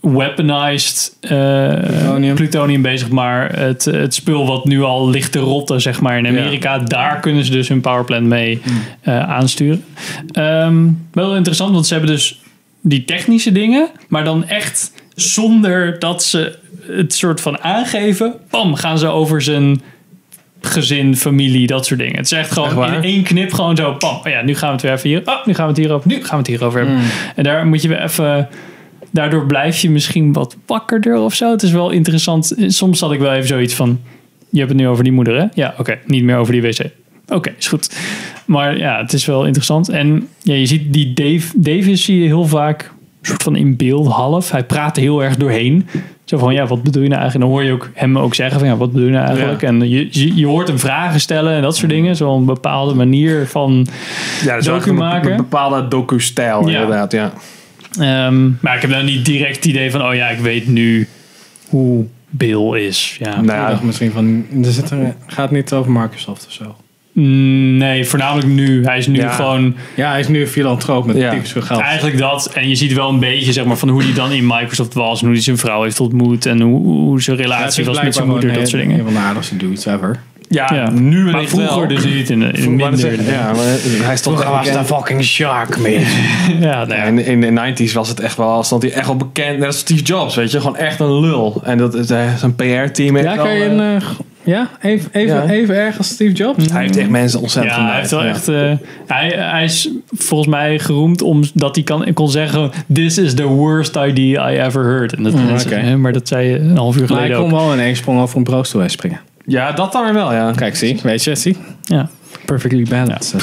Speaker 1: weaponized eh, plutonium. bezig, maar het, het spul wat nu al ligt te rotten, zeg maar, in Amerika. Daar kunnen ze dus hun powerplant mee eh, aansturen. Ehm, wel interessant, want ze hebben dus die technische dingen, maar dan echt zonder dat ze het soort van aangeven, bam, gaan ze over zijn gezin, familie, dat soort dingen. Het is echt
Speaker 3: Echt
Speaker 1: gewoon
Speaker 3: waar?
Speaker 1: in één knip gewoon zo, pam, oh ja, nu gaan we het weer even hier, oh, nu gaan we het hierover, nu gaan we het hierover hebben.
Speaker 3: Mm.
Speaker 1: En daar moet je weer even, daardoor blijf je misschien wat wakkerder of zo. Het is wel interessant. Soms had ik wel even zoiets van, je hebt het nu over die moeder, hè? Ja, oké, niet meer over die wc. Oké, is goed. Maar ja, het is wel interessant. En ja, je ziet die Dave, Davis zie je heel vaak soort van in beeld half. Hij praat er heel erg doorheen. Zo van, ja, wat bedoel je nou eigenlijk? En dan hoor je ook hem ook zeggen van, ja, Mm. wat bedoel je nou eigenlijk?
Speaker 3: Ja.
Speaker 1: En je, je, je hoort hem vragen stellen en dat soort dingen. Zo'n bepaalde manier van
Speaker 3: Ja, dat is
Speaker 1: docu
Speaker 3: eigenlijk een-
Speaker 1: maken.
Speaker 3: Een bepaalde docu-stijl
Speaker 1: Ja.
Speaker 3: inderdaad, ja.
Speaker 1: Ehm, maar ik heb nou niet direct het idee van, oh ja, ik weet nu hoe Bill is. Ja.
Speaker 2: Nou, ik dacht misschien van, er zit er, gaat niet over Microsoft of zo.
Speaker 1: Mm, Nee, voornamelijk nu. Hij is nu
Speaker 2: Ja.
Speaker 1: gewoon...
Speaker 2: Ja, hij is nu een filantroop met typisch veel geld.
Speaker 1: Eigenlijk dat. En je ziet wel een beetje zeg maar, van hoe hij dan in Microsoft was. En hoe hij zijn vrouw heeft ontmoet. En hoe, hoe zijn relatie was met zijn moeder. Dat soort dingen.
Speaker 2: Een van de aardigste dudes ever.
Speaker 1: Ja, nu maar
Speaker 2: eh, wellicht
Speaker 1: vroeger
Speaker 2: wel.
Speaker 1: dus niet. In, in
Speaker 2: Vroeger
Speaker 1: minder.
Speaker 2: waren ze- ja, maar
Speaker 3: hij stond
Speaker 2: Vroeger was
Speaker 3: een fucking shark, man.
Speaker 1: ja,
Speaker 3: in, in de 90s was het echt wel, stond hij echt wel bekend. Net als Steve Jobs, weet je. Gewoon echt een lul. En dat is eh, zijn PR-team.
Speaker 2: Ja, kan je een, eh, g- ja? Even, even,
Speaker 3: Ja.
Speaker 2: even erg als Steve Jobs?
Speaker 3: Hij heeft echt mensen ontzettend
Speaker 1: Ja, hij, heeft wel
Speaker 3: verneukt,
Speaker 1: echt, eh, hij, hij is volgens mij geroemd omdat hij kan, kon zeggen... This is the worst idea I ever heard. En dat,
Speaker 2: Mm,
Speaker 1: mensen-
Speaker 2: oké.
Speaker 1: hè, maar dat zei je een half uur
Speaker 2: Maar hij
Speaker 1: geleden
Speaker 2: kon
Speaker 1: ook.
Speaker 2: wel in één sprong over een broodstoel heen springen.
Speaker 3: Ja, dat dan weer wel, ja.
Speaker 2: Kijk, zie. Weet je, zie.
Speaker 1: Ja.
Speaker 2: Perfectly balanced.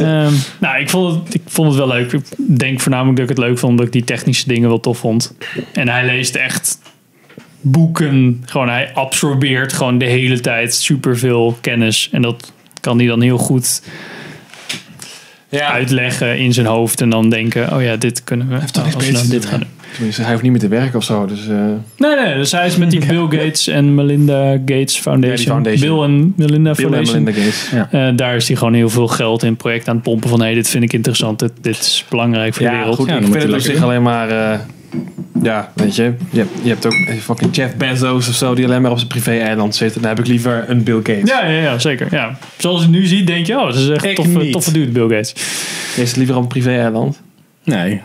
Speaker 1: Ehm, nou, ik vond, het, ik vond het wel leuk. Ik denk voornamelijk dat ik het leuk vond omdat ik die technische dingen wel tof vond. En hij leest echt boeken. Gewoon, hij absorbeert gewoon de hele tijd superveel kennis. En dat kan hij dan heel goed uitleggen in zijn hoofd. En dan denken, oh ja, dit kunnen we.
Speaker 3: toch
Speaker 1: Oh,
Speaker 3: niks
Speaker 1: als we
Speaker 3: beters
Speaker 1: dan
Speaker 3: te
Speaker 1: dit
Speaker 3: doen,
Speaker 1: gaan doen.
Speaker 3: Tenminste, hij hoeft niet meer te werken of zo. Dus, eh,
Speaker 1: Nee, nee. Dus hij is met die Bill Gates en Melinda Gates Foundation.
Speaker 3: Ja, die foundation.
Speaker 1: Bill en Melinda
Speaker 3: Bill en
Speaker 1: Foundation.
Speaker 3: Melinda Gates,
Speaker 1: Eh, daar is hij gewoon heel veel geld in projecten aan het pompen. Van, hé, dit vind ik interessant. Dit, dit is belangrijk voor de
Speaker 3: ja,
Speaker 1: wereld.
Speaker 3: goed. ik vind het op zich alleen maar... eh, ja, weet je. Je hebt, je hebt ook fucking Jeff Bezos of zo... die alleen maar op zijn privé-eiland zit. En dan heb ik liever een Bill Gates.
Speaker 1: Ja, ja, ja, zeker. Ja. Zoals je het nu ziet, denk je, oh, dat is echt een
Speaker 3: Ik
Speaker 1: toffe,
Speaker 3: niet.
Speaker 1: toffe dude, Bill Gates.
Speaker 3: Is het liever op een privé-eiland?
Speaker 2: Nee.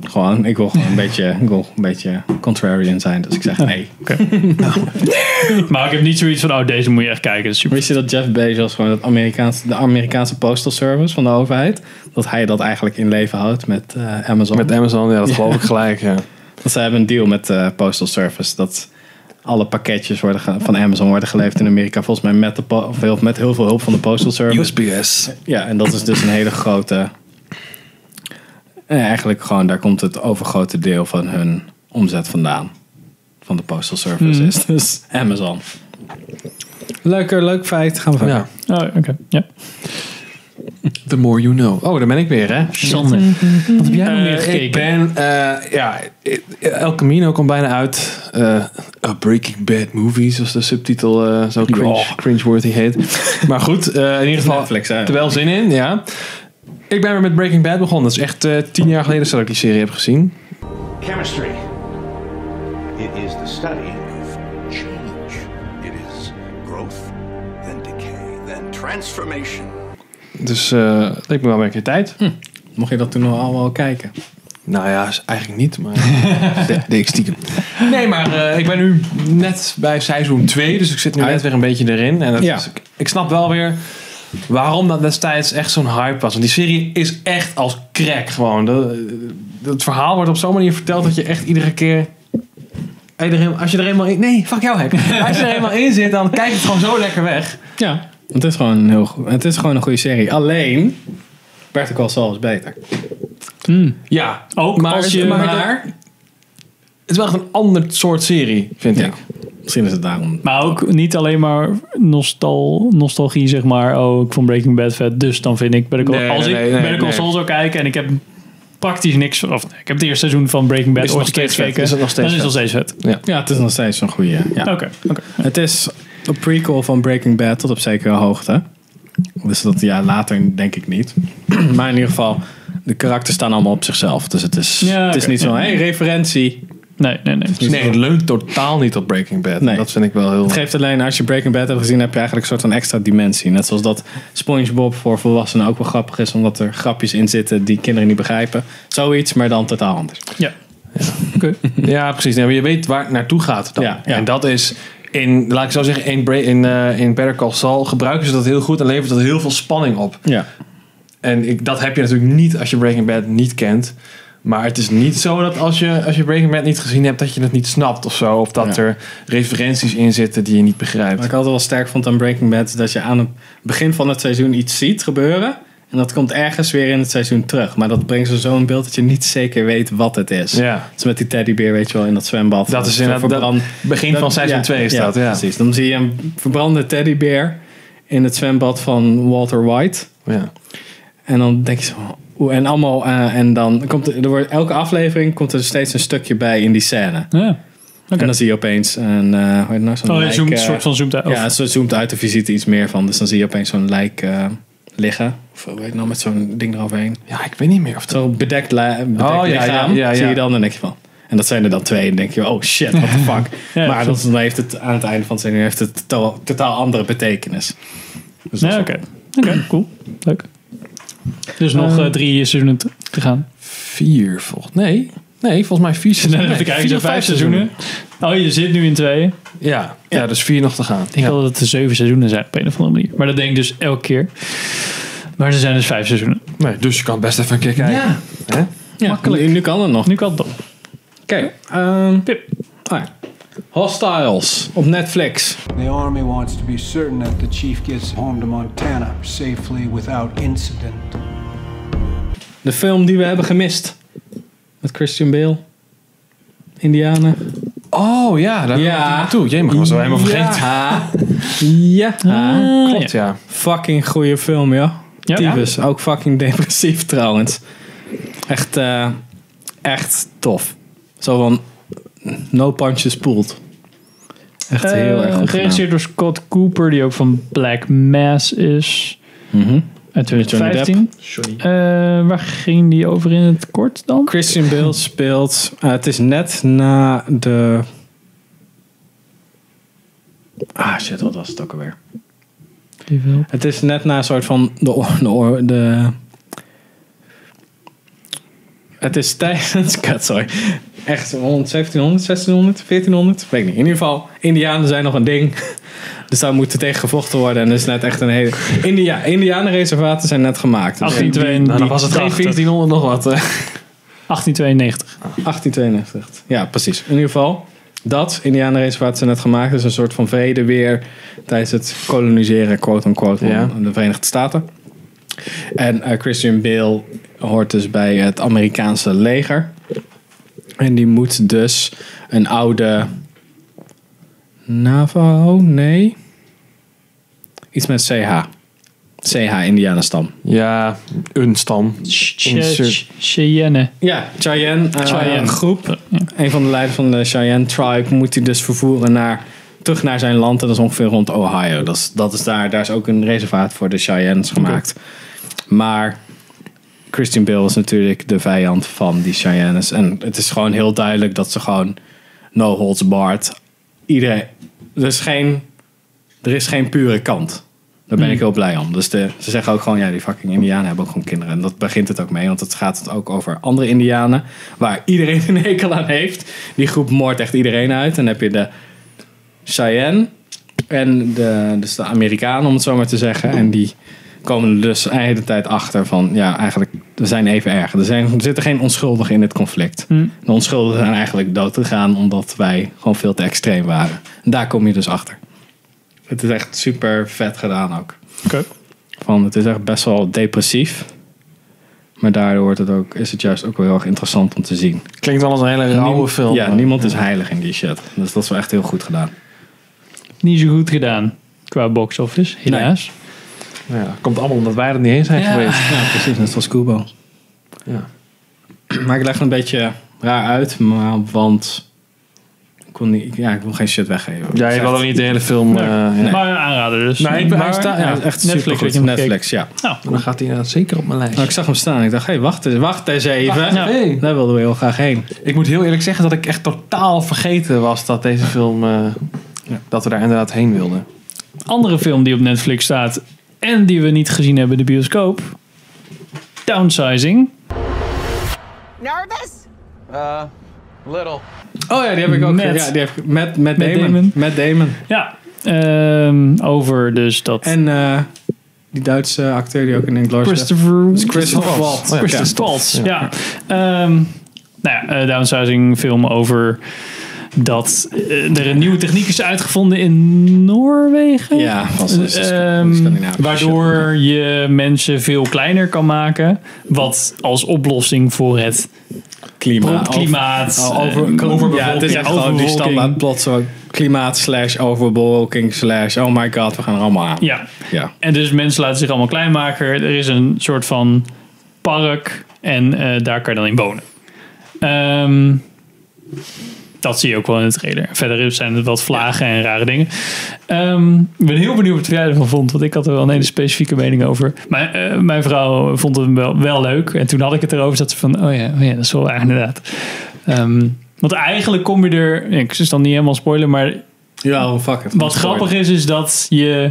Speaker 2: Gewoon, ik wil gewoon een beetje, ik wil een beetje contrarian zijn. Dus ik zeg nee.
Speaker 1: maar ik heb niet zoiets van, oh, deze moet je echt kijken.
Speaker 2: Wist je dat Jeff Bezos gewoon dat Amerikaanse, de Amerikaanse Postal Service van de overheid, dat hij dat eigenlijk in leven houdt met eh, Amazon?
Speaker 3: Met Amazon, ja, dat geloof ik gelijk. Ja.
Speaker 2: Want ze hebben een deal met de Postal Service dat alle pakketjes worden ge- van Amazon worden geleverd in Amerika. Volgens mij met, de po- of heel, met heel veel hulp van de Postal Service.
Speaker 3: USPS.
Speaker 2: Ja, en dat is dus een hele grote... eh, eigenlijk gewoon, daar komt het overgrote deel van hun omzet vandaan. Van de Postal Service
Speaker 1: Hmm.
Speaker 2: is dus Amazon. Leuker, leuk feit. Gaan we verder.
Speaker 3: Ja.
Speaker 1: Oh, oké. Ja.
Speaker 3: The more you know. Oh, daar ben ik weer, hè?
Speaker 1: Sander. Wat heb jij nog meer gekeken?
Speaker 3: Ik ben, eh, ja, El Camino komt bijna uit. Eh, A Breaking Bad Movie, zoals de subtitel eh, zo cringe,
Speaker 2: Ja.
Speaker 3: cringeworthy heet. Maar goed, eh, in ieder geval,
Speaker 2: Netflix, hè?
Speaker 3: er wel zin in, ja. Ik ben weer met Breaking Bad begonnen. Dat is echt eh, tien jaar geleden dat ik die serie heb gezien.
Speaker 14: Chemistry. It is the study of change. It is growth, then decay, then transformation.
Speaker 3: Dus eh leek me wel weer een keer tijd.
Speaker 2: Mocht je dat toen al wel kijken?
Speaker 3: Nou ja, is eigenlijk niet, maar de, deed ik stiekem. Nee, maar eh, ik ben nu net bij seizoen 2, dus ik zit nu net weer een beetje erin. En dat
Speaker 2: Ja.
Speaker 3: is- ik, ik snap wel weer waarom dat destijds echt zo'n hype was. Want die serie is echt als crack gewoon. De- het verhaal wordt op zo'n manier verteld dat je echt iedere keer... iedereen- als je er eenmaal in... Nee, fuck jou, hek. Als je er eenmaal in zit, dan kijk je het gewoon zo lekker weg.
Speaker 2: Ja. Het is gewoon een, heel goed, het is gewoon een goede serie. Alleen, Better Call Saul is beter.
Speaker 3: Ja,
Speaker 1: Ook als je-
Speaker 3: maar,
Speaker 1: maar-
Speaker 3: het is wel echt een ander soort serie, vind ik.
Speaker 2: Misschien is het daarom.
Speaker 1: Maar ook niet alleen maar nostal, nostalgie, zeg maar. Oh, ik vond Breaking Bad vet, dus dan vind ik... Better Call,
Speaker 3: Nee,
Speaker 1: als
Speaker 3: nee,
Speaker 1: ik
Speaker 3: nee, nee,
Speaker 1: Better Call
Speaker 3: nee.
Speaker 1: Saul zou kijken en ik heb praktisch niks... van- Of, nee, ik heb het eerste seizoen van Breaking Bad
Speaker 2: Is het
Speaker 1: ooit
Speaker 2: nog steeds vet?
Speaker 1: gekeken.
Speaker 2: Is het nog steeds
Speaker 1: Dan is het nog steeds vet.
Speaker 3: Ja.
Speaker 2: ja, het is nog steeds een goede. Ja.
Speaker 1: Oké.
Speaker 2: Het is een prequel van Breaking Bad tot op zekere hoogte. Dus dat ja, later denk ik niet. maar in ieder geval, de karakters staan allemaal op zichzelf. Dus het is,
Speaker 1: Ja,
Speaker 2: het is
Speaker 1: oké.
Speaker 2: niet zo, hey, referentie.
Speaker 1: Nee, nee, nee.
Speaker 2: niet
Speaker 3: Dus Nee,
Speaker 2: zo-
Speaker 3: het leunt totaal niet op Breaking Bad.
Speaker 2: Nee.
Speaker 3: Dat vind ik wel heel...
Speaker 2: Het geeft alleen, als je Breaking Bad hebt gezien, heb je eigenlijk een soort van extra dimensie. Net zoals dat SpongeBob voor volwassenen ook wel grappig is, omdat er grapjes in zitten die kinderen niet begrijpen. Zoiets, maar dan totaal anders.
Speaker 1: Ja.
Speaker 3: Ja, precies. Nee, maar je weet waar het naartoe gaat. Dan.
Speaker 2: Ja, ja.
Speaker 3: En dat is, in, laat ik zo zeggen, in, Bra- in, eh, in Better Call Saul gebruiken ze dat heel goed en levert dat heel veel spanning op.
Speaker 2: Ja.
Speaker 3: En ik, dat heb je natuurlijk niet als je Breaking Bad niet kent. Maar het is niet zo dat als je, als je Breaking Bad niet gezien hebt, dat je het niet snapt of zo. Of dat
Speaker 2: Ja.
Speaker 3: er referenties in zitten die je niet begrijpt.
Speaker 2: Wat ik altijd wel sterk vond aan Breaking Bad is dat je aan het begin van het seizoen iets ziet gebeuren. En dat komt ergens weer in het seizoen terug. Maar dat brengt ze zo in beeld dat je niet zeker weet wat het is.
Speaker 3: Ja.
Speaker 2: Dus met die teddybeer, weet je wel, in dat zwembad.
Speaker 3: Dat is inderdaad-
Speaker 2: verbrand-
Speaker 3: dat- begin van seizoen twee is dat, ja.
Speaker 2: Precies. Dan zie je een verbrande teddybeer in het zwembad van Walter White.
Speaker 3: Ja.
Speaker 2: En dan denk je zo, hoe- en allemaal, eh, en dan komt er, er wordt, elke aflevering komt er steeds een stukje bij in die scène. En dan zie je opeens een, eh, hoe heet het nou, zo'n
Speaker 1: Oh, hij
Speaker 2: lijk,
Speaker 1: zoomt-
Speaker 2: eh,
Speaker 1: soort van zoomt uit, of-
Speaker 2: Ja, zo zoomt uit de visite iets meer van. Dus dan zie je opeens zo'n lijk eh, liggen. Of eh, weet je nou, met zo'n ding eroverheen.
Speaker 3: Ja, ik weet niet meer of
Speaker 2: Zo'n bedekt, li- bedekt
Speaker 3: Oh, ja, ja,
Speaker 2: lichaam
Speaker 3: ja, ja.
Speaker 2: zie je dan en dan denk je van... En dat zijn er dan twee. En dan denk je, oh shit, what the fuck. maar dat, dan heeft het aan het einde van het seizoen heeft het totaal, totaal andere betekenis. Dus
Speaker 1: Ja, oké. Oké, cool. Leuk. Dus nog
Speaker 2: Eh,
Speaker 1: eh, drie seizoenen te, te gaan.
Speaker 3: Vier volgens Nee, nee, volgens mij vier seizoenen.
Speaker 1: Even kijken,
Speaker 3: Vier
Speaker 1: zijn
Speaker 3: of
Speaker 1: vijf seizoenen. Oh, je zit nu in twee.
Speaker 3: Ja, ja. dus vier nog te gaan.
Speaker 1: Ik wil dat het er zeven seizoenen zijn op een of andere manier. Maar dat denk ik dus elke keer. Maar er zijn dus vijf seizoenen.
Speaker 3: Nee, dus je kan best even een keer kijken.
Speaker 1: Ja.
Speaker 3: Hè?
Speaker 1: Makkelijk.
Speaker 2: Nu, kan het nog.
Speaker 1: Nu kan het nog.
Speaker 2: Oké. Pip. Hostiles op Netflix.
Speaker 15: The Army wants to be certain that the chief gets home to Montana safely without incident.
Speaker 2: De film die we hebben gemist. Met Christian Bale. Indiana.
Speaker 3: Oh ja, daar
Speaker 2: ja.
Speaker 3: ja. toe. Jee, maar ik was al helemaal vergeten.
Speaker 2: Ja. ja.
Speaker 3: Ah, klopt, ja.
Speaker 2: Fucking goede film, ja.
Speaker 3: Ja.
Speaker 2: Tyfus. Ook fucking depressief trouwens. Echt, eh, echt tof. Zo van no punches pulled. Echt heel
Speaker 1: Eh,
Speaker 2: erg goed gedaan.
Speaker 1: Geregisseerd door Scott Cooper, die ook van Black Mass is.
Speaker 2: Mhm.
Speaker 1: Uit 2015.
Speaker 3: Johnny.
Speaker 1: Eh, waar ging die over in het kort dan?
Speaker 2: Christian Bale speelt. eh, het is net na de. Ah shit, wat was het ook alweer? Het is net na een soort van de. oor- de, oor- de het is tijdens. Kut, sorry. Echt 100, 1700, 1600, 1400. Weet ik niet. In ieder geval, Indianen zijn nog een ding. Dus daar moeten tegen gevochten worden. En dat is net echt een hele. India, Indianenreservaten zijn net gemaakt. Dus
Speaker 1: 1892.
Speaker 2: die- die-
Speaker 1: 1400 nog wat. 1892.
Speaker 2: 1892. Ja, precies. In ieder geval, dat Indianenreservaat zijn net gemaakt. is een soort van vrede weer tijdens het koloniseren, quote-unquote,
Speaker 3: Ja.
Speaker 2: van de Verenigde Staten. En eh, Christian Bale hoort dus bij het Amerikaanse leger. En die moet dus een oude Navajo, nee. Iets met CH. CH, Indianenstam.
Speaker 3: Ja, een stam. Insert.
Speaker 1: Cheyenne.
Speaker 2: Ja, Cheyenne, eh,
Speaker 1: Cheyenne.
Speaker 2: een groep. Een van de leiders van de Cheyenne tribe moet hij dus vervoeren naar, terug naar zijn land. En dat is ongeveer rond Ohio. Dat is, dat is daar, daar is ook een reservaat voor de Cheyennes gemaakt. Maar Christian Bale was natuurlijk de vijand van die Cheyennes. En het is gewoon heel duidelijk dat ze gewoon no holds barred. Iedereen, er is geen, er is geen pure kant. Daar ben
Speaker 1: Mm.
Speaker 2: ik heel blij om. Dus de, ze zeggen ook gewoon, ja, die fucking Indianen hebben ook gewoon kinderen. En dat begint het ook mee, want het gaat het ook over andere Indianen. Waar iedereen een hekel aan heeft. Die groep moordt echt iedereen uit. En dan heb je de Cheyenne en de, dus de Amerikanen, om het zo maar te zeggen. En die komen er dus de hele tijd achter van, ja, eigenlijk, we zijn even erg. Er, zijn, er zitten geen onschuldigen in dit conflict. De onschuldigen zijn eigenlijk dood gegaan omdat wij gewoon veel te extreem waren. En daar kom je dus achter. Het is echt super vet gedaan ook. Van, het is echt best wel depressief. Maar daardoor wordt het ook, is het juist ook wel heel erg interessant om te zien.
Speaker 3: Klinkt wel als een hele rauwe
Speaker 2: Niemand-
Speaker 3: film.
Speaker 2: Ja, niemand is heilig in die shit. Dus dat is wel echt heel goed gedaan.
Speaker 1: Niet zo goed gedaan qua box office, helaas.
Speaker 3: Ja, dat komt allemaal omdat wij er niet eens zijn
Speaker 1: Ja.
Speaker 3: geweest.
Speaker 2: Ja, precies, net zoals Kubo.
Speaker 3: Ja.
Speaker 2: Maar ik leg het een beetje raar uit, maar, want ik, kon niet, ja, ik wil geen shit weggeven.
Speaker 3: Ja, je
Speaker 2: Zegt-
Speaker 3: wil er niet de hele film... eh ja.
Speaker 1: Maar een aanrader dus.
Speaker 3: Nee, ik ben- hij staat-
Speaker 2: ja,
Speaker 3: ja,
Speaker 2: echt
Speaker 1: Netflix
Speaker 2: Netflix,
Speaker 1: dat je hem
Speaker 2: Netflix, ja.
Speaker 1: Nou,
Speaker 3: Dan gaat hij inderdaad zeker op mijn lijst.
Speaker 2: Nou, ik zag hem staan en ik dacht, hé, hey, wacht, eens- wacht eens even.
Speaker 3: Wacht even. Hey.
Speaker 2: Daar wilden we heel graag heen.
Speaker 3: Ik moet heel eerlijk zeggen dat ik echt totaal vergeten was dat deze film... eh, Dat we daar inderdaad heen wilden.
Speaker 1: Andere film die op Netflix staat en die we niet gezien hebben in de bioscoop. Downsizing.
Speaker 6: Nervous?
Speaker 13: Uh, little.
Speaker 2: Oh ja, die heb ik ook.
Speaker 1: Met-
Speaker 2: ja, die heb ik, met, met,
Speaker 1: met
Speaker 2: Damon.
Speaker 1: Damon.
Speaker 2: Met Damon.
Speaker 1: Ja, ehm, over dus dat...
Speaker 2: En eh, die Duitse acteur die ook in Inglourious
Speaker 1: Christopher,
Speaker 2: is Christopher Waltz.
Speaker 1: Christopher
Speaker 2: Ja.
Speaker 1: Waltz, ja. Ehm, nou ja, eh, downsizing film over dat eh, er een nieuwe techniek is uitgevonden in Noorwegen.
Speaker 2: Ja, vast is het
Speaker 1: Ehm,
Speaker 2: Scandinavisch.
Speaker 1: waardoor je mensen veel kleiner kan maken. Wat als oplossing voor het
Speaker 2: klimaat.
Speaker 1: klimaat,
Speaker 2: Nou, Over,
Speaker 1: eh,
Speaker 2: over,
Speaker 1: overbevolking,
Speaker 2: ja, het is echt gewoon die
Speaker 1: overbevolking.
Speaker 2: standaard plot zo. Klimaat slash overbevolking slash oh my god, we gaan er allemaal aan.
Speaker 1: Ja.
Speaker 2: Ja.
Speaker 1: En dus mensen laten zich allemaal klein maken. Er is een soort van park. En eh, daar kan je dan in wonen. Ehm, dat zie je ook wel in de trailer. Verder zijn er wat vlagen en rare dingen. Ehm, ik ben heel benieuwd wat jij ervan vond. Want ik had er wel een hele specifieke mening over. Mijn, eh, mijn vrouw vond het wel, wel leuk. En toen had ik het erover. Zat ze van, oh ja, oh ja dat is wel waar inderdaad. Ehm, want eigenlijk kom je er... Ik is dan niet helemaal spoiler, maar...
Speaker 2: Ja, fuck it.
Speaker 1: Wat grappig is, is dat je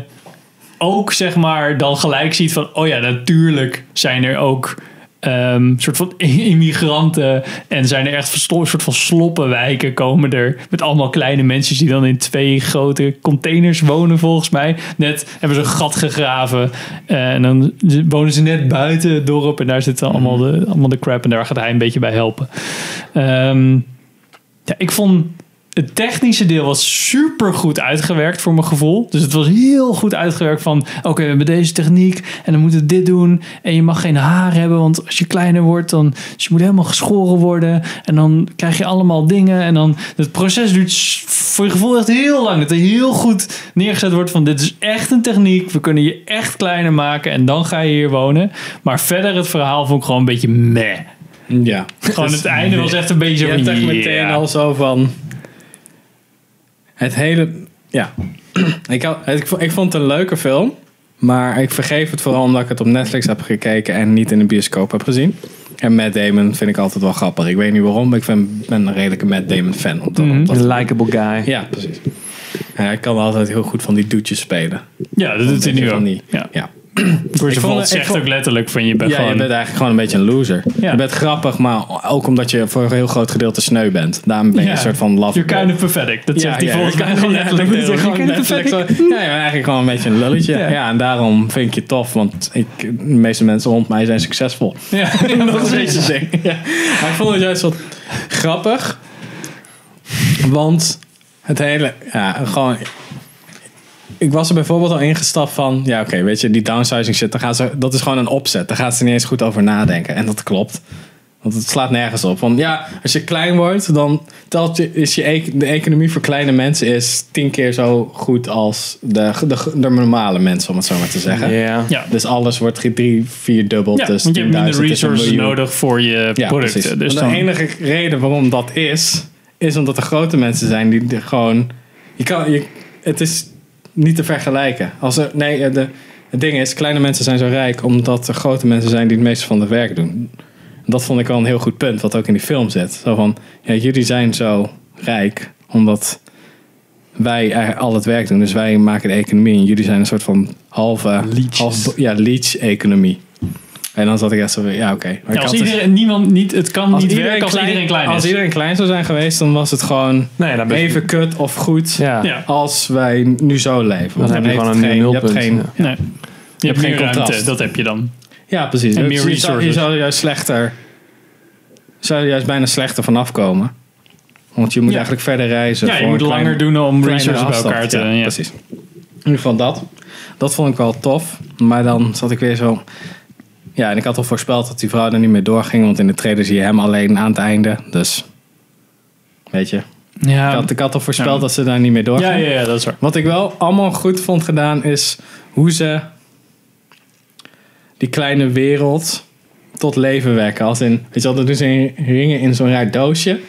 Speaker 1: ook zeg maar dan gelijk ziet van... Oh ja, natuurlijk zijn er ook... ehm, soort van immigranten en zijn er echt verstoord soort van sloppenwijken komen er met allemaal kleine mensen die dan in twee grote containers wonen volgens mij net hebben ze een gat gegraven eh, en dan wonen ze net buiten het dorp en daar zit dan allemaal de, allemaal de crap en daar gaat hij een beetje bij helpen Ehm, ja, ik vond het technische deel was super goed uitgewerkt voor mijn gevoel. Dus het was heel goed uitgewerkt van... oké, we hebben deze techniek en dan moeten we dit doen. En je mag geen haar hebben, want als je kleiner wordt... dan dus je moet helemaal geschoren worden. En dan krijg je allemaal dingen. En dan het proces duurt s- voor je gevoel echt heel lang. Dat er heel goed neergezet wordt van... dit is echt een techniek, we kunnen je echt kleiner maken... en dan ga je hier wonen. Maar verder het verhaal vond ik gewoon een beetje meh.
Speaker 2: Ja.
Speaker 1: Gewoon het einde was echt een beetje zo
Speaker 2: Je
Speaker 1: van,
Speaker 2: hebt echt meteen
Speaker 1: ja.
Speaker 2: al zo van... Het hele... Ja. ik, had, ik, vond- ik vond het een leuke film. Maar ik vergeef het vooral omdat ik het op Netflix heb gekeken... en niet in de bioscoop heb gezien. En Matt Damon vind ik altijd wel grappig. Ik weet niet waarom, maar ik ben, ben een redelijke Matt Damon fan. Op dat, op dat-
Speaker 1: Een likable guy.
Speaker 2: Ja, precies. En hij kan altijd heel goed van die doetjes spelen.
Speaker 1: Ja, dat doet hij nu ook.
Speaker 2: niet.
Speaker 1: Ja.
Speaker 2: ja.
Speaker 1: Chris
Speaker 2: Ik vond-
Speaker 1: Evans
Speaker 2: ik
Speaker 1: zegt
Speaker 2: vond-
Speaker 1: ook letterlijk van je bent
Speaker 2: ja,
Speaker 1: gewoon...
Speaker 2: je bent eigenlijk gewoon een beetje een loser. Je bent grappig, maar ook omdat je voor een heel groot gedeelte sneu bent. Daarom ben je
Speaker 1: Ja.
Speaker 2: een soort van love.
Speaker 1: You're kind of pathetic. Dat zegt hij volgens mij gewoon letterlijk
Speaker 2: Ja,
Speaker 1: tegen
Speaker 2: gewoon
Speaker 1: hem. You're kind of
Speaker 2: letterlijk
Speaker 1: pathetic.
Speaker 2: zo. ja, je bent eigenlijk gewoon een beetje een lulletje.
Speaker 1: Ja.
Speaker 2: Ja. en daarom vind ik je tof, want ik, de meeste mensen rond mij zijn succesvol.
Speaker 1: Ja,
Speaker 2: dat is een beetje ding. Ja. Maar ik vond het juist wat grappig, want het hele, ja, gewoon ik was er bijvoorbeeld al ingestapt van, ja oké, weet je, die downsizing shit, dan gaan ze, dat is gewoon een opzet. Daar gaan ze niet eens goed over nadenken. En dat klopt. Want het slaat nergens op. Want ja, als je klein wordt, dan telt je, is je, ec- de economie voor kleine mensen is tien keer zo goed als de, de, de normale mensen, om het zo maar te zeggen.
Speaker 1: Ja. Ja.
Speaker 2: Dus alles wordt ge- drie, vier dubbel.
Speaker 1: Ja,
Speaker 2: dus
Speaker 1: want je hebt
Speaker 2: 10.000 is
Speaker 1: minder
Speaker 2: een
Speaker 1: resources
Speaker 2: miljoen.
Speaker 1: nodig voor je
Speaker 2: Ja,
Speaker 1: producten.
Speaker 2: precies.
Speaker 1: Dus
Speaker 2: de
Speaker 1: dan-
Speaker 2: enige reden waarom dat is, is omdat er grote mensen zijn die er gewoon. Je kan, je, het is niet te vergelijken. Als er, nee, eh, de, het ding is, kleine mensen zijn zo rijk omdat er grote mensen zijn die het meeste van het werk doen. Dat vond ik wel een heel goed punt, wat ook in die film zit. Zo van, ja, jullie zijn zo rijk omdat wij eigenlijk al het werk doen. Dus wij maken de economie en jullie zijn een soort van halve... half- ja, leech-economie. En dan zat ik echt zo van, ja, oké. Maar ik
Speaker 1: Ja, als
Speaker 2: had dus-
Speaker 1: iedereen, niemand, niet, het kan
Speaker 2: als
Speaker 1: niet
Speaker 2: iedereen
Speaker 1: werken als
Speaker 2: klein-
Speaker 1: iedereen klein is.
Speaker 2: als iedereen klein zou zijn geweest, dan was het gewoon
Speaker 3: Nou
Speaker 2: even kut of goed
Speaker 1: Ja.
Speaker 2: als wij nu zo leven. Want
Speaker 1: heb je
Speaker 2: heeft
Speaker 1: gewoon
Speaker 2: het
Speaker 1: een
Speaker 2: geen,
Speaker 1: nulpunt,
Speaker 2: Je hebt geen,
Speaker 1: ja. Nee. Je hebt
Speaker 2: geen
Speaker 1: geen ruimte,
Speaker 2: contrast.
Speaker 1: dat heb je dan.
Speaker 2: ja, precies.
Speaker 1: En
Speaker 2: Dus
Speaker 1: meer
Speaker 2: je, zou, je
Speaker 1: resources.
Speaker 2: zou er juist slechter, zou er juist bijna slechter vanaf komen. Want je moet
Speaker 1: Ja.
Speaker 2: eigenlijk verder reizen.
Speaker 1: Ja, je
Speaker 2: voor
Speaker 1: moet
Speaker 2: een klein-
Speaker 1: langer doen om
Speaker 2: kleine
Speaker 1: resources bij elkaar te...
Speaker 2: afstand.
Speaker 1: ja.
Speaker 2: Precies. In ieder geval dat. Dat vond ik wel tof. Maar dan zat ik weer zo... Ja, en ik had al voorspeld dat die vrouw er niet meer doorging. Want in de trailer zie je hem alleen aan het einde. Dus, weet je.
Speaker 1: Ja.
Speaker 2: Ik, had, ik had al voorspeld
Speaker 1: Ja.
Speaker 2: dat ze daar niet meer doorging.
Speaker 1: Ja, ja, ja, dat is waar.
Speaker 2: Wat ik wel allemaal goed vond gedaan is hoe ze die kleine wereld tot leven wekken. Als in, weet je wel, dat doen ze in ringen in zo'n raar doosje.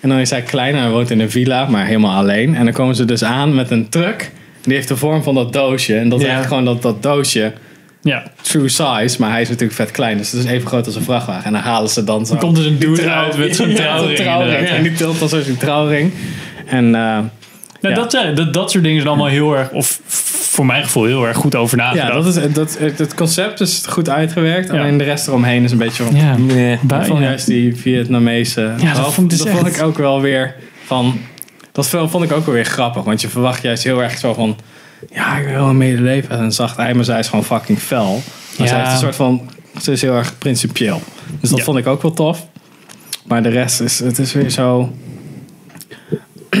Speaker 2: En dan is hij kleiner, hij woont in een villa, maar helemaal alleen. En dan komen ze dus aan met een truck. Die heeft de vorm van dat doosje. En dat is eigenlijk gewoon dat, dat doosje.
Speaker 1: Ja.
Speaker 2: True size, maar hij is natuurlijk vet klein. Dus het is even groot als een vrachtwagen. En dan halen ze dan zo.
Speaker 1: Dan komt dus een
Speaker 2: die
Speaker 1: dude
Speaker 2: trouw-
Speaker 1: uit met zo'n
Speaker 2: Ja,
Speaker 1: trouwring, inderdaad, ja.
Speaker 2: En die tilt dan zo zijn trouwring. En eh,
Speaker 1: Nou,
Speaker 2: ja.
Speaker 1: dat, zijn- dat, dat soort dingen zijn allemaal heel erg, of voor mijn gevoel heel erg goed over nagedacht.
Speaker 2: Ja, dat is, dat, het concept is goed uitgewerkt. Alleen de rest eromheen is een beetje van...
Speaker 1: Ja.
Speaker 2: Nee,
Speaker 1: Bui-
Speaker 2: van
Speaker 1: ja.
Speaker 2: juist die Vietnamese...
Speaker 1: Ja, dat vond ik dus echt-
Speaker 2: ik ook wel weer van... Dat film vond ik ook wel weer grappig. Want je verwacht juist heel erg zo van... Ja, ik wil wel medeleven. En dan zacht ei, maar zij is gewoon fucking fel.
Speaker 1: Ja.
Speaker 2: Maar zij heeft een soort van... Ze is heel erg principieel. Dus dat
Speaker 1: Ja.
Speaker 2: vond ik ook wel tof. Maar de rest is... Het is weer zo...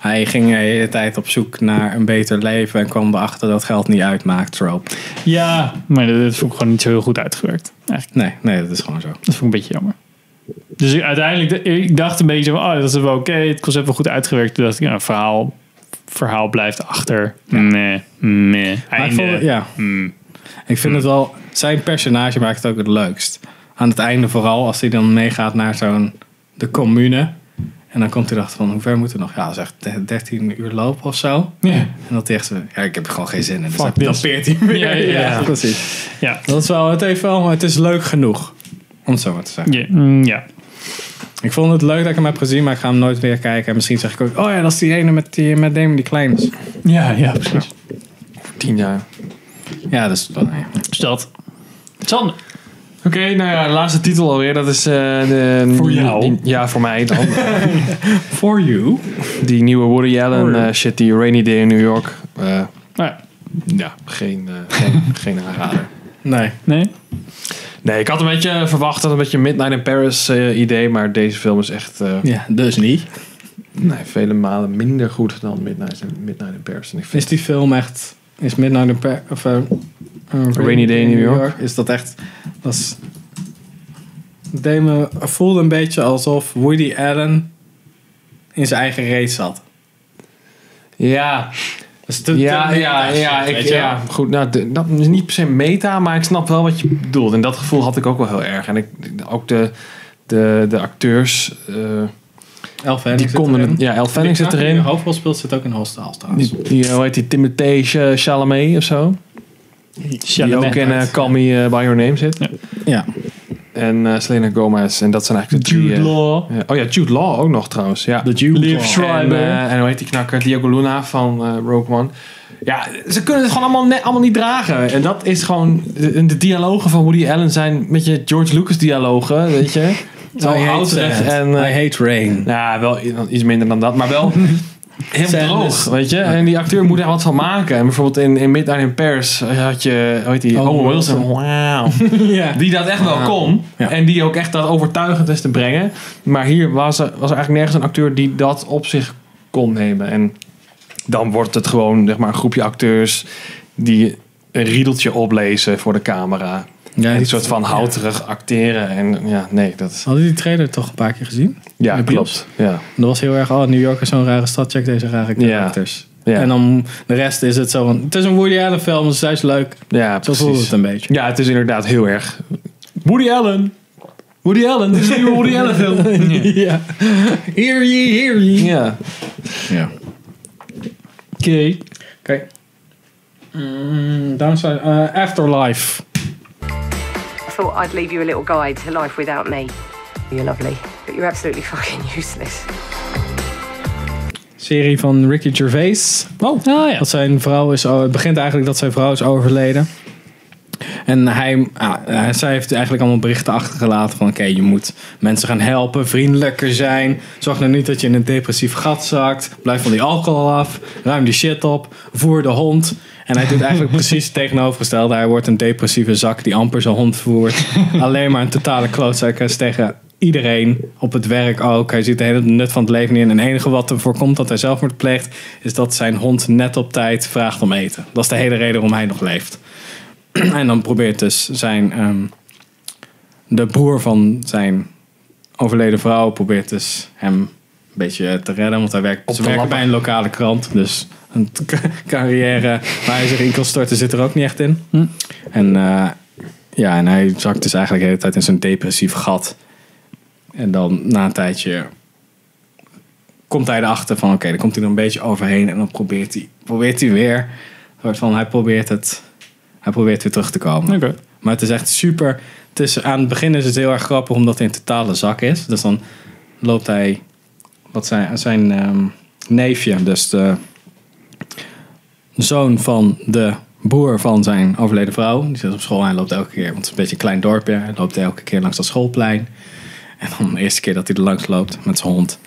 Speaker 2: Hij ging de hele tijd op zoek naar een beter leven en kwam erachter dat geld niet uitmaakt, trope.
Speaker 1: Ja, maar dat, dat vond ik gewoon niet zo heel goed uitgewerkt. Eigenlijk.
Speaker 2: Nee, nee, dat is gewoon zo.
Speaker 1: Dat vond ik een beetje jammer. Dus ik- uiteindelijk, ik dacht een beetje van, oh, dat is wel oké, het concept wel goed uitgewerkt. Toen dacht ik, nou, verhaal, verhaal blijft achter. Nee, nee.
Speaker 2: Maar ik
Speaker 1: Einde. Hmm.
Speaker 2: vond- ja. Ik vind het wel, zijn personage maakt het ook het leukst. Aan het einde vooral, als hij dan meegaat naar zo'n de commune. En dan komt hij erachter van, hoe ver moeten we nog? Ja, zegt 13 uur lopen of zo.
Speaker 1: Ja.
Speaker 2: En dat hij echt zo, ja, ik heb er gewoon geen zin in. Dus
Speaker 1: Fuck
Speaker 2: dan- dan
Speaker 1: this.
Speaker 2: peert hij weer.
Speaker 1: Ja, ja, ja.
Speaker 2: precies.
Speaker 1: Ja.
Speaker 2: Dat is wel, het heeft wel, het is leuk genoeg. Om het zo maar te zeggen.
Speaker 1: Ja. mm, ja.
Speaker 2: Ik vond het leuk dat ik hem heb gezien, maar ik ga hem nooit weer kijken. En misschien zeg ik ook, oh ja, dat is die ene met, die, met Damon die klein is.
Speaker 1: Ja, ja, precies.
Speaker 2: Tien jaar. Ja, dat is wel nee.
Speaker 1: Dus dat. Sander.
Speaker 3: Oké, nou ja, de laatste titel alweer. Dat is eh, de... Voor jou? ja, voor mij dan.
Speaker 2: For you.
Speaker 3: Die nieuwe Woody Allen eh, shit, die Rainy Day in New York. Eh,
Speaker 1: ja.
Speaker 3: geen, eh, geen, geen aanrader.
Speaker 2: Nee.
Speaker 1: Nee?
Speaker 3: Nee, ik had een beetje verwacht dat een beetje Midnight in Paris eh, idee, maar deze film is echt... eh,
Speaker 2: Ja, dus niet.
Speaker 3: Nee, vele malen minder goed dan Midnight in, Midnight in Paris. En ik vind
Speaker 2: Is die film echt, is Midnight in Pa- of, eh, eh,
Speaker 3: Rainy Day in New York.
Speaker 2: Is dat echt, dat is, het deed me, het voelde een beetje alsof Woody Allen in zijn eigen race zat.
Speaker 3: Ja. ja, ja, ja, ik, ja, goed. Nou, de- dat is niet per se meta, maar ik snap wel wat je bedoelt. En dat gevoel had ik ook wel heel erg. En ik, ook de, de, de acteurs. eh,
Speaker 2: Elf
Speaker 3: die konden het- Ja, El Fanning zit
Speaker 2: De
Speaker 3: erin.
Speaker 2: hoofdrol speelt zit ook in Hostiles trouwens.
Speaker 3: Die, die, hoe heet die? Timothée Ch- Chalamet of zo. Die ook in eh, Call Me eh, By Your Name zit.
Speaker 2: Ja.
Speaker 3: En eh, Selena Gomez. En dat zijn eigenlijk de drie...
Speaker 1: Jude
Speaker 3: eh,
Speaker 1: Law.
Speaker 3: ja. Oh ja, Jude Law ook nog trouwens. Ja. De
Speaker 2: Jude
Speaker 1: Liv Law. Schreiber.
Speaker 3: En, eh, en hoe heet die knakker? Diego Luna van eh, Rogue One. Ja, ze kunnen het gewoon allemaal, net, allemaal niet dragen. En dat is gewoon... De, de dialogen van Woody Allen zijn met je George Lucas dialogen, weet je. Zo
Speaker 2: I hate
Speaker 3: houterig
Speaker 2: sand.
Speaker 3: en... eh,
Speaker 2: I hate rain.
Speaker 3: ja, wel i- iets minder dan dat, maar wel heel
Speaker 2: Sand
Speaker 3: eh, droog,
Speaker 2: is-
Speaker 3: weet je. En die acteur moet er wat van maken. En bijvoorbeeld in, in Midnight in Paris eh, had je, hoe heet die,
Speaker 2: Owen
Speaker 3: Owen Wilson.
Speaker 2: Wilson.
Speaker 3: Wauw.
Speaker 2: ja.
Speaker 3: Die dat echt wel kon. En die ook echt dat overtuigend is te brengen. Maar hier was er, was er eigenlijk nergens een acteur die dat op zich kon nemen. En dan wordt het gewoon zeg maar, een groepje acteurs die een riedeltje oplezen voor de camera.
Speaker 2: Ja,
Speaker 3: Ja, die
Speaker 2: dat-
Speaker 3: soort van houterig acteren. En ja, nee, dat is...
Speaker 2: Hadden die trailer toch een paar keer gezien?
Speaker 3: Ja,
Speaker 2: In de bios?
Speaker 3: klopt. Ja.
Speaker 2: Dat was heel erg, oh, New York is zo'n rare stad, check deze rare characters.
Speaker 3: Ja.
Speaker 2: En dan de rest is het zo van, het is een Woody Allen film, dus hij is leuk.
Speaker 3: Ja,
Speaker 2: Zo voelde het een beetje.
Speaker 3: Ja, het is inderdaad heel erg. Woody Allen. Woody Allen. Dit is een nieuwe Woody Allen film.
Speaker 2: ja. Hear ye, hear ye.
Speaker 3: Ja.
Speaker 2: Ja.
Speaker 1: Oké.
Speaker 2: Oké. Mm, downside, eh, afterlife.
Speaker 16: I thought I'd leave you a little guide to life without me. You're lovely, but you're absolutely fucking useless.
Speaker 2: Serie van Ricky Gervais.
Speaker 1: Oh, ah, ja.
Speaker 2: Dat zijn vrouw is, het begint eigenlijk dat zijn vrouw is overleden. En hij, ah, eh, zij heeft eigenlijk allemaal berichten achtergelaten van... oké, je moet mensen gaan helpen, vriendelijker zijn. Zorg nou niet dat je in een depressief gat zakt. Blijf van die alcohol af. Ruim die shit op. Voer de hond. En hij doet eigenlijk precies het tegenovergestelde. Hij wordt een depressieve zak die amper zijn hond voert. Alleen maar een totale klootzak is tegen iedereen. Op het werk ook. Hij ziet de hele nut van het leven niet in. En het enige wat er voorkomt dat hij zelfmoord pleegt... is dat zijn hond net op tijd vraagt om eten. Dat is de hele reden waarom hij nog leeft. en dan probeert dus zijn... ehm, de broer van zijn overleden vrouw probeert dus hem een beetje te redden. Want hij werkt, ze
Speaker 3: de
Speaker 2: werken
Speaker 3: lampen.
Speaker 2: bij een lokale krant. Dus een ca- carrière waar hij zich in kan storten zit er ook niet echt in. En, eh, ja, en hij zakt dus eigenlijk de hele tijd in zo'n depressief gat. En dan na een tijdje komt hij erachter van... Oké, dan komt hij er een beetje overheen. En dan probeert hij, probeert hij weer... Een soort van, hij probeert het... Hij probeert weer terug te komen.
Speaker 1: Oké.
Speaker 2: Maar het is echt super. Het is, aan het begin is het heel erg grappig omdat hij een totale zak is. Dus dan loopt hij. Wat zijn, zijn ehm, neefje, dus de zoon van de broer van zijn overleden vrouw. Die zit op school en hij loopt elke keer, want het is een beetje een klein dorpje. Hij loopt elke keer langs dat schoolplein. En dan de eerste keer dat hij er langs loopt met zijn hond.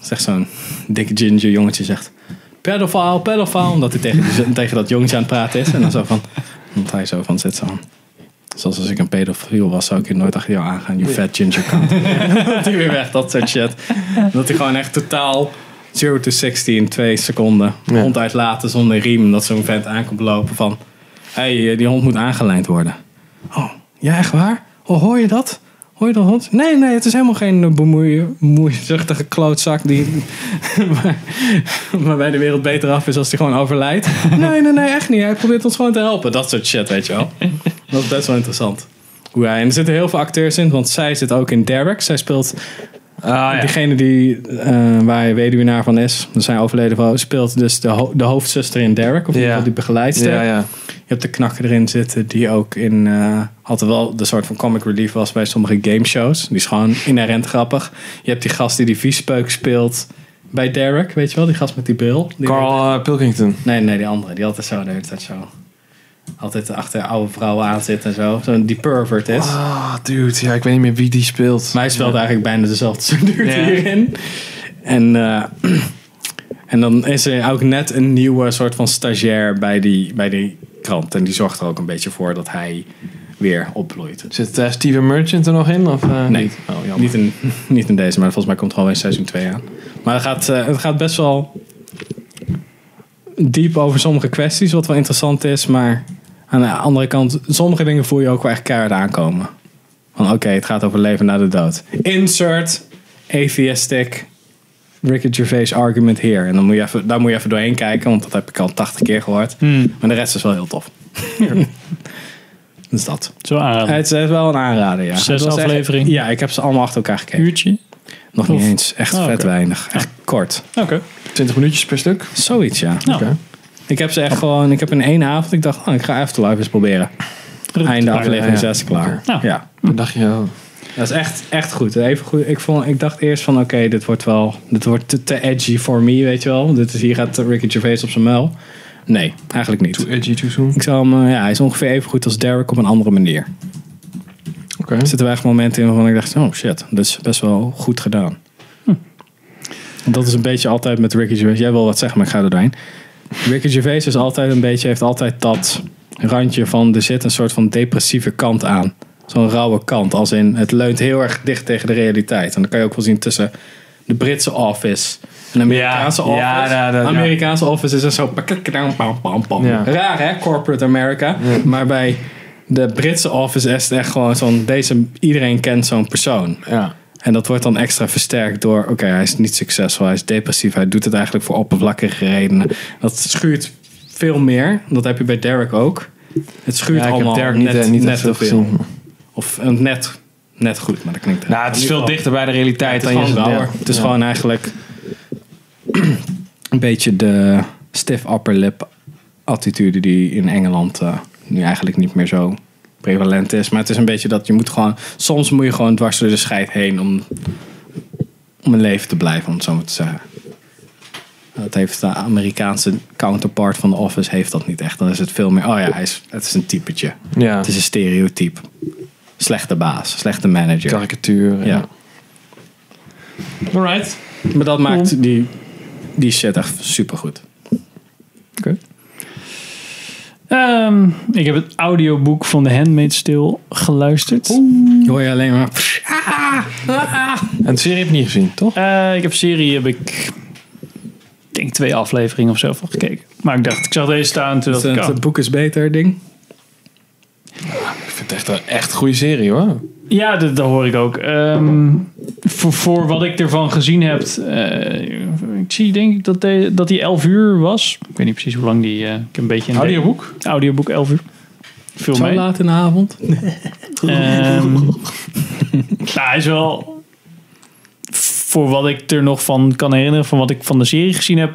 Speaker 2: Zegt zo'n dikke ginger jongetje zegt... Pedophile, pedophile. Omdat hij tegen, die- tegen dat jongetje aan het praten is. En dan zo van... Omdat hij zo van zit zo van... Zoals als ik een pedofiel was, zou ik je nooit achter jou aangaan. You fat ginger cunt. dat hij weer weg, dat soort shit. Dat hij gewoon echt totaal 0 to 60 in twee seconden hond uitlaten zonder riem. Dat zo'n vent aankomt lopen van... hey, eh, die hond moet aangelijnd worden. Oh, ja, echt waar? Oh, hoor je dat? Hoor je dat hond? Nee, nee, het is helemaal geen eh, bemoeien, bemoeizuchtige klootzak die waar- waarbij de wereld beter af is als die gewoon overlijdt. Nee, nee, nee, echt niet. Hij probeert ons gewoon te helpen. Dat soort shit, weet je wel. Dat is best wel interessant. hoe hij. En er zitten heel veel acteurs in, want zij zit ook in Derek. Zij speelt
Speaker 3: Ah,
Speaker 2: eh, diegene die, eh, waar hij weduwnaar van is. Dus zijn overleden vrouw speelt dus de, ho- de hoofdzuster in Derek. Of in ieder geval die begeleidster.
Speaker 3: Ja, ja.
Speaker 2: Je hebt de knakker erin zitten die ook in... eh altijd wel de soort van comic relief was bij sommige gameshows. Die is gewoon inherent grappig. Je hebt die gast die die viespeuk speelt bij Derek, weet je wel? Die gast met die bril. Die
Speaker 3: Carl eh, Pilkington.
Speaker 2: Nee, nee, die andere. Die altijd zo, de hele tijd zo. Altijd achter oude vrouwen aan zit en zo. Zo'n die pervert is.
Speaker 3: Ah, dude. Ja, ik weet niet meer wie die speelt.
Speaker 2: Maar hij speelt eigenlijk bijna dezelfde soort dude
Speaker 3: Ja.
Speaker 2: hierin. En, eh, en dan is er ook net een nieuwe soort van stagiair bij die, bij die krant. En die zorgt er ook een beetje voor dat hij weer opbloeit.
Speaker 3: Zit eh, Steven Merchant er nog in? Of, eh,
Speaker 2: Nee,
Speaker 3: niet?
Speaker 2: niet, in, niet in deze, maar volgens mij komt er alweer seizoen 2 aan. Maar het gaat, eh, het gaat best wel diep over sommige kwesties, wat wel interessant is. Maar aan de andere kant, sommige dingen voel je ook wel echt keihard aankomen. Van oké, het gaat over leven na de dood. Insert atheistic Ricky Gervais argument here. En dan moet je even, daar moet je even doorheen kijken, want dat heb ik al 80 keer gehoord.
Speaker 3: Hmm.
Speaker 2: Maar de rest is wel heel tof. Dus dat.
Speaker 1: Zo aanraden.
Speaker 2: Het is wel een aanrader, ja.
Speaker 1: Zes
Speaker 2: Het was echt-
Speaker 1: afleveringen?
Speaker 2: ja, ik heb ze allemaal achter elkaar gekeken.
Speaker 1: Uurtje?
Speaker 2: Nog niet
Speaker 1: Of-
Speaker 2: eens. Echt
Speaker 1: Oh,
Speaker 2: vet
Speaker 1: oké.
Speaker 2: weinig. Echt kort.
Speaker 1: Oké.
Speaker 3: 20 minuutjes per stuk?
Speaker 2: Zoiets, ja.
Speaker 1: Nou. Oké.
Speaker 2: Ik heb ze echt gewoon... Ik heb in één avond... Ik dacht, oh, ik ga Afterlife eens proberen. Einde aflevering 6 klaar. Ja.
Speaker 3: Dan dacht je, oh,
Speaker 2: Dat is echt, echt goed. Even goed. Ik, vond, ik dacht eerst van, oké, dit wordt wel... Dit wordt te, te edgy voor me, weet je wel. Dit is, hier gaat Ricky Gervais op zijn muil. Nee, eigenlijk niet. Too
Speaker 3: edgy, too soon?
Speaker 2: Ik zou hem... eh, Ja, hij is ongeveer even goed als Derek op een andere manier.
Speaker 3: Oké.
Speaker 2: Er zitten wel echt momenten in waarvan ik dacht, oh shit, dat is best wel goed gedaan. Dat is een beetje altijd met Ricky Gervais. Jij wil wat zeggen, maar ik ga er doorheen. Ricky Gervais is altijd een beetje, heeft altijd dat randje van er zit een soort van depressieve kant aan. Zo'n rauwe kant, als in het leunt heel erg dicht tegen de realiteit. En dat kan je ook wel zien tussen de Britse office en de Amerikaanse
Speaker 3: Ja,
Speaker 2: office.
Speaker 3: ja, daar- daar- ja.
Speaker 2: Amerikaanse office is er zo pakakadam, nou, pam, pam, pam.
Speaker 3: Ja.
Speaker 2: Raar hè, corporate America. Maar bij de Britse office is het echt gewoon zo'n, deze, iedereen kent zo'n persoon. En dat wordt dan extra versterkt door, oké, hij is niet succesvol, hij is depressief, hij doet het eigenlijk voor oppervlakkige redenen. Dat schuurt veel meer, dat heb je bij Derek ook. Het schuurt
Speaker 3: Ja, ik heb
Speaker 2: allemaal
Speaker 3: Derek niet,
Speaker 2: net,
Speaker 3: eh, niet
Speaker 2: net
Speaker 3: echt
Speaker 2: te
Speaker 3: veel
Speaker 2: veel.
Speaker 3: gezien.
Speaker 2: Of eh, net, net goed, maar dat klinkt...
Speaker 3: Nou, het is veel dichter bij de realiteit
Speaker 2: Ja, het
Speaker 3: dan
Speaker 2: is
Speaker 3: je
Speaker 2: gewoon
Speaker 3: zegt,
Speaker 2: rauwer.
Speaker 3: ja.
Speaker 2: Het is
Speaker 3: Ja.
Speaker 2: gewoon eigenlijk een beetje de stiff upper lip attitude die in Engeland eh, nu eigenlijk niet meer zo prevalent is. Maar het is een beetje dat je moet gewoon, soms moet je gewoon dwars door de scheid heen om, om een leven te blijven, om het zo maar te zeggen. Dat heeft de Amerikaanse counterpart van The Office heeft dat niet echt. Dan is het veel meer, oh ja, hij is, het is een typetje.
Speaker 3: Ja.
Speaker 2: Het is een stereotype. Slechte baas, slechte manager.
Speaker 3: Karikatuur.
Speaker 2: Ja.
Speaker 3: Alright.
Speaker 2: Maar dat maakt die, die shit echt supergoed.
Speaker 1: Ehm, ik heb het audioboek van The Handmaid's Tale geluisterd.
Speaker 2: Hoor je alleen maar...
Speaker 3: En de serie heb je niet gezien, toch?
Speaker 1: Eh, ik heb serie, heb ik denk twee afleveringen of zo van gekeken. Maar ik dacht, ik zag deze staan toen
Speaker 2: Het,
Speaker 1: dacht ik, oh.
Speaker 2: het boek is beter, ding.
Speaker 3: Ik vind het echt een echt goede serie, hoor.
Speaker 1: Ja, dat, dat hoor ik ook. Ehm, voor, voor wat ik ervan gezien heb, eh, ik zie denk ik dat, de- dat die 11 uur was. Ik weet niet precies hoe lang die. eh, ik heb een beetje een
Speaker 3: Audioboek?
Speaker 1: Audioboek 11 uur. Veel
Speaker 2: Zo
Speaker 1: mee.
Speaker 2: laat in de avond.
Speaker 1: Ehm, nou, hij is wel. Voor wat ik er nog van kan herinneren, van wat ik van de serie gezien heb,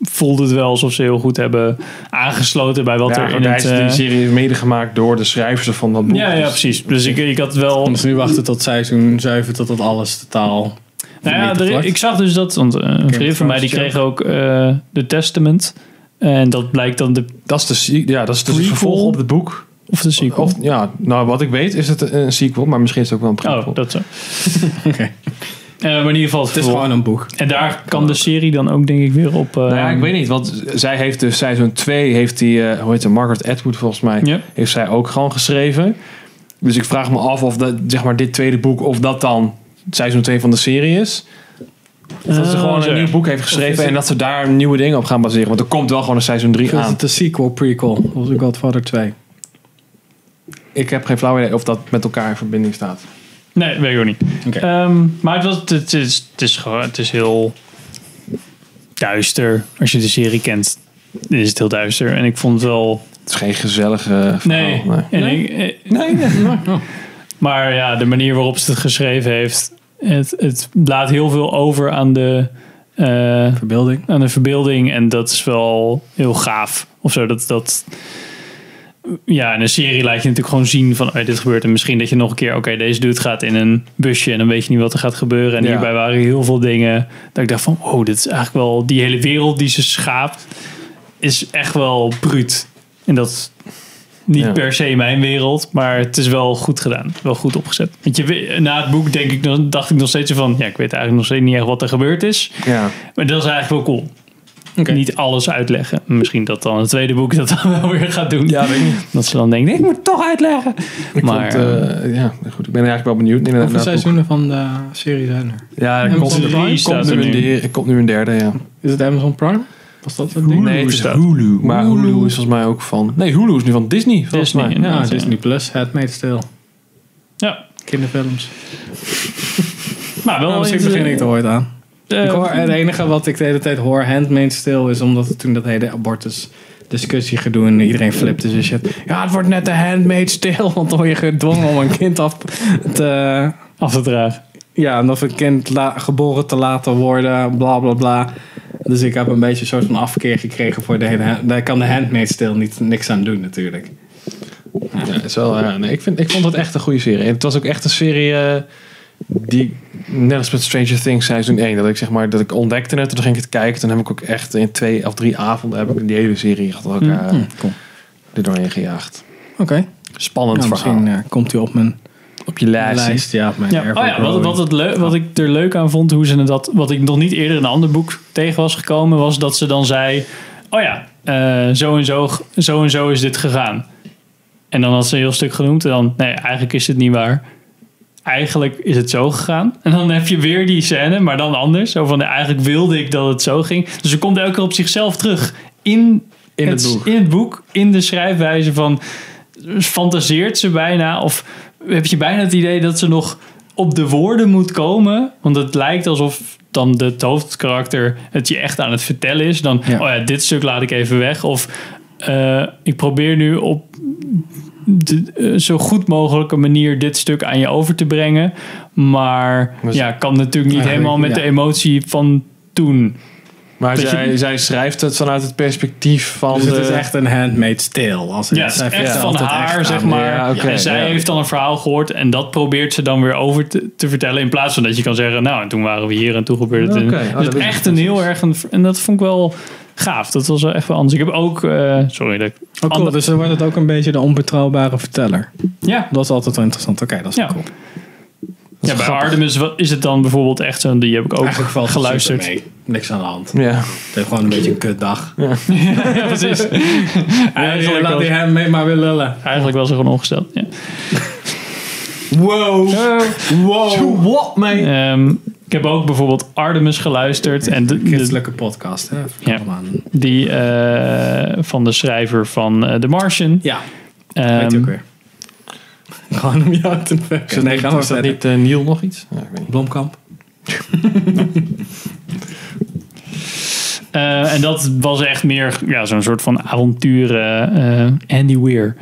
Speaker 1: voelde het wel alsof ze heel goed hebben aangesloten bij wat
Speaker 3: ja,
Speaker 1: er
Speaker 3: goed,
Speaker 1: in
Speaker 3: hij
Speaker 1: het.
Speaker 3: is- die
Speaker 1: eh,
Speaker 3: serie is medegemaakt door de schrijvers van dat boek.
Speaker 1: ja, ja, precies. Dus ik, ik had wel.
Speaker 2: Dus nu wachten tot seizoen 7, totdat alles totaal...
Speaker 1: Nou ja,
Speaker 2: vernietigd
Speaker 1: er-
Speaker 2: wordt.
Speaker 1: ik zag dus dat, want eh, een vriend van
Speaker 2: Thrones
Speaker 1: mij die
Speaker 2: show.
Speaker 1: kreeg ook eh The Testament. En dat blijkt dan de,
Speaker 3: Dat is, de, se- ja, dat is dus het
Speaker 1: Prequel?
Speaker 3: vervolg op het boek.
Speaker 1: of de sequel.
Speaker 3: Of, ja, nou, wat ik weet is het een een sequel, maar misschien is het ook wel een prequel.
Speaker 1: oh, dat zo.
Speaker 2: Oké.
Speaker 1: Eh, maar in ieder geval het
Speaker 2: Het is
Speaker 1: vervolg.
Speaker 2: gewoon een boek.
Speaker 1: En daar kan de serie dan ook denk ik weer op... eh,
Speaker 3: Nou ja, ik weet niet, want zij heeft dus seizoen 2, heeft die, eh, hoe heet ze, Margaret Atwood volgens mij,
Speaker 1: Ja.
Speaker 3: heeft zij ook gewoon geschreven. Dus ik vraag me af of dat, zeg maar, dit tweede boek, of dat dan seizoen 2 van de serie is. Of dat ze
Speaker 1: Oh,
Speaker 3: gewoon
Speaker 1: zo.
Speaker 3: een nieuw boek heeft
Speaker 2: Of is
Speaker 3: geschreven
Speaker 2: het-
Speaker 3: en dat ze daar nieuwe dingen op gaan baseren. Want er komt wel gewoon een seizoen 3
Speaker 2: Ik
Speaker 3: aan.
Speaker 2: het een sequel, prequel. Of The Godfather 2.
Speaker 3: Ik heb geen flauw idee of dat met elkaar in verbinding staat.
Speaker 1: Nee, weet ik ook niet.
Speaker 2: Oké.
Speaker 1: Ehm, maar het, was, het, is, het, is gewoon, het is heel duister. Als je de serie kent, is het heel duister. En ik vond het wel...
Speaker 3: Het is geen gezellige verhaal.
Speaker 1: Nee. En ik, eh,
Speaker 3: Nee, nee.
Speaker 1: Maar ja, de manier waarop ze het geschreven heeft, het, het laat heel veel over aan de, eh,
Speaker 2: verbeelding.
Speaker 1: aan de verbeelding. En dat is wel heel gaaf. Of zo, dat, dat, ja, in een serie laat je natuurlijk gewoon zien van oh, dit gebeurt. En misschien dat je nog een keer, oké, deze dude gaat in een busje en dan weet je niet wat er gaat gebeuren. En
Speaker 2: Ja.
Speaker 1: hierbij waren heel veel dingen dat ik dacht van, oh, dit is eigenlijk wel, die hele wereld die ze schaapt, is echt wel bruut. En dat is niet
Speaker 2: Ja.
Speaker 1: per se mijn wereld, maar het is wel goed gedaan. Wel goed opgezet. Want je, weet- na het boek denk ik, nog- dacht ik nog steeds van, ja, ik weet eigenlijk nog steeds niet echt wat er gebeurd is.
Speaker 3: Ja.
Speaker 1: Maar dat is eigenlijk wel cool. Niet alles uitleggen. Misschien dat dan het tweede boek dat dan wel weer gaat doen. Ja, Dat ze dan denkt, ik moet het toch uitleggen.
Speaker 3: Ik
Speaker 1: maar
Speaker 3: vond, eh, ja, goed, ik ben eigenlijk wel benieuwd. Inderdaad,
Speaker 2: Hoeveel
Speaker 3: naar het boek.
Speaker 2: seizoenen van de serie zijn er?
Speaker 3: Ja, er
Speaker 2: Amazon
Speaker 3: komt,
Speaker 2: Prime
Speaker 3: komt
Speaker 2: staat
Speaker 3: nu
Speaker 2: er
Speaker 3: een
Speaker 2: nu.
Speaker 3: de- er komt nu een derde, ja.
Speaker 2: Is het Amazon Prime? Was dat het ding?
Speaker 3: nee, het is Hulu. Maar Hulu. is volgens mij ook van... Nee, Hulu is nu van Disney, volgens
Speaker 2: Disney,
Speaker 3: mij.
Speaker 2: ja, Disney Plus, Handmaid's Tale.
Speaker 1: Ja.
Speaker 2: Kinderfilms.
Speaker 1: Maar wel
Speaker 2: Nou, misschien begin ik er ooit aan.
Speaker 1: Eh,
Speaker 2: ik hoor, het enige wat ik de hele tijd hoor, Handmaid's Tale, is omdat het toen dat hele abortus discussie gedoe en iedereen flipte dus shit. Ja, het wordt net de Handmaid's Tale, want dan word je gedwongen om een kind af te...
Speaker 1: Af te dragen.
Speaker 2: Ja, en of een kind la- geboren te laten worden, bla bla bla. Dus ik heb een beetje een soort van afkeer gekregen voor de hele... hand- Daar kan de Handmaid's Tale niet, niks aan doen natuurlijk.
Speaker 3: Ja, het is wel, ja, nee, ik, vind, ik vond het echt een goede serie. En het was ook echt een serie eh, die, net als met Stranger Things seizoen 1, dat ik zeg maar, dat ik ontdekte het en toen ging ik het kijken. Toen heb ik ook echt in twee of drie avonden heb ik die hele serie achter elkaar
Speaker 2: Mhm,
Speaker 3: er doorheen gejaagd.
Speaker 2: Oké.
Speaker 3: Spannend
Speaker 2: Ja,
Speaker 3: verhaal.
Speaker 2: Nou, misschien eh, komt hij op mijn
Speaker 3: Op je lijst.
Speaker 2: lijst, ja, op mijn
Speaker 1: Ja.
Speaker 2: Ergo
Speaker 1: Oh ja, wat,
Speaker 2: Growing.
Speaker 1: wat, het leu- wat ik er leuk aan vond, hoe ze dat, wat ik nog niet eerder in een ander boek tegen was gekomen, was dat ze dan zei: Oh ja, eh, zo, en zo, zo en zo is dit gegaan. En dan had ze een heel stuk genoemd en dan: Nee, eigenlijk is dit niet waar. Eigenlijk is het zo gegaan. En dan heb je weer die scène, maar dan anders. Zo van, nee, eigenlijk wilde ik dat het zo ging. Dus ze komt elke keer op zichzelf terug. In,
Speaker 3: In het boek.
Speaker 1: in het boek, in de schrijfwijze van... Fantaseert ze bijna of heb je bijna het idee dat ze nog op de woorden moet komen? Want het lijkt alsof dan de- het hoofdkarakter het je echt aan het vertellen is. Dan, oh ja, dit stuk laat ik even weg. Of eh, ik probeer nu op de- eh, zo goed mogelijke manier dit stuk aan je over te brengen. Maar
Speaker 3: Maar ze-
Speaker 1: ja, kan natuurlijk niet
Speaker 3: Eigenlijk,
Speaker 1: helemaal met
Speaker 3: ja.
Speaker 1: de emotie van toen.
Speaker 3: Maar
Speaker 1: Dat
Speaker 3: zij,
Speaker 1: je-
Speaker 3: zij schrijft het vanuit het perspectief van...
Speaker 2: Dus het
Speaker 3: de-
Speaker 2: is echt een handmade tale. Als in,
Speaker 1: Ja, het is
Speaker 2: zij
Speaker 1: echt
Speaker 2: vertelt
Speaker 1: van
Speaker 2: het
Speaker 1: haar,
Speaker 2: echt
Speaker 1: zeg
Speaker 2: aan-
Speaker 1: maar.
Speaker 2: Ja, oké,
Speaker 1: en zij
Speaker 2: ja.
Speaker 1: heeft dan een verhaal gehoord en dat probeert ze dan weer over te, te vertellen. In plaats van dat je kan zeggen, nou, en toen waren we hier en toen gebeurde het.
Speaker 3: Oké,
Speaker 1: en,
Speaker 3: oh,
Speaker 1: dus
Speaker 3: dat wist ik
Speaker 1: echt een heel erg... Een, en dat vond ik wel gaaf. Dat was wel echt wel anders. Ik heb ook... eh, sorry, dat ik...
Speaker 2: Oh, cool.
Speaker 1: ander-
Speaker 2: Dus dan wordt het ook een beetje de onbetrouwbare verteller.
Speaker 1: Ja.
Speaker 2: Dat is altijd wel interessant. Oké, dat is
Speaker 1: Ja.
Speaker 2: cool.
Speaker 1: ja, bij Artemis wa- is het dan bijvoorbeeld echt zo'n... Die heb ik ook
Speaker 2: Eigenlijk valt het
Speaker 1: geluisterd.
Speaker 2: super mee. Niks aan de hand.
Speaker 3: Ja.
Speaker 2: Het heeft gewoon een beetje een kutdag. Ja,
Speaker 1: ja precies.
Speaker 2: Eigenlijk laat
Speaker 1: was-
Speaker 2: die hem mee maar weer lullen.
Speaker 1: Eigenlijk was ze gewoon ongesteld. Ja.
Speaker 2: Wow.
Speaker 3: Wow. What, man?
Speaker 1: Ehm, ik heb ook bijvoorbeeld Artemis geluisterd. En de, de-
Speaker 2: Christelijke podcast, hè?
Speaker 1: Ja. Die eh, van de schrijver van eh, The Martian.
Speaker 2: Ja.
Speaker 1: Ehm,
Speaker 2: Weet je ook weer. Gewoon om jou te fucken. Nee, gaan we
Speaker 3: is dat
Speaker 2: verder.
Speaker 3: niet eh, Neil nog iets? Ja, ik weet niet.
Speaker 2: Blomkamp.
Speaker 1: eh, en dat was echt meer ja, zo'n soort van avonturen. eh, Andy Weir.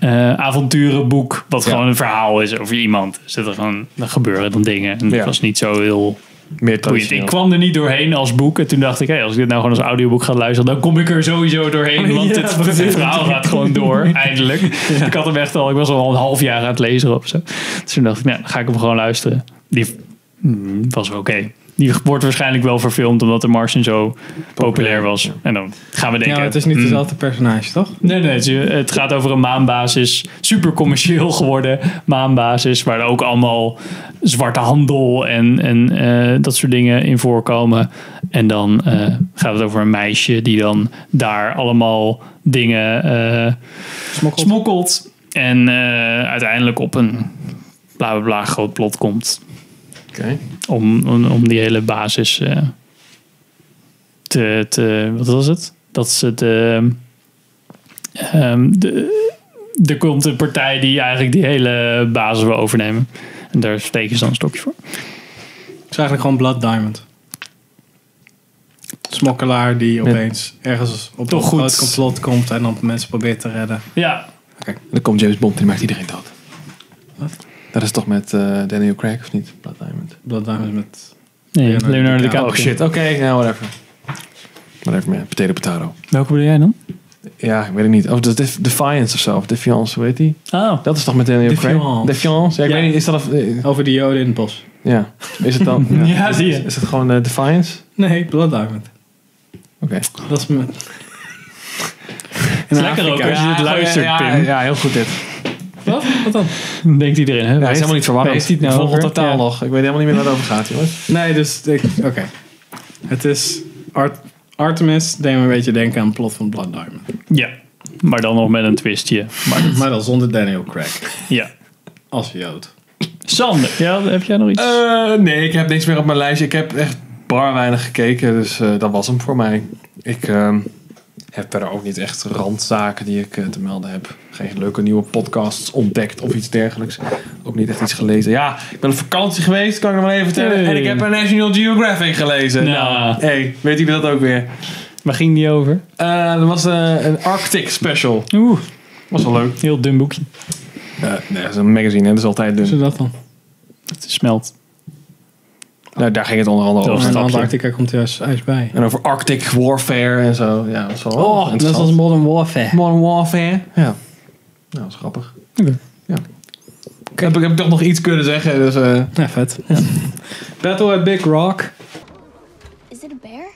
Speaker 1: Eh, avonturenboek. Wat gewoon een verhaal is over iemand. Dus er, gewoon, er gebeuren dan dingen. En
Speaker 3: Ja.
Speaker 1: dat was niet zo heel
Speaker 3: Meer
Speaker 1: boeiend. Ik
Speaker 3: traditioneel.
Speaker 1: kwam er niet doorheen als boek. En toen dacht ik, hé, als ik dit nou gewoon als audioboek ga luisteren. dan kom ik er sowieso doorheen. Want
Speaker 2: Ja,
Speaker 1: dit,
Speaker 2: precies.
Speaker 1: dit verhaal gaat gewoon door. Eindelijk. Ik had hem echt al. Ik was al een half jaar aan het lezen of zo. Dus toen dacht ik, nou, dan ga ik hem gewoon luisteren. Die mm, was oké. Die wordt waarschijnlijk wel verfilmd. omdat de Martian zo populair was. En dan gaan we
Speaker 2: Ja,
Speaker 1: denken.
Speaker 2: maar het is niet
Speaker 1: mm,
Speaker 2: dezelfde personage, toch?
Speaker 1: Nee, nee, het, is- het gaat over een maanbasis. Super commercieel geworden maanbasis. Waar ook allemaal zwarte handel en, en eh, dat soort dingen in voorkomen. En dan eh, gaat het over een meisje die dan daar allemaal dingen eh, smokkelt. En eh, uiteindelijk op een bla bla bla groot plot komt.
Speaker 3: Oké.
Speaker 1: Om, om, om die hele basis eh, te, te. Wat was het? Dat ze de. ehm, de er komt een partij die eigenlijk die hele basis wil overnemen. En daar steken ze dan een stokje voor.
Speaker 2: Het is eigenlijk gewoon Blood Diamond. Smokkelaar die opeens ergens op
Speaker 1: Toch
Speaker 2: een groot
Speaker 1: goed.
Speaker 2: complot komt en dan mensen probeert te redden.
Speaker 1: Ja,
Speaker 3: Dan komt James Bond en die maakt iedereen dood.
Speaker 2: Wat?
Speaker 3: Dat Dat is toch met eh, Daniel Craig of niet? Blood Diamond.
Speaker 2: Blood Diamond met...
Speaker 1: Nee, Leonardo
Speaker 3: Oh
Speaker 1: DiCaprio.
Speaker 3: shit, oké, ja, whatever. Whatever man, potato potato.
Speaker 1: Welke bedoel jij dan?
Speaker 3: Ja, ik weet het niet. Of de Def- Defiance of zo, of Defiance, hoe heet die?
Speaker 1: Oh.
Speaker 3: Dat is toch met Daniel Craig?
Speaker 2: Defiance.
Speaker 3: Defiance? Ja, ik weet niet, is dat... Of, eh,
Speaker 2: Over de joden in het bos.
Speaker 3: ja, is het dan...
Speaker 1: Ja, zie je.
Speaker 3: Is het gewoon eh, Defiance?
Speaker 2: Nee, Blood Diamond.
Speaker 3: Oké.
Speaker 2: Dat is mijn...
Speaker 1: is lekker ook als je dit luistert,
Speaker 3: ja,
Speaker 1: Pim.
Speaker 3: Ja, heel goed dit.
Speaker 2: Wat? Wat dan?
Speaker 1: Denkt iedereen, hè?
Speaker 3: Ja, is helemaal niet verwarrend.
Speaker 1: Waar heeft hij het nou
Speaker 3: Volgende
Speaker 1: over?
Speaker 3: totaal
Speaker 1: Ja.
Speaker 3: nog. Ik weet helemaal niet meer waar het over gaat, jongens.
Speaker 2: Nee, dus... ik- Oké. Het is... Art, Artemis deed me een beetje denken aan het plot van Blood Diamond.
Speaker 1: Ja, maar dan nog met een twistje. Maar dat-
Speaker 2: Maar dan zonder Daniel Craig.
Speaker 1: ja.
Speaker 2: Als jood.
Speaker 1: Sander, ja, heb jij nog iets?
Speaker 3: Eh, nee, ik heb niks meer op mijn lijstje. Ik heb echt bar weinig gekeken, dus eh, dat was hem voor mij. Ik ehm, heb verder ook niet echt randzaken die ik eh, te melden heb. Geen leuke nieuwe podcasts ontdekt of iets dergelijks. Ook niet echt iets gelezen. Ja, ik ben op vakantie geweest, kan ik nog wel even vertellen.
Speaker 1: Hey.
Speaker 3: En ik heb een National Geographic gelezen.
Speaker 1: Nou.
Speaker 3: hey, weet jullie dat ook weer?
Speaker 1: Waar ging die over?
Speaker 3: Eh, er was eh, een Arctic special.
Speaker 1: Oeh,
Speaker 3: Was wel leuk.
Speaker 1: heel dun boekje.
Speaker 3: Eh, nee, dat is een magazine, hè? dat is altijd dun.
Speaker 2: Zo dat dan?
Speaker 1: Het smelt.
Speaker 3: Nou, daar ging het onder andere
Speaker 1: Dat was
Speaker 3: over.
Speaker 2: In
Speaker 1: Snap je.
Speaker 2: Antarctica komt juist ijs bij.
Speaker 3: En over Arctic warfare en zo. Ja, dat is wel
Speaker 2: Oh, dat was Modern Warfare.
Speaker 3: Modern Warfare. Ja. Nou, dat is grappig. Ja. Heb, ik, heb ik toch nog iets kunnen zeggen? Dus, eh,
Speaker 2: Ja, vet. Battle at Big Rock.
Speaker 17: Is it a bear?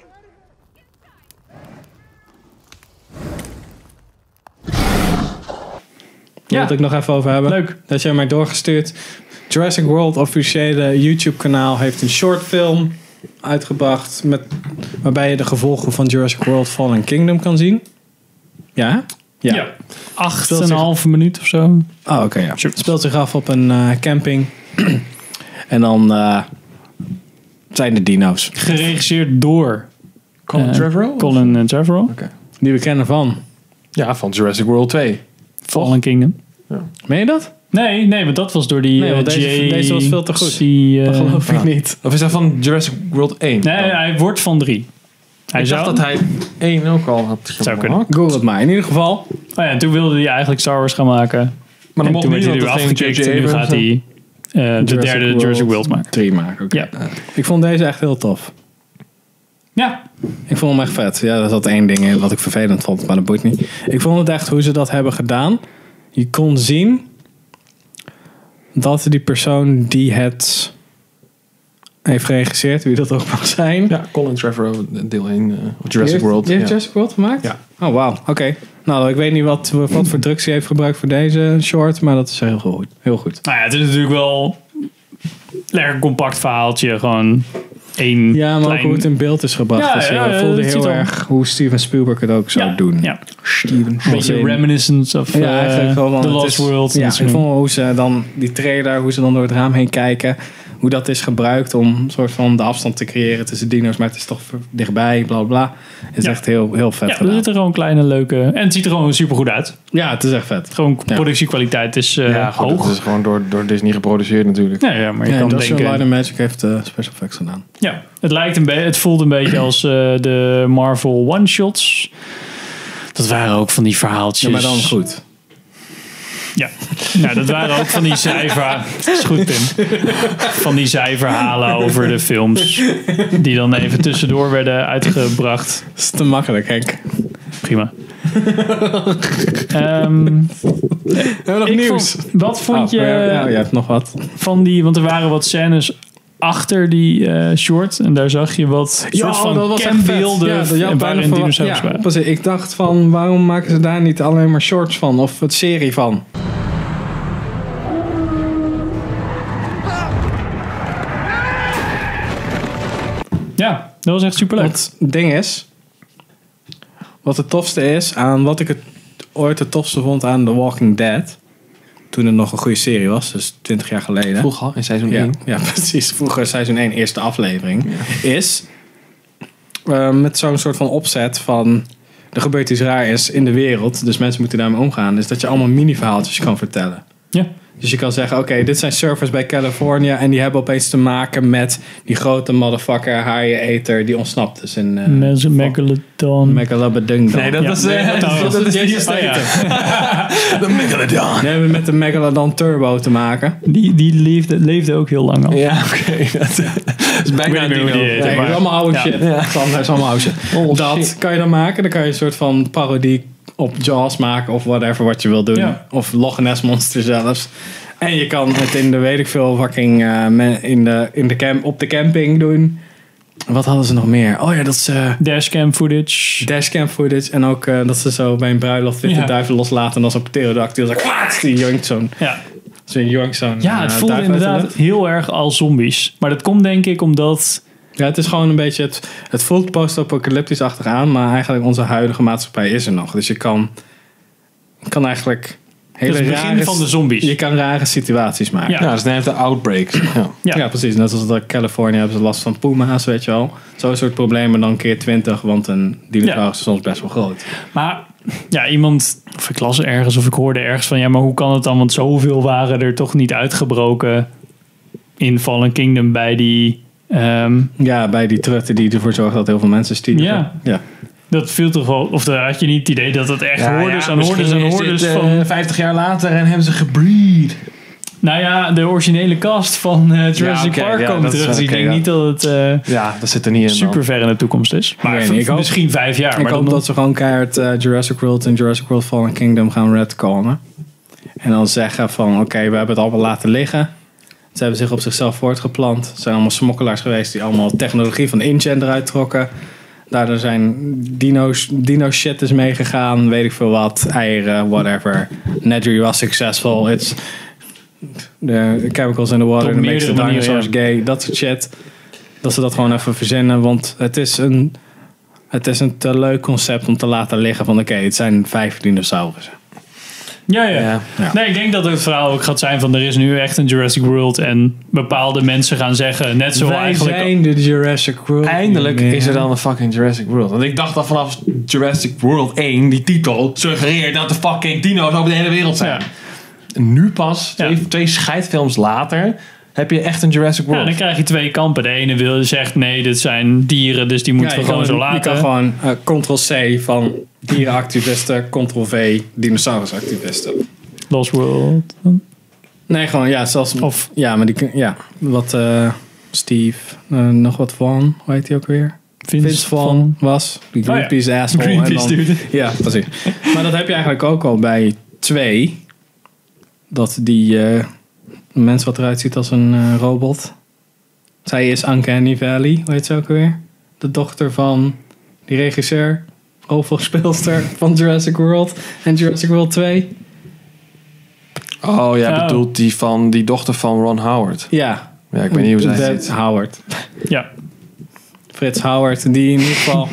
Speaker 2: Daar
Speaker 1: Ja.
Speaker 2: wil ik nog even over hebben.
Speaker 1: Leuk.
Speaker 2: Dat jij mij doorgestuurd. Jurassic World officiële YouTube kanaal heeft een short film uitgebracht. Met, waarbij je de gevolgen van Jurassic World Fallen Kingdom kan zien. Ja? Ja.
Speaker 1: Acht en een half minuut of zo.
Speaker 2: Oh, oké. ja. Het speelt zich af op een eh, camping. en dan eh, zijn de dino's.
Speaker 1: Geregisseerd door
Speaker 3: Colin
Speaker 1: eh,
Speaker 3: Trevorrow?
Speaker 1: Colin eh, Trevorrow.
Speaker 2: Die we kennen van.
Speaker 3: Ja, van Jurassic World 2.
Speaker 1: Fallen Kingdom.
Speaker 2: Meen je dat?
Speaker 1: Nee, nee, want dat was door die.
Speaker 2: Nee, want
Speaker 1: eh,
Speaker 2: deze-
Speaker 1: J-
Speaker 2: deze was veel te goed.
Speaker 1: C, eh,
Speaker 2: Dat geloof ik niet.
Speaker 3: Of is dat van Jurassic World 1?
Speaker 1: Nee,
Speaker 3: Oh.
Speaker 1: hij wordt van drie. Hij
Speaker 3: ik
Speaker 1: zou,
Speaker 3: dacht dat hij 1 ook al had
Speaker 1: Zou
Speaker 3: gemaakt.
Speaker 1: kunnen.
Speaker 2: Google het maar. In ieder geval.
Speaker 1: Oh ja, toen wilde hij eigenlijk Star Wars gaan maken.
Speaker 3: Maar
Speaker 1: en
Speaker 3: dan mocht
Speaker 1: toen werd
Speaker 3: niet
Speaker 1: hij
Speaker 3: dat
Speaker 1: er weer
Speaker 3: er geen
Speaker 1: afgekikt.
Speaker 3: J.J.
Speaker 1: En nu
Speaker 3: Abrams
Speaker 1: gaat
Speaker 3: en-
Speaker 1: hij eh, de derde Jurassic World maken.
Speaker 2: 3 maken. oké.
Speaker 1: Ja.
Speaker 2: Ik vond deze echt heel tof.
Speaker 1: ja,
Speaker 2: Ik vond hem echt vet. Ja, dat had één ding in wat ik vervelend vond, maar dat boeit niet. Ik vond het echt hoe ze dat hebben gedaan. Je kon zien dat die persoon die het heeft geregisseerd, wie dat ook mag zijn,
Speaker 3: Ja, Colin Trevorrow, deel 1. eh, of
Speaker 2: Die
Speaker 3: Jurassic
Speaker 2: heeft-
Speaker 3: World.
Speaker 2: Die heeft
Speaker 3: ja.
Speaker 2: Jurassic World gemaakt?
Speaker 3: Ja.
Speaker 2: Oh, wauw. Oké. Nou, ik weet niet wat, wat voor drugs hij heeft gebruikt voor deze short, maar dat is heel goed. Heel goed.
Speaker 1: nou ja, het is natuurlijk wel lekker compact verhaaltje. Gewoon één
Speaker 2: Ja, maar
Speaker 1: klein...
Speaker 2: ook hoe het in beeld is gebracht.
Speaker 1: Ja,
Speaker 2: dus, eh,
Speaker 1: ja, ja,
Speaker 2: voelde
Speaker 1: dat ziet
Speaker 2: heel
Speaker 1: wel.
Speaker 2: erg hoe Steven Spielberg het ook zou
Speaker 1: Ja,
Speaker 2: doen.
Speaker 1: Ja,
Speaker 3: Steven.
Speaker 1: een beetje
Speaker 2: Als in-
Speaker 1: reminiscence of
Speaker 2: Ja, eigenlijk wel.
Speaker 1: eh,
Speaker 2: want
Speaker 1: The
Speaker 2: het
Speaker 1: Lost
Speaker 2: is-
Speaker 1: World.
Speaker 2: Ja,
Speaker 1: Dat
Speaker 2: ik
Speaker 1: soort
Speaker 2: vond
Speaker 1: dingen.
Speaker 2: hoe ze dan, die trailer, hoe ze dan door het raam heen kijken. Hoe dat is gebruikt om een soort van de afstand te creëren tussen dino's. Maar het is toch dichtbij, bla bla, bla. Het is
Speaker 1: Ja.
Speaker 2: echt heel, heel vet
Speaker 1: ja, er
Speaker 2: gedaan.
Speaker 1: zitten gewoon kleine leuke... En het ziet er gewoon supergoed uit.
Speaker 2: Ja, het is echt vet.
Speaker 1: Gewoon
Speaker 2: Ja.
Speaker 1: productiekwaliteit is eh,
Speaker 3: ja, goed,
Speaker 1: hoog.
Speaker 3: dat is gewoon door, door Disney geproduceerd natuurlijk.
Speaker 1: Ja, ja, maar je
Speaker 2: Ja,
Speaker 1: kan
Speaker 2: Industrial
Speaker 1: denken...
Speaker 2: Light and Magic heeft eh, special effects gedaan.
Speaker 1: Ja, het lijkt een beetje, het voelt een beetje als eh, de Marvel one-shots. Dat waren ook van die verhaaltjes.
Speaker 2: Ja, maar dan goed.
Speaker 1: Ja, nou, dat waren ook van die cijfer. Is goed, Pim. Van die zijverhalen over de films. Die dan even tussendoor werden uitgebracht.
Speaker 2: Dat is te makkelijk, Henk.
Speaker 1: Prima. Ehm,
Speaker 2: We hebben nog
Speaker 1: ik
Speaker 2: nieuws.
Speaker 1: vond- wat vond je
Speaker 2: Oh, ja, ja, je hebt nog wat.
Speaker 1: van die... Want er waren wat scènes achter die eh, short. En daar zag je wat soort
Speaker 2: oh,
Speaker 1: van cambeelden.
Speaker 2: Ja, dat- ja,
Speaker 1: en
Speaker 2: bijna
Speaker 1: waarin
Speaker 2: verwacht-
Speaker 1: dinosaurus
Speaker 2: ja,
Speaker 1: waren.
Speaker 2: precies. Ik dacht van, waarom maken ze daar niet alleen maar shorts van? Of het serie van?
Speaker 1: Ja, dat was echt superleuk.
Speaker 2: Want het ding is, wat het tofste is aan wat ik het ooit het tofste vond aan The Walking Dead. Toen het nog een goede serie was, dus 20 jaar geleden.
Speaker 3: Vroeger al, in seizoen
Speaker 2: Ja,
Speaker 1: Mm-hmm.
Speaker 3: 1.
Speaker 2: ja, precies. Vroeger seizoen 1, eerste aflevering. Is eh, met zo'n soort van opzet van... Er gebeurt iets raar is in de wereld, dus mensen moeten daarmee omgaan. Is dat je allemaal mini-verhaaltjes kan vertellen.
Speaker 1: Ja.
Speaker 2: Dus je kan zeggen, oké, dit zijn surfers bij California en die hebben opeens te maken met die grote motherfucker haaieneter die ontsnapt is in eh,
Speaker 1: Mensen, Megalodon.
Speaker 2: Megalodon.
Speaker 1: Nee, Ah, dat is, eh, dat is- dat is Jason
Speaker 2: De Megalodon. Nee, we hebben met de Megalodon Turbo te maken.
Speaker 1: Die, die leefde, leefde ook heel lang al.
Speaker 2: Ja, oké. Dat is
Speaker 1: Ik weet niet meer hoe die heet,
Speaker 2: Nee,
Speaker 1: maar-
Speaker 2: is allemaal oude
Speaker 1: Ja.
Speaker 2: shit.
Speaker 1: Ja. Oh,
Speaker 2: Sander, is allemaal oude shit. dat kan je dan maken. Dan kan je een soort van parodie op Jaws maken of whatever wat je wil doen.
Speaker 1: Ja.
Speaker 2: Of Loch Ness Monster zelfs. En je kan het in de weet ik veel fucking eh, me- in de, in de camp, op de camping doen. Wat hadden ze nog meer? Oh ja, dat is... eh,
Speaker 1: Dashcam footage.
Speaker 2: Dashcam footage. En ook eh, dat ze zo bij een bruiloft witte
Speaker 1: Ja.
Speaker 2: duiven loslaten. En dan zo'n pterodactyl. Zo, kwaad! Die jonkt zo'n...
Speaker 1: Ja.
Speaker 2: Zo'n jonkt zo'n...
Speaker 1: Ja, het
Speaker 2: eh,
Speaker 1: voelde
Speaker 2: duif uit de
Speaker 1: inderdaad
Speaker 2: lucht.
Speaker 1: heel erg als zombies. Maar dat komt denk ik omdat...
Speaker 2: Ja, het is gewoon een beetje... Het, het voelt post-apocalyptisch-achtig aan. Maar eigenlijk onze huidige maatschappij is er nog. Dus je kan... je kan eigenlijk... Hele
Speaker 1: Het is het begin
Speaker 2: rare,
Speaker 1: van de zombies.
Speaker 2: Je kan rare situaties maken.
Speaker 1: Ja. Ja, dus
Speaker 2: dan heeft de outbreaks. Ja. Ja. precies. Net als dat Californië hebben ze last van puma's, weet je wel. Zo'n soort problemen dan keer 20, want een dinosaurus is soms best wel groot.
Speaker 1: Maar ja, iemand... Of ik las ergens of ik hoorde ergens van... Ja, maar hoe kan het dan? Want zoveel waren er toch niet uitgebroken in Fallen Kingdom bij die... ehm,
Speaker 2: Ja, bij die trutten die ervoor zorgen dat heel veel mensen stierven.
Speaker 1: Ja.
Speaker 2: ja.
Speaker 1: dat viel toch wel... Of daar had je niet het idee dat het echt
Speaker 2: Ja,
Speaker 1: hoorders
Speaker 2: ja,
Speaker 1: en hoorders en
Speaker 2: misschien
Speaker 1: hoorders
Speaker 2: is dit, eh,
Speaker 1: van...
Speaker 3: 50 jaar later en hebben ze gebreed.
Speaker 1: Nou ja, de originele cast van eh, Jurassic
Speaker 3: Ja, oké,
Speaker 1: Park
Speaker 3: ja,
Speaker 1: komen
Speaker 3: dat is
Speaker 1: terug.
Speaker 3: wel-
Speaker 1: Dus ik
Speaker 3: oké,
Speaker 1: denk
Speaker 3: ja.
Speaker 1: niet dat het eh,
Speaker 3: Ja, dat zit er niet in. dan.
Speaker 1: super ver in de toekomst is. Maar
Speaker 2: Nee,
Speaker 1: v-
Speaker 2: ik hoop-
Speaker 1: misschien vijf jaar.
Speaker 2: ik
Speaker 1: maar
Speaker 2: hoop
Speaker 1: dan-
Speaker 2: dat ze gewoon keihard eh, Jurassic World en Jurassic World Fallen Kingdom gaan redconen. En dan zeggen van, oké, we hebben het allemaal laten liggen. Ze hebben zich op zichzelf voortgeplant. Ze zijn allemaal smokkelaars geweest die allemaal technologie van InGen eruit trokken. Daardoor Nou, zijn dino's, dino shit is meegegaan, weet ik veel wat, eieren, whatever. Nedry was successful, it's the chemicals in the water
Speaker 1: Op
Speaker 2: that makes the
Speaker 1: meerdere manieren,
Speaker 2: dinosaurs gay, dat soort shit. Dat ze dat gewoon even verzinnen, want het is een, het is een te leuk concept om te laten liggen van oké, het zijn vijf dinosaurussen.
Speaker 1: Ja, ja. Nee, ik denk dat het verhaal ook gaat zijn van er is nu echt een Jurassic World en bepaalde mensen gaan zeggen, net zo
Speaker 2: Wij
Speaker 1: eigenlijk...
Speaker 2: zijn de Jurassic World.
Speaker 3: Eindelijk
Speaker 2: Ja.
Speaker 3: is er dan een fucking Jurassic World. Want ik dacht al vanaf Jurassic World 1, die titel, suggereert dat de fucking dino's over de hele wereld zijn. En nu pas, twee, twee scheidfilms later, heb je echt een Jurassic
Speaker 1: Ja,
Speaker 3: World.
Speaker 1: dan krijg je twee kampen. De ene wil zegt nee, dit zijn dieren, dus die moeten
Speaker 2: Ja,
Speaker 1: we
Speaker 2: je
Speaker 1: gewoon
Speaker 2: kan-
Speaker 1: zo laten.
Speaker 2: Je kan gewoon ctrl-c van dierenactivisten, ctrl-v dinosaurusactivisten.
Speaker 1: Lost World. Oh,
Speaker 2: Nee, gewoon ja, zelfs... Of, ja, maar die... kun- Ja, wat eh, Steve, eh, nog wat van, hoe heet hij ook weer?
Speaker 1: Vince
Speaker 2: van was. Die
Speaker 1: Oh ja.
Speaker 2: Greenpeace asshole.
Speaker 1: Greenpeace
Speaker 2: en dan-
Speaker 1: dude.
Speaker 2: Ja, precies. maar dat heb je eigenlijk ook al bij twee. Dat die eh, mens wat eruit ziet als een eh, robot. Zij is Uncanny Valley, hoe heet ze ook weer? De dochter van die regisseur, hoofdrolspeelster van Jurassic World en Jurassic World 2.
Speaker 3: Oh, jij
Speaker 2: Oh.
Speaker 3: bedoelt die van die dochter van Ron Howard.
Speaker 2: Ja.
Speaker 3: Ja, ik weet niet hoe zij
Speaker 2: De-
Speaker 3: heet.
Speaker 2: Howard.
Speaker 1: Ja.
Speaker 2: Frits Howard, die in ieder geval...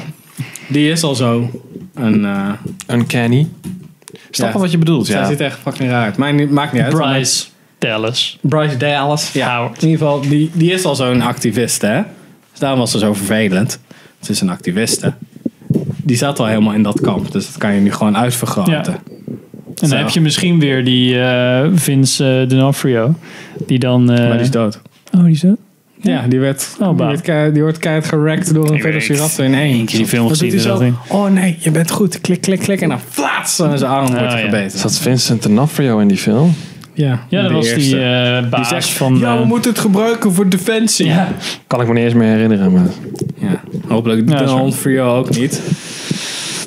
Speaker 2: die is al zo een... eh,
Speaker 3: Uncanny. Snap wel wat je bedoelt, ja.
Speaker 2: Zij ziet er echt fucking raar uit. Maar niet- maakt niet uit.
Speaker 1: Bryce Dallas.
Speaker 2: Bryce Dallas. Ja, in ieder geval, die, die is al zo'n activist, hè? Dus daarom was ze zo vervelend. Ze is een activiste. Die zat al helemaal in dat kamp, dus dat kan je nu gewoon uitvergroten.
Speaker 1: En dan
Speaker 2: Zo.
Speaker 1: heb je misschien weer die eh, Vince eh, D'Onofrio, die dan... eh,
Speaker 2: Maar die is dood.
Speaker 1: Oh, die is dood?
Speaker 2: Ja, die, werd,
Speaker 1: Oh,
Speaker 2: die,
Speaker 1: bauw.
Speaker 2: werd kei- die wordt keihard gerekt door een
Speaker 1: Ik weet-
Speaker 2: velociraptor in één.
Speaker 1: één keer die film
Speaker 2: Wat doet
Speaker 1: gezien,
Speaker 2: hij
Speaker 1: dus
Speaker 2: zo? Oh nee, je bent goed. Klik, klik, klik. En dan flaats, dan is zijn
Speaker 1: Oh,
Speaker 2: arm wordt hij gebeten.
Speaker 3: Zat Vincent D'Onofrio in die film?
Speaker 2: Ja,
Speaker 1: Ja, dat
Speaker 3: De
Speaker 1: was die
Speaker 3: eerste.
Speaker 1: eh, baas van...
Speaker 2: ja, we
Speaker 1: eh,
Speaker 2: moeten het gebruiken voor defensie. Ja,
Speaker 3: Kan ik me niet eens meer herinneren. Maar...
Speaker 2: hopelijk
Speaker 1: Ja,
Speaker 2: de
Speaker 1: sorry.
Speaker 2: hand voor jou ook niet.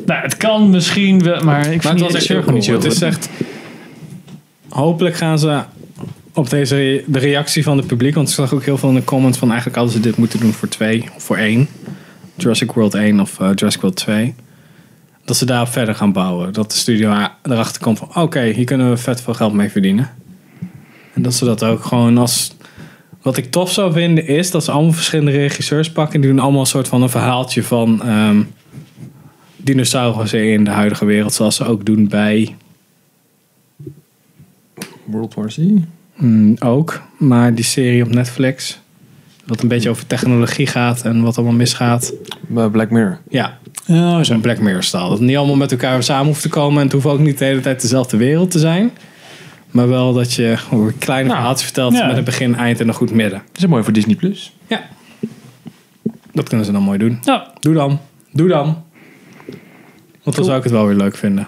Speaker 1: nou, het kan misschien wel, maar ik vind
Speaker 2: Maar het was echt heel cool. Het is echt... Hopelijk gaan ze op deze re- de reactie van het publiek... want ik zag ook heel veel in de comments van... eigenlijk hadden ze dit moeten doen voor twee of voor één. Jurassic World 1 of eh, Jurassic World 2. Dat ze daarop verder gaan bouwen. Dat de studio a- erachter komt van... oké, hier kunnen we vet veel geld mee verdienen. En dat ze dat ook gewoon als... Wat ik tof zou vinden is dat ze allemaal verschillende regisseurs pakken... en die doen allemaal een soort van een verhaaltje van... ehm, dinosaurussen in de huidige wereld, zoals ze ook doen bij
Speaker 3: World War Z?
Speaker 2: mm, ook, maar die serie op Netflix, wat een beetje over technologie gaat en wat allemaal misgaat.
Speaker 3: Bij Black Mirror.
Speaker 2: Ja, zo'n Black Mirror-staal. Dat het niet allemaal met elkaar samen hoeft te komen en het hoeft ook niet de hele tijd dezelfde wereld te zijn. Maar wel dat je een kleine verhaaltje vertelt
Speaker 3: ja.
Speaker 2: met een begin, eind en een goed midden.
Speaker 3: Dat is mooi voor Disney Plus.
Speaker 2: Ja. Dat kunnen ze dan mooi doen.
Speaker 1: Ja.
Speaker 2: Doe dan. Doe dan. Want dan zou ik het wel weer leuk vinden.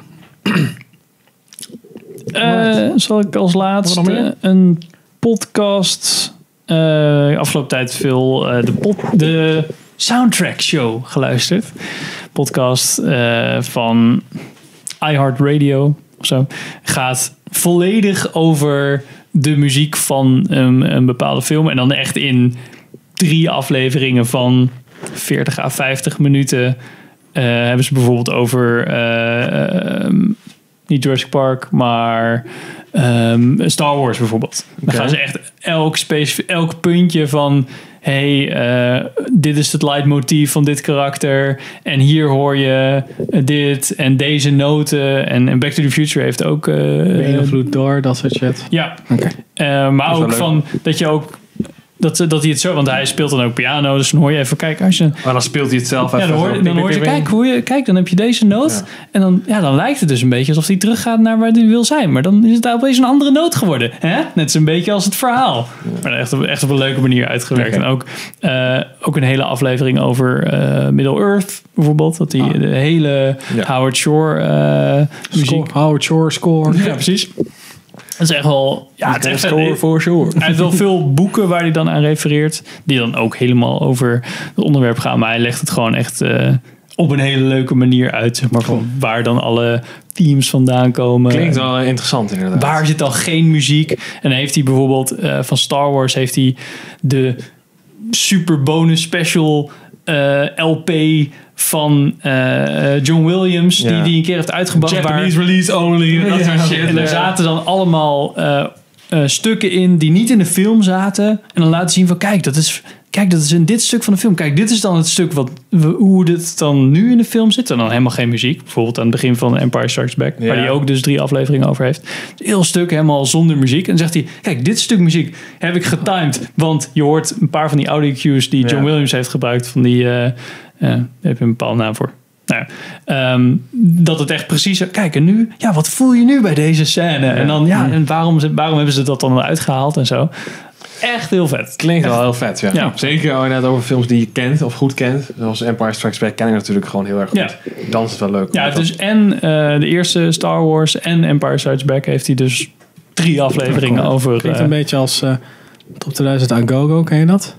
Speaker 1: Eh, zal ik als
Speaker 2: Wat nog
Speaker 1: laatste een podcast. eh, afgelopen tijd veel eh, de, pod, de soundtrack show geluisterd. Podcast eh, van iHeartRadio of zo. Gaat volledig over de muziek van een, een bepaalde film. En dan echt in drie afleveringen van 40 à 50 minuten. eh, hebben ze bijvoorbeeld over eh, ehm, niet Jurassic Park, maar ehm, Star Wars bijvoorbeeld. Dan
Speaker 3: Oké.
Speaker 1: gaan ze echt elk, specif- elk puntje van. hey, eh, dit is het leidmotief van dit karakter. En hier hoor je eh, dit en deze noten. En, en Back to the Future heeft ook. eh,
Speaker 2: Beïnvloed door dat soort shit.
Speaker 1: ja. Eh, maar
Speaker 2: Dat is wel
Speaker 1: ook
Speaker 2: leuk.
Speaker 1: van dat je ook. Dat, ze- dat hij het zo, want hij speelt dan ook piano, dus dan hoor je even, kijk, als je...
Speaker 3: Maar dan speelt hij het zelf
Speaker 1: Ja,
Speaker 3: even.
Speaker 1: dan hoor, dan hoor je, kijk, hoe je, kijk, dan heb je deze noot. En dan, ja, dan lijkt het dus een beetje alsof hij teruggaat naar waar hij wil zijn. Maar dan is het opeens een andere noot geworden. Hè? Net zo'n beetje als het verhaal. Maar echt op, echt op een leuke manier uitgewerkt. En ook, eh, ook een hele aflevering over eh, Middle-earth bijvoorbeeld. Dat hij
Speaker 2: Ah.
Speaker 1: de hele Howard Shore eh muziek...
Speaker 2: Howard Shore score.
Speaker 1: Ja, precies. Dat is echt wel... Ja, Ah, het is echt,
Speaker 2: Score for sure.
Speaker 1: hij heeft wel veel boeken waar hij dan aan refereert. Die dan ook helemaal over het onderwerp gaan. Maar hij legt het gewoon echt eh, op een hele leuke manier uit. Zeg maar van waar dan alle teams vandaan komen.
Speaker 3: Klinkt wel eh, interessant inderdaad.
Speaker 1: Waar zit dan geen muziek? En dan heeft hij bijvoorbeeld eh, van Star Wars heeft hij de super bonus special eh, LP van eh, eh, John Williams die
Speaker 3: Ja.
Speaker 1: die een keer heeft uitgebracht.
Speaker 3: Japanese
Speaker 1: waar,
Speaker 3: release only. Dat soort shit.
Speaker 1: en daar zaten dan allemaal eh, eh, stukken in die niet in de film zaten. En dan laten zien van kijk, dat is. Kijk, dat is in dit stuk van de film. Kijk, dit is dan het stuk wat, we- hoe dit dan nu in de film zit. En dan helemaal geen muziek. Bijvoorbeeld aan het begin van Empire Strikes Back.
Speaker 3: Ja.
Speaker 1: Waar hij ook dus drie afleveringen over heeft. Een heel stuk helemaal zonder muziek. En dan zegt hij, kijk, dit stuk muziek heb ik getimed. Want je hoort een paar van die audio cues die John
Speaker 3: Ja.
Speaker 1: Williams heeft gebruikt. Van die, eh, eh, daar heb je een bepaalde naam voor. Nou, ja, ehm, dat het echt precies... Kijk, en nu? Ja, wat voel je nu bij deze scène? En dan, ja, en waarom, ze- waarom hebben ze dat dan uitgehaald en zo? Echt heel vet.
Speaker 3: Klinkt wel
Speaker 1: Echt.
Speaker 3: heel vet, ja.
Speaker 1: Ja.
Speaker 3: Zeker al net over films die je kent of goed kent. Zoals Empire Strikes Back ken ik natuurlijk gewoon heel erg goed. Dan is het wel leuk.
Speaker 1: Ja, dus en eh, de eerste Star Wars en Empire Strikes Back heeft hij dus drie afleveringen over.
Speaker 2: Klinkt
Speaker 1: eh,
Speaker 2: een beetje als eh, Top 2000 aan GoGo, ken je dat?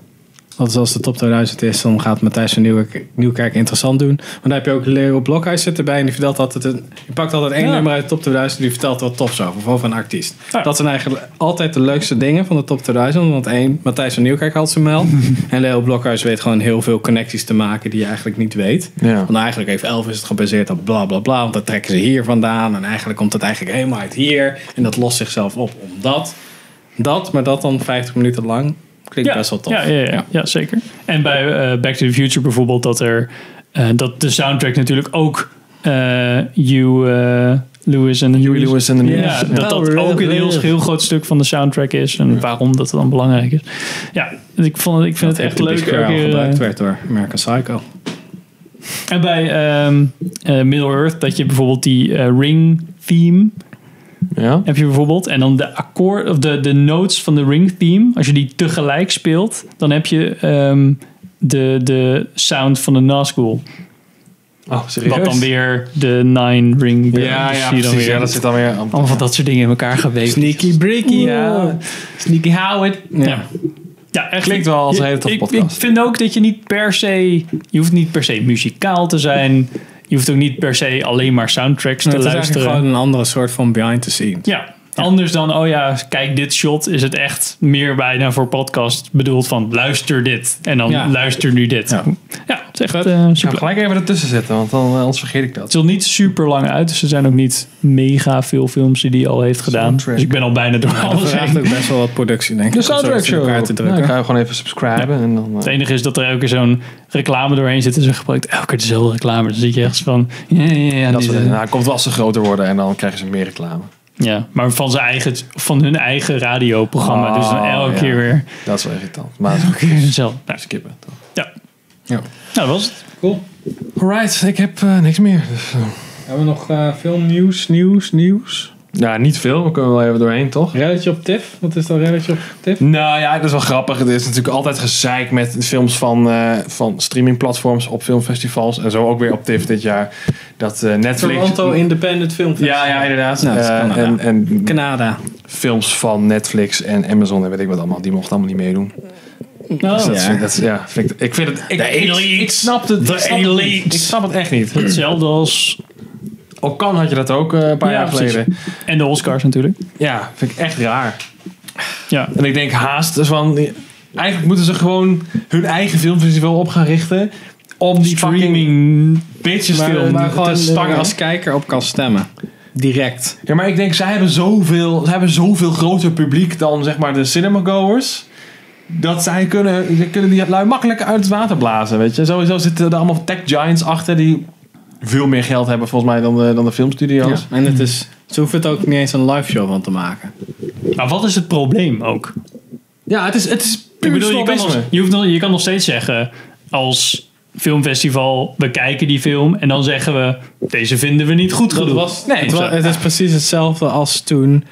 Speaker 2: Dat is als de Top 2000 is, dan gaat Matthijs van Nieuwkerk, Nieuwkerk interessant doen. Want daar heb je ook Leo Blokhuis zit erbij en die vertelt altijd een, je pakt altijd één
Speaker 3: Ja.
Speaker 2: nummer uit de Top 2000 die vertelt wat tops over, of over een artiest. Dat zijn eigenlijk altijd de leukste dingen van de Top 2000, want één, Matthijs van Nieuwkerk had zijn meld en Leo Blokhuis weet gewoon heel veel connecties te maken die je eigenlijk niet weet.
Speaker 3: Ja.
Speaker 2: Want eigenlijk heeft Elvis het gebaseerd op bla bla bla. Want dat trekken ze hier vandaan. En eigenlijk komt het eigenlijk helemaal uit hier. En dat lost zichzelf op omdat. Dat, maar dat dan 50 minuten lang. Klinkt best wel tof.
Speaker 1: Ja, ja, ja, ja, zeker. En bij eh, Back to the Future bijvoorbeeld dat er eh, dat de soundtrack natuurlijk ook eh you eh, Lewis en de News.
Speaker 3: Lewis and the News.
Speaker 1: Ja,
Speaker 3: Ja.
Speaker 1: dat dat ook een heel, heel groot stuk van de soundtrack is en waarom dat dan belangrijk is. Ja, dus ik, vond, het- ik vind het echt leuk.
Speaker 2: Dat
Speaker 1: elke keer,
Speaker 2: gebruikt
Speaker 1: eh,
Speaker 2: werd door American Psycho.
Speaker 3: Oh,
Speaker 1: en bij ehm, eh, Middle Earth dat je bijvoorbeeld die eh, ring theme heb je bijvoorbeeld en dan de akkoord of de, de notes van de ring theme als je die tegelijk speelt dan heb je ehm, de, de sound van de Nazgul.
Speaker 3: Oh, serieus?
Speaker 1: Wat dan weer de Nine Ring Band.
Speaker 3: Ja,
Speaker 1: Dus
Speaker 3: ja,
Speaker 1: zie je dan
Speaker 3: precies.
Speaker 1: weer
Speaker 3: Ja, dat zit dan weer...
Speaker 1: Allemaal van dat soort dingen in elkaar geweven.
Speaker 2: Sneaky breaky.
Speaker 1: Ja.
Speaker 2: Sneaky Howard.
Speaker 1: Ja. Ja, echt.
Speaker 3: Klinkt wel als een hele toffe
Speaker 1: ik,
Speaker 3: podcast.
Speaker 1: Ik vind ook dat je niet per se... Je hoeft niet per se muzikaal te zijn. Je hoeft ook niet per se alleen maar soundtracks
Speaker 2: Het
Speaker 1: te
Speaker 2: is
Speaker 1: luisteren.
Speaker 2: eigenlijk gewoon een andere soort van behind the scenes.
Speaker 1: Ja, anders dan, oh ja, kijk dit shot. Is het echt meer bijna voor podcast bedoeld van luister dit. En dan
Speaker 3: Ja.
Speaker 1: luister nu dit. Ja, het is echt eh,
Speaker 3: Ik ga
Speaker 1: super.
Speaker 3: hem gelijk even ertussen zetten, want dan, eh, anders vergeet ik dat.
Speaker 1: Het is al niet super lang uit, dus er zijn ook niet mega veel films die hij al heeft gedaan. Dus ik ben al bijna door
Speaker 2: Dat
Speaker 1: alles
Speaker 2: vraagt
Speaker 1: heen.
Speaker 2: ook best wel wat productie, denk ik.
Speaker 3: De
Speaker 2: om zoiets
Speaker 3: soundtrack
Speaker 2: in elkaar
Speaker 3: show.
Speaker 2: te
Speaker 3: Ja,
Speaker 2: drukken.
Speaker 3: dan ga je gewoon even subscriben. En dan, eh,
Speaker 1: Het enige is dat er elke keer zo'n reclame doorheen zit en ze gebruikt elke keer dezelfde reclame. Dan zit je echt van, ja, ja, ja.
Speaker 3: dat
Speaker 1: die-
Speaker 3: soort dingen. nou, komt wel als ze groter worden en dan krijgen ze meer reclame.
Speaker 1: ja. Maar van, zijn eigen, van hun eigen radioprogramma. dus dan
Speaker 3: Oh,
Speaker 1: elke
Speaker 3: ja.
Speaker 1: keer weer.
Speaker 3: Dat is wel irritant. Maar
Speaker 1: Elke keer hetzelfde. Nou,
Speaker 3: skippen.
Speaker 1: Ja.
Speaker 2: Ja.
Speaker 1: Nou, dat was het.
Speaker 2: Cool.
Speaker 3: Alright, ik heb eh, niks meer. Dus, eh,
Speaker 2: Hebben we nog eh, veel nieuws, nieuws, nieuws?
Speaker 3: Ja, niet veel. We kunnen wel even doorheen, toch? Redditje op TIFF? Wat is dan Redditje op TIFF? Nou ja, dat is wel grappig. Het is natuurlijk altijd gezeik met films van, eh, van streamingplatforms op filmfestivals. En zo ook weer op TIFF dit jaar. Dat eh, Netflix...
Speaker 2: Toronto Independent Film Festival.
Speaker 3: Ja, ja, inderdaad.
Speaker 2: Nou, dat is
Speaker 3: Eh,
Speaker 2: Canada.
Speaker 3: en, en
Speaker 2: Canada.
Speaker 3: Films van Netflix en Amazon en weet ik wat allemaal. Die mochten allemaal niet meedoen.
Speaker 1: Oh,
Speaker 3: Dus dat, is- dat is- ja, vind ik, ik vind het... Ik,
Speaker 2: De
Speaker 3: ik,
Speaker 2: elite.
Speaker 3: ik snap het.
Speaker 2: De
Speaker 3: ik snap het
Speaker 2: elite.
Speaker 3: niet. Ik snap het echt niet.
Speaker 1: Hetzelfde als...
Speaker 3: Ook kan had je dat ook eh, een paar
Speaker 1: Ja,
Speaker 3: jaar
Speaker 1: precies.
Speaker 3: geleden.
Speaker 1: En de Oscars natuurlijk.
Speaker 3: Ja, vind ik echt raar.
Speaker 1: Ja.
Speaker 3: En ik denk haast, dus van, eigenlijk moeten ze gewoon hun eigen filmfestival op gaan richten. Om die fucking bitches
Speaker 2: Maar-
Speaker 3: film
Speaker 2: maar gewoon,
Speaker 3: te
Speaker 2: eh,
Speaker 3: stangen als
Speaker 2: kijker op kan stemmen. Direct.
Speaker 3: Ja, maar ik denk, zij hebben zoveel, zij hebben zoveel groter publiek dan zeg maar de cinemagoers. Dat zij kunnen, ze kunnen die lui makkelijk uit het water blazen, weet je. Sowieso zitten er allemaal tech giants achter die veel meer geld hebben volgens mij dan de, dan de filmstudio's.
Speaker 2: En het is, ze hoeven het ook niet eens een live show van te maken.
Speaker 1: Maar wat is het probleem ook?
Speaker 3: Ja, het is, het is
Speaker 1: Ik
Speaker 3: puur
Speaker 1: bedoel, je kan, nog,
Speaker 3: snobisme.
Speaker 1: je, hoeft nog, je kan nog steeds zeggen als filmfestival, we kijken die film en dan zeggen we, deze vinden we niet goed
Speaker 2: Dat
Speaker 1: genoeg.
Speaker 2: was, nee,
Speaker 1: Of
Speaker 2: het,
Speaker 1: zo.
Speaker 2: wa- het is precies hetzelfde als toen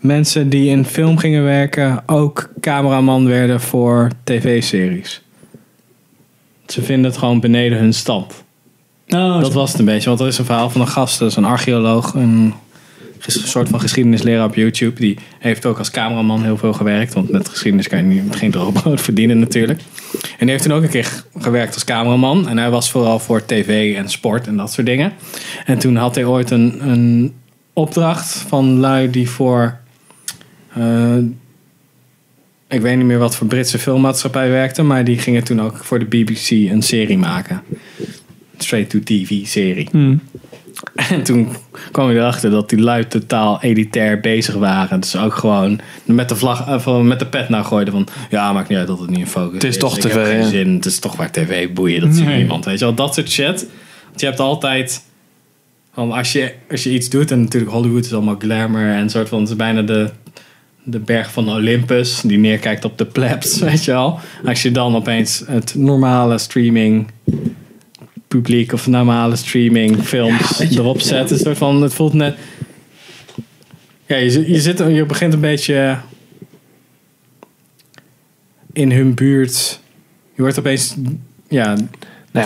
Speaker 2: mensen die in film gingen werken ook cameraman werden voor tv-series. Ze vinden het gewoon beneden hun stand. dat was het een beetje, want er is een verhaal van een gast, dat is een archeoloog, een ges- soort van geschiedenisleraar op YouTube. Die heeft ook als cameraman heel veel gewerkt, want met geschiedenis kan je niet, geen droog brood verdienen natuurlijk. En die heeft toen ook een keer g- gewerkt als cameraman. En hij was vooral voor tv en sport en dat soort dingen. En toen had hij ooit een, een opdracht van lui die voor... eh, ik weet niet meer wat voor Britse filmmaatschappij werkte... maar die gingen toen ook voor de BBC een serie maken. Straight-to-TV-serie.
Speaker 3: Hmm.
Speaker 2: En toen kwam ik erachter dat die lui totaal elitair bezig waren. Dus ook gewoon met de, vlag, eh, van- met de pet naar gooiden van... ja, maakt niet uit dat het niet in focus is.
Speaker 3: Het is toch
Speaker 2: Ik
Speaker 3: tv,
Speaker 2: heb geen
Speaker 3: ja.
Speaker 2: zin. Het is toch maar tv, boeien, dat ziet
Speaker 3: Nee.
Speaker 2: niemand. Weet je wel, dat soort shit. Want je hebt altijd... van als, je, als je iets doet, en natuurlijk Hollywood is allemaal glamour... en soort van, het is bijna de, de berg van Olympus... die neerkijkt op de plebs, weet je wel. Als je dan opeens het normale streaming publiek of normale streaming films erop zet. Een soort van, het voelt net. Ja, je, zi- je, zit, je begint een beetje in hun buurt. Je wordt opeens. Ja,
Speaker 3: Nou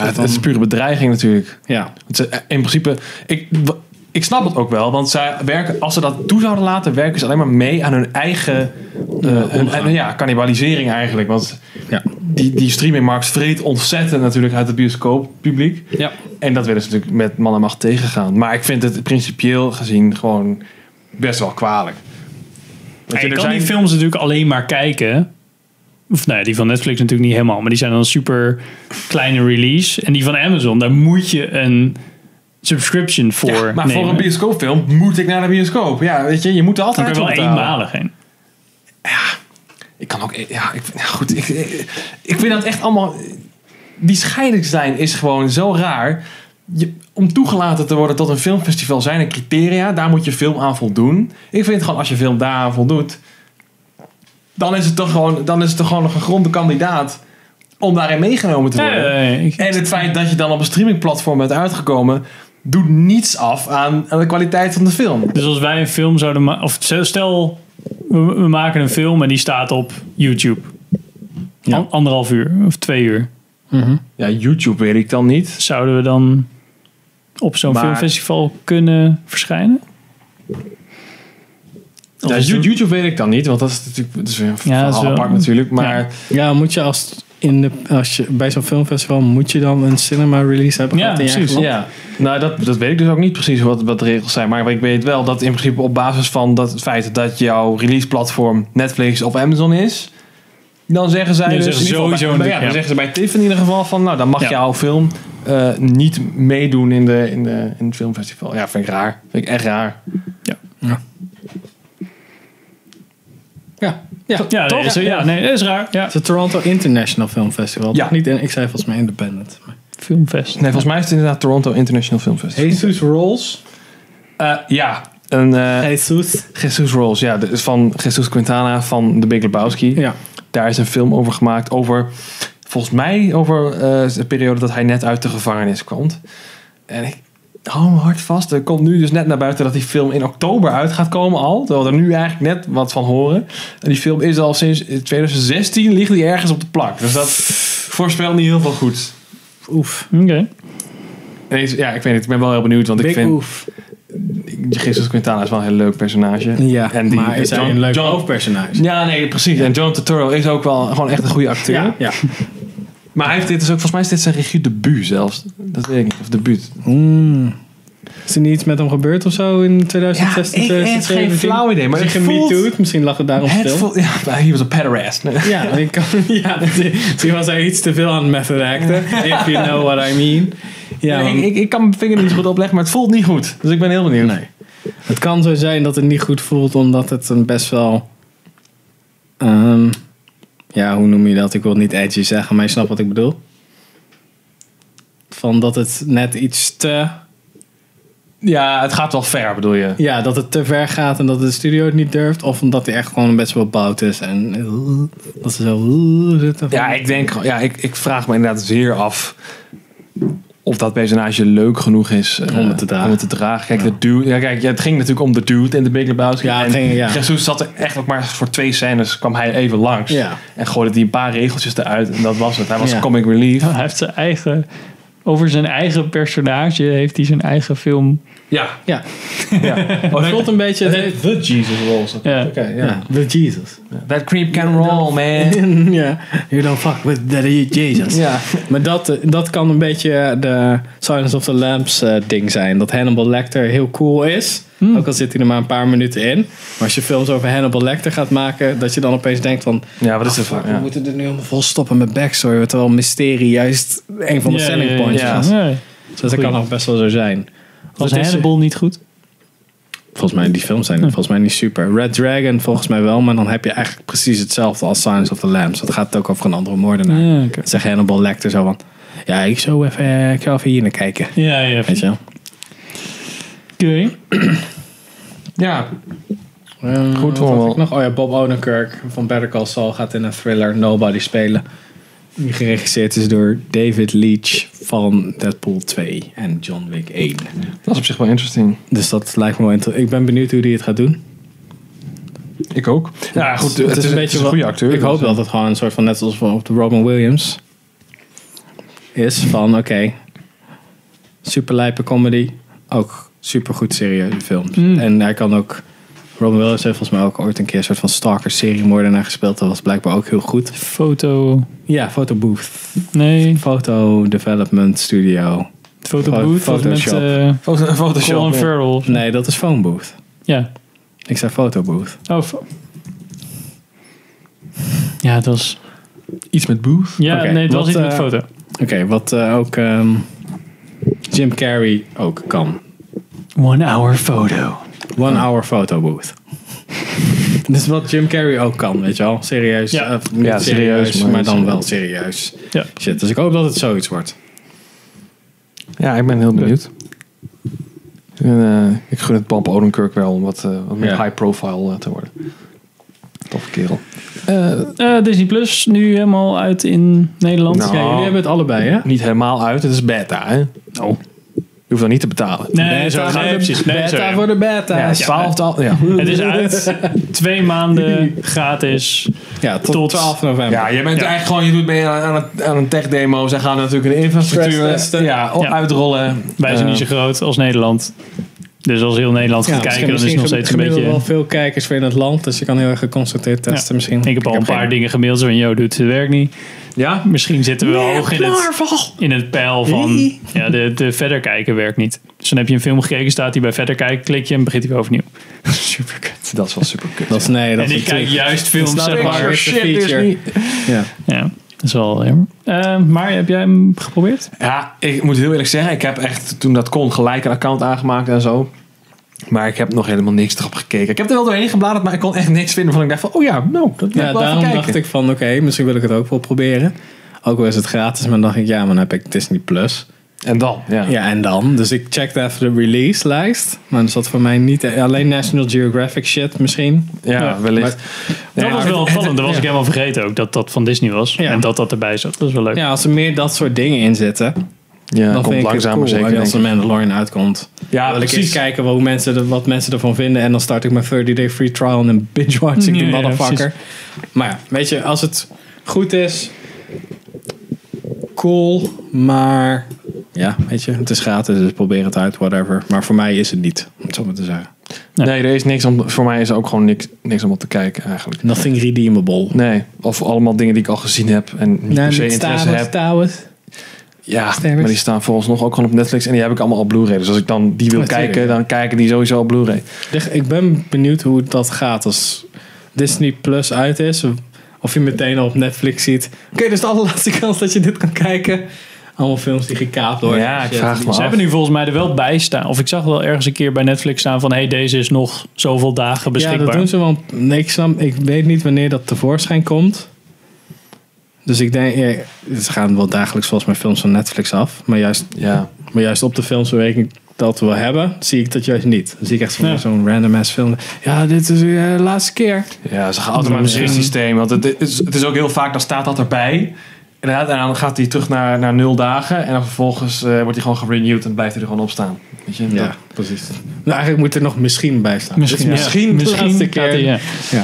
Speaker 3: ja, het, het is pure bedreiging natuurlijk.
Speaker 2: Ja.
Speaker 3: Want ze- eh, in principe, ik, w- ik snap het ook wel, want zij werken, als ze dat toe zouden laten, werken ze alleen maar mee aan hun eigen eh, hun- en, ja, cannibalisering eigenlijk. Want die, die streamingmarkt vreet ontzettend natuurlijk uit het bioscooppubliek.
Speaker 2: Ja.
Speaker 3: En dat willen ze natuurlijk met man en macht tegengaan. Maar ik vind het principieel gezien gewoon best wel kwalijk.
Speaker 1: Ja,
Speaker 3: je,
Speaker 1: je
Speaker 3: er
Speaker 1: kan
Speaker 3: zijn-
Speaker 1: die films natuurlijk alleen maar kijken. Of nou ja, die van Netflix natuurlijk niet helemaal. Maar die zijn dan een super kleine release. En die van Amazon, daar moet je een subscription voor
Speaker 3: Ja, maar voor
Speaker 1: nemen.
Speaker 3: een bioscoopfilm moet ik naar de bioscoop. Ja, weet je, je moet er
Speaker 1: Dan
Speaker 3: altijd
Speaker 1: kun je wel
Speaker 3: voor betalen.
Speaker 1: eenmalig heen.
Speaker 3: Ik kan ook. Ja, ik, ja, goed. Ik, ik, ik vind dat echt allemaal. Die scheiding zijn is gewoon zo raar. Je, om toegelaten te worden tot een filmfestival zijn er criteria. Daar moet je film aan voldoen. Ik vind gewoon als je film daaraan voldoet. dan is het toch gewoon, dan is het toch gewoon nog een gronde kandidaat. om daarin meegenomen te worden.
Speaker 1: eh,
Speaker 3: en het feit dat je dan op een streamingplatform bent uitgekomen. doet niets af aan, aan de kwaliteit van de film.
Speaker 1: Dus als wij een film zouden maken... Of stel, we, we maken een film en die staat op YouTube. An- anderhalf uur of twee uur.
Speaker 3: Ja, YouTube weet ik dan niet.
Speaker 1: Zouden we dan op zo'n
Speaker 3: Maar-
Speaker 1: filmfestival kunnen verschijnen?
Speaker 3: Ja, YouTube, weet ik dan niet, want dat is natuurlijk dat is weer een
Speaker 1: Ja, dat is
Speaker 3: verhaal
Speaker 1: wel-
Speaker 3: apart natuurlijk. Maar ja.
Speaker 2: ja, moet je als. In de, als je, bij zo'n filmfestival moet je dan een cinema release hebben gehad in je eigen land?
Speaker 3: Ja. Nou, dat, dat weet ik dus ook niet precies wat, wat de regels zijn. Maar ik weet wel dat in principe op basis van dat, het feit dat jouw release platform Netflix of Amazon is. Dan zeggen zij
Speaker 1: Nee,
Speaker 3: dus
Speaker 1: zeggen
Speaker 3: in ieder geval
Speaker 1: sowieso
Speaker 3: bij,
Speaker 1: niet,
Speaker 3: ja, dan
Speaker 1: ja.
Speaker 3: zeggen ze bij TIFF in ieder geval van, nou dan mag
Speaker 1: Ja.
Speaker 3: jouw film eh, niet meedoen in, de, in, de, in het filmfestival. Ja, vind ik raar. Vind ik echt raar.
Speaker 2: Ja, ja.
Speaker 1: Ja, nee, is- ja, nee, is raar. Ja.
Speaker 2: Het is het Toronto International Film Festival.
Speaker 3: Ja.
Speaker 2: toch Niet in, ik zei volgens mij independent. maar-
Speaker 1: Filmfest.
Speaker 3: Nee, volgens mij is het inderdaad Toronto International Film Festival. Eh,
Speaker 2: Jesus Rolls.
Speaker 3: ja. Een, Jesus. Jesus Rolls, ja. de- Van Jesus Quintana van The Big Lebowski.
Speaker 2: Ja.
Speaker 3: Daar is een film over gemaakt. Over, volgens mij, over eh, de periode dat hij net uit de gevangenis kwam. En ik, hou hem hard vast. Er komt nu dus net naar buiten dat die film in oktober uit gaat komen al. Terwijl we er nu eigenlijk net wat van horen. En die film is al sinds 2016 ligt die ergens op de plak. Dus dat voorspelt niet heel veel goed. Oef.
Speaker 1: Oké.
Speaker 3: Nee, Ja, ik weet niet. Ik ben wel heel benieuwd. Want ik
Speaker 2: Big
Speaker 3: vind...
Speaker 2: oef.
Speaker 3: Jesus Quintana is wel een heel leuk personage.
Speaker 2: Ja,
Speaker 3: en die,
Speaker 2: maar is hij
Speaker 3: John-
Speaker 2: een leuk
Speaker 3: John-
Speaker 2: hoofdpersonage?
Speaker 3: Ja, nee, precies. En John Turturro is ook wel gewoon echt een goede acteur.
Speaker 2: Ja, ja.
Speaker 3: Maar hij heeft dit dus ook, volgens mij is dit zijn regiedebuut zelfs. Dat weet ik niet, of debuut.
Speaker 2: Is er niet iets met hem gebeurd of zo in 2016,
Speaker 3: Ja, ik- ik heb geen
Speaker 2: 2017?
Speaker 3: flauw idee, maar
Speaker 2: Is hij
Speaker 3: het voelt-
Speaker 2: gemietoed? Misschien lag het daarom
Speaker 3: Het
Speaker 2: stil.
Speaker 3: voelt- ja, hij was een pederast.
Speaker 2: Ja, ik kan, ja, misschien was hij iets te veel aan het method acten. If you know what I mean. Ja,
Speaker 3: Ja,
Speaker 2: want
Speaker 3: ik, ik, ik kan mijn vinger niet zo goed opleggen, maar het voelt niet goed. Dus ik ben heel benieuwd. Nee.
Speaker 2: het kan zo zijn dat het niet goed voelt, omdat het een best wel... ehm, ja, hoe noem je dat? Ik wil het niet edgy zeggen, maar je snapt wat ik bedoel. Van dat het net iets te...
Speaker 3: Ja, het gaat wel ver, bedoel je?
Speaker 2: Ja, dat het te ver gaat en dat de studio het niet durft. Of omdat hij echt gewoon best wel bout is. En eh, dat ze zo eh, zitten.
Speaker 3: Ja, ik denk, gewoon- ja, ik, ik vraag me inderdaad zeer af of dat personage leuk genoeg is eh, om, het te dragen. Kijk, de dude, ja, kijk, ja, het ging natuurlijk om de dude in de Big Lebowski. Ja, en
Speaker 2: ging- ja.
Speaker 3: Jesus zat er echt ook maar voor twee scènes kwam hij even langs.
Speaker 2: Ja.
Speaker 3: En gooide die een paar regeltjes eruit en dat was het. Hij was
Speaker 1: Ja.
Speaker 3: comic relief.
Speaker 1: Nou, Hij heeft zijn eigen... Over zijn eigen personage heeft hij zijn eigen film...
Speaker 3: Ja.
Speaker 2: Ja.
Speaker 3: ja.
Speaker 2: het voelt een beetje...
Speaker 3: The Jesus Rolls.
Speaker 1: Ja.
Speaker 2: Ja, the Jesus.
Speaker 3: That creep can roll, man.
Speaker 2: ja, you don't fuck with the Jesus.
Speaker 3: Ja.
Speaker 2: Maar dat, eh, dat kan een beetje eh, de Silence of the Lambs eh, ding zijn. Dat Hannibal Lecter heel cool is.
Speaker 1: Hmm.
Speaker 2: Ook al zit hij er maar een paar minuten in. Maar als je films over Hannibal Lecter gaat maken, dat je dan opeens denkt van...
Speaker 3: Ja, wat is dit
Speaker 2: "Ah, fuck,
Speaker 3: voor- ja."
Speaker 2: We moeten er nu helemaal vol stoppen met backstory. Terwijl mysterie juist een van de
Speaker 1: Ja,
Speaker 2: selling
Speaker 1: ja,
Speaker 2: points
Speaker 1: ja.
Speaker 2: was.
Speaker 1: Ja.
Speaker 2: Dus dat
Speaker 1: Goeie.
Speaker 2: kan nog best wel zo zijn.
Speaker 1: Was
Speaker 2: Dat is-
Speaker 1: Hannibal niet goed?
Speaker 2: Volgens mij, die films zijn volgens mij niet super. Red Dragon volgens mij wel, maar dan heb je eigenlijk precies hetzelfde als Silence of the Lambs. Dat gaat ook over een andere moordenaar.
Speaker 1: Ja,
Speaker 2: Dan Zegt Hannibal Lecter zo van, ja, ik zou even, eh, ik zou even hier naar kijken.
Speaker 1: Ja, ja.
Speaker 2: Weet je wel?
Speaker 1: Oké.
Speaker 3: Ja.
Speaker 2: Goed
Speaker 3: hoor, wel.
Speaker 2: nog? Oh ja, Bob Odenkirk van Better Call Saul gaat in een thriller Nobody spelen. Die geregisseerd is door David Leitch van Deadpool 2 en John Wick 1.
Speaker 3: Dat is op zich wel interesting.
Speaker 2: Dus dat lijkt me wel interessant. Ik ben benieuwd hoe die het gaat doen.
Speaker 3: Ik ook. Ja, goed. Het, is, het is een
Speaker 2: wel-
Speaker 3: goede acteur.
Speaker 2: Ik hoop
Speaker 3: Dus,
Speaker 2: dat het gewoon een soort van net zoals van op de Robin Williams is van oké, super lijpe comedy, ook super goed serieuze films.
Speaker 3: Hmm.
Speaker 2: En hij kan ook Robin Williams heeft volgens mij ook ooit een keer een soort van stalker seriemoordenaar gespeeld. Dat was blijkbaar ook heel goed.
Speaker 1: Foto...
Speaker 2: Ja, photobooth,
Speaker 1: Nee.
Speaker 2: photo development studio.
Speaker 1: Fotobooth.
Speaker 2: Fo-
Speaker 1: was met
Speaker 2: Photoshop.
Speaker 1: eh,
Speaker 3: Foto- Photoshop,
Speaker 1: Colin
Speaker 3: ja.
Speaker 1: Farrell.
Speaker 2: Nee, dat is phone booth.
Speaker 1: Ja.
Speaker 2: Ik zei photobooth.
Speaker 1: Oh, fo- ja, het was...
Speaker 3: Iets met Booth.
Speaker 1: Ja,
Speaker 2: Oké,
Speaker 1: nee, het was
Speaker 2: wat,
Speaker 1: iets met
Speaker 2: eh,
Speaker 1: foto.
Speaker 2: Oké, wat eh, ook ehm, Jim Carrey ook kan.
Speaker 1: One hour photo.
Speaker 2: One hour photo booth. Dat is wat Jim Carrey ook kan, weet je wel. Serieus.
Speaker 1: Ja.
Speaker 2: eh, niet
Speaker 3: Ja,
Speaker 2: serieus,
Speaker 3: serieus,
Speaker 2: maar,
Speaker 3: maar-
Speaker 2: dan wel serieus.
Speaker 1: Ja.
Speaker 2: Shit, dus ik hoop dat het zoiets wordt.
Speaker 3: Ja, ik ben heel benieuwd. En, eh, ik gun het Bob Odenkirk wel om wat, eh, wat meer
Speaker 2: Ja.
Speaker 3: high profile eh, te worden. Toffe kerel.
Speaker 1: Eh, Disney Plus, nu helemaal uit in Nederland.
Speaker 3: Nou.
Speaker 2: Ja, jullie hebben het allebei, hè?
Speaker 3: Niet helemaal uit, het is beta, hè? Oh. Je hoeft dan niet te betalen.
Speaker 1: Nee, zo,
Speaker 2: voor
Speaker 1: nee,
Speaker 2: de-
Speaker 1: precies. Nee,
Speaker 2: beta
Speaker 1: zo, ja.
Speaker 2: voor de beta.
Speaker 3: Ja,
Speaker 2: eh, Ja,
Speaker 3: 12 al. Ja.
Speaker 1: Het is uit. Twee maanden gratis.
Speaker 2: tot,
Speaker 1: Tot-
Speaker 2: 12 november.
Speaker 3: ja, je bent eigenlijk gewoon, je doet mee aan, aan, het- aan een tech demo. Zij gaan natuurlijk een infrastructuur
Speaker 2: Stresstesten.
Speaker 3: ja, op-
Speaker 1: Ja.
Speaker 3: uitrollen.
Speaker 1: Wij zijn
Speaker 3: Eh,
Speaker 1: niet zo groot als Nederland. Dus als heel Nederland
Speaker 2: Ja,
Speaker 1: gaat kijken,
Speaker 2: misschien-
Speaker 1: dan is het nog
Speaker 2: misschien
Speaker 1: steeds een
Speaker 2: gemiddeld
Speaker 1: beetje...
Speaker 2: wel veel kijkers weer in het land, dus je kan heel erg geconcentreerd testen
Speaker 1: Ja.
Speaker 2: misschien.
Speaker 1: Ik heb al een paar
Speaker 2: geen-
Speaker 1: dingen gemaild van, yo, doet het werkt niet.
Speaker 3: Ja?
Speaker 1: Misschien zitten we wel hoog in het, in het pijl van,
Speaker 2: Hey.
Speaker 1: ja, de, de verder kijken werkt niet. Dus dan heb je een film gekeken, staat hij bij verder kijken, klik je en begint hij weer overnieuw. Super kut.
Speaker 3: Dat is wel super kut.
Speaker 2: Dat is, nee, dat
Speaker 1: En ik
Speaker 2: is een
Speaker 1: kijk
Speaker 2: truc.
Speaker 1: juist films,
Speaker 2: Dat is
Speaker 1: zeg
Speaker 2: nou
Speaker 1: maar.
Speaker 2: weer-
Speaker 3: dus
Speaker 2: Ja.
Speaker 1: Ja, dat is wel jammer. Eh, maar heb jij hem geprobeerd?
Speaker 3: Ja, ik moet heel eerlijk zeggen, ik heb echt toen dat kon gelijk een account aangemaakt en zo. Maar ik heb nog helemaal niks erop gekeken. Ik heb er wel doorheen gebladerd, maar ik kon echt niks vinden van ik dacht van, oh ja, nou, dat wil
Speaker 2: Ja,
Speaker 3: ik wel even
Speaker 2: daarom
Speaker 3: kijken.
Speaker 2: dacht ik van, oké, misschien wil ik het ook wel proberen. Ook al is het gratis, maar dan dacht ik, ja, maar dan heb ik Disney+. Plus.
Speaker 3: En dan, ja.
Speaker 2: Ja, en dan? Dus ik checkte even de release lijst. Maar dat zat voor mij niet... e- Alleen National Geographic shit misschien.
Speaker 3: Ja, wellicht.
Speaker 1: Dat
Speaker 2: Ja,
Speaker 1: was
Speaker 2: maar-
Speaker 1: wel opvallend. Dat was
Speaker 2: ja.
Speaker 1: ik helemaal vergeten ook, dat dat van Disney was.
Speaker 2: Ja.
Speaker 1: En dat dat erbij zat. Dat is wel leuk.
Speaker 2: Ja, als er meer dat soort dingen in zitten... dan
Speaker 3: Ja,
Speaker 2: vind
Speaker 3: komt
Speaker 2: ik het
Speaker 3: langzaam maar
Speaker 2: cool.
Speaker 3: zeker,
Speaker 2: En als de
Speaker 3: denk ik.
Speaker 2: Mandalorian uitkomt.
Speaker 3: Ja,
Speaker 2: dan wil ik
Speaker 3: precies.
Speaker 2: eens kijken wat, hoe mensen, er- wat mensen ervan vinden. En dan start ik mijn 30 day free trial en dan binge watch ik
Speaker 3: Ja,
Speaker 2: die
Speaker 3: ja,
Speaker 2: motherfucker. maar ja, weet je, als het goed is, cool. Maar ja, weet je, het is gratis, dus probeer het uit, whatever. Maar voor mij is het niet, om het zo maar te zeggen.
Speaker 3: Nee. er is niks om. Voor mij is er ook gewoon niks, niks om op te kijken eigenlijk.
Speaker 2: Nothing redeemable.
Speaker 3: Nee, of allemaal dingen die ik al gezien heb en niet per se interesse heb. Ja, maar die staan volgens nog ook gewoon op Netflix en die heb ik allemaal op Blu-ray. Dus als ik dan die wil
Speaker 2: Natuurlijk,
Speaker 3: kijken, dan kijk ik die sowieso op Blu-ray.
Speaker 2: Leg- Ik ben benieuwd hoe dat gaat als Disney Plus uit is. Of je meteen al op Netflix ziet. Oké, dus de allerlaatste kans dat je dit kan kijken. Allemaal films die gekaapt worden.
Speaker 1: Ja,
Speaker 2: Shit.
Speaker 1: Ze hebben nu volgens mij er wel bij staan. Of ik zag wel ergens een keer bij Netflix staan van... hé, hey, deze is nog zoveel dagen
Speaker 2: Ja,
Speaker 1: beschikbaar.
Speaker 2: dat doen ze wel. Nee, ik, snap, ik weet niet wanneer dat tevoorschijn komt. Dus ik denk, ja, ze gaan wel dagelijks volgens mij films van Netflix af. Maar juist,
Speaker 3: ja.
Speaker 2: maar juist op de films waar ik dat wil hebben, zie ik dat juist niet. Dan zie ik echt zo'n
Speaker 3: Ja.
Speaker 2: zo'n random ass film. Ja, dit is weer de laatste keer.
Speaker 3: Ja, ze gaan altijd maar met een systeem. Want het is, het is ook heel vaak, dan staat dat erbij. Inderdaad, en dan gaat hij terug naar, naar nul dagen. En dan vervolgens eh, wordt hij gewoon gerenewed en blijft hij er gewoon op staan. Weet je?
Speaker 2: Ja, precies. Nou, eigenlijk moet er nog misschien bij staan.
Speaker 3: Misschien,
Speaker 2: Dus
Speaker 3: ja.
Speaker 2: misschien,
Speaker 3: Misschien
Speaker 2: de laatste
Speaker 3: gaat
Speaker 2: keer.
Speaker 3: hij, ja.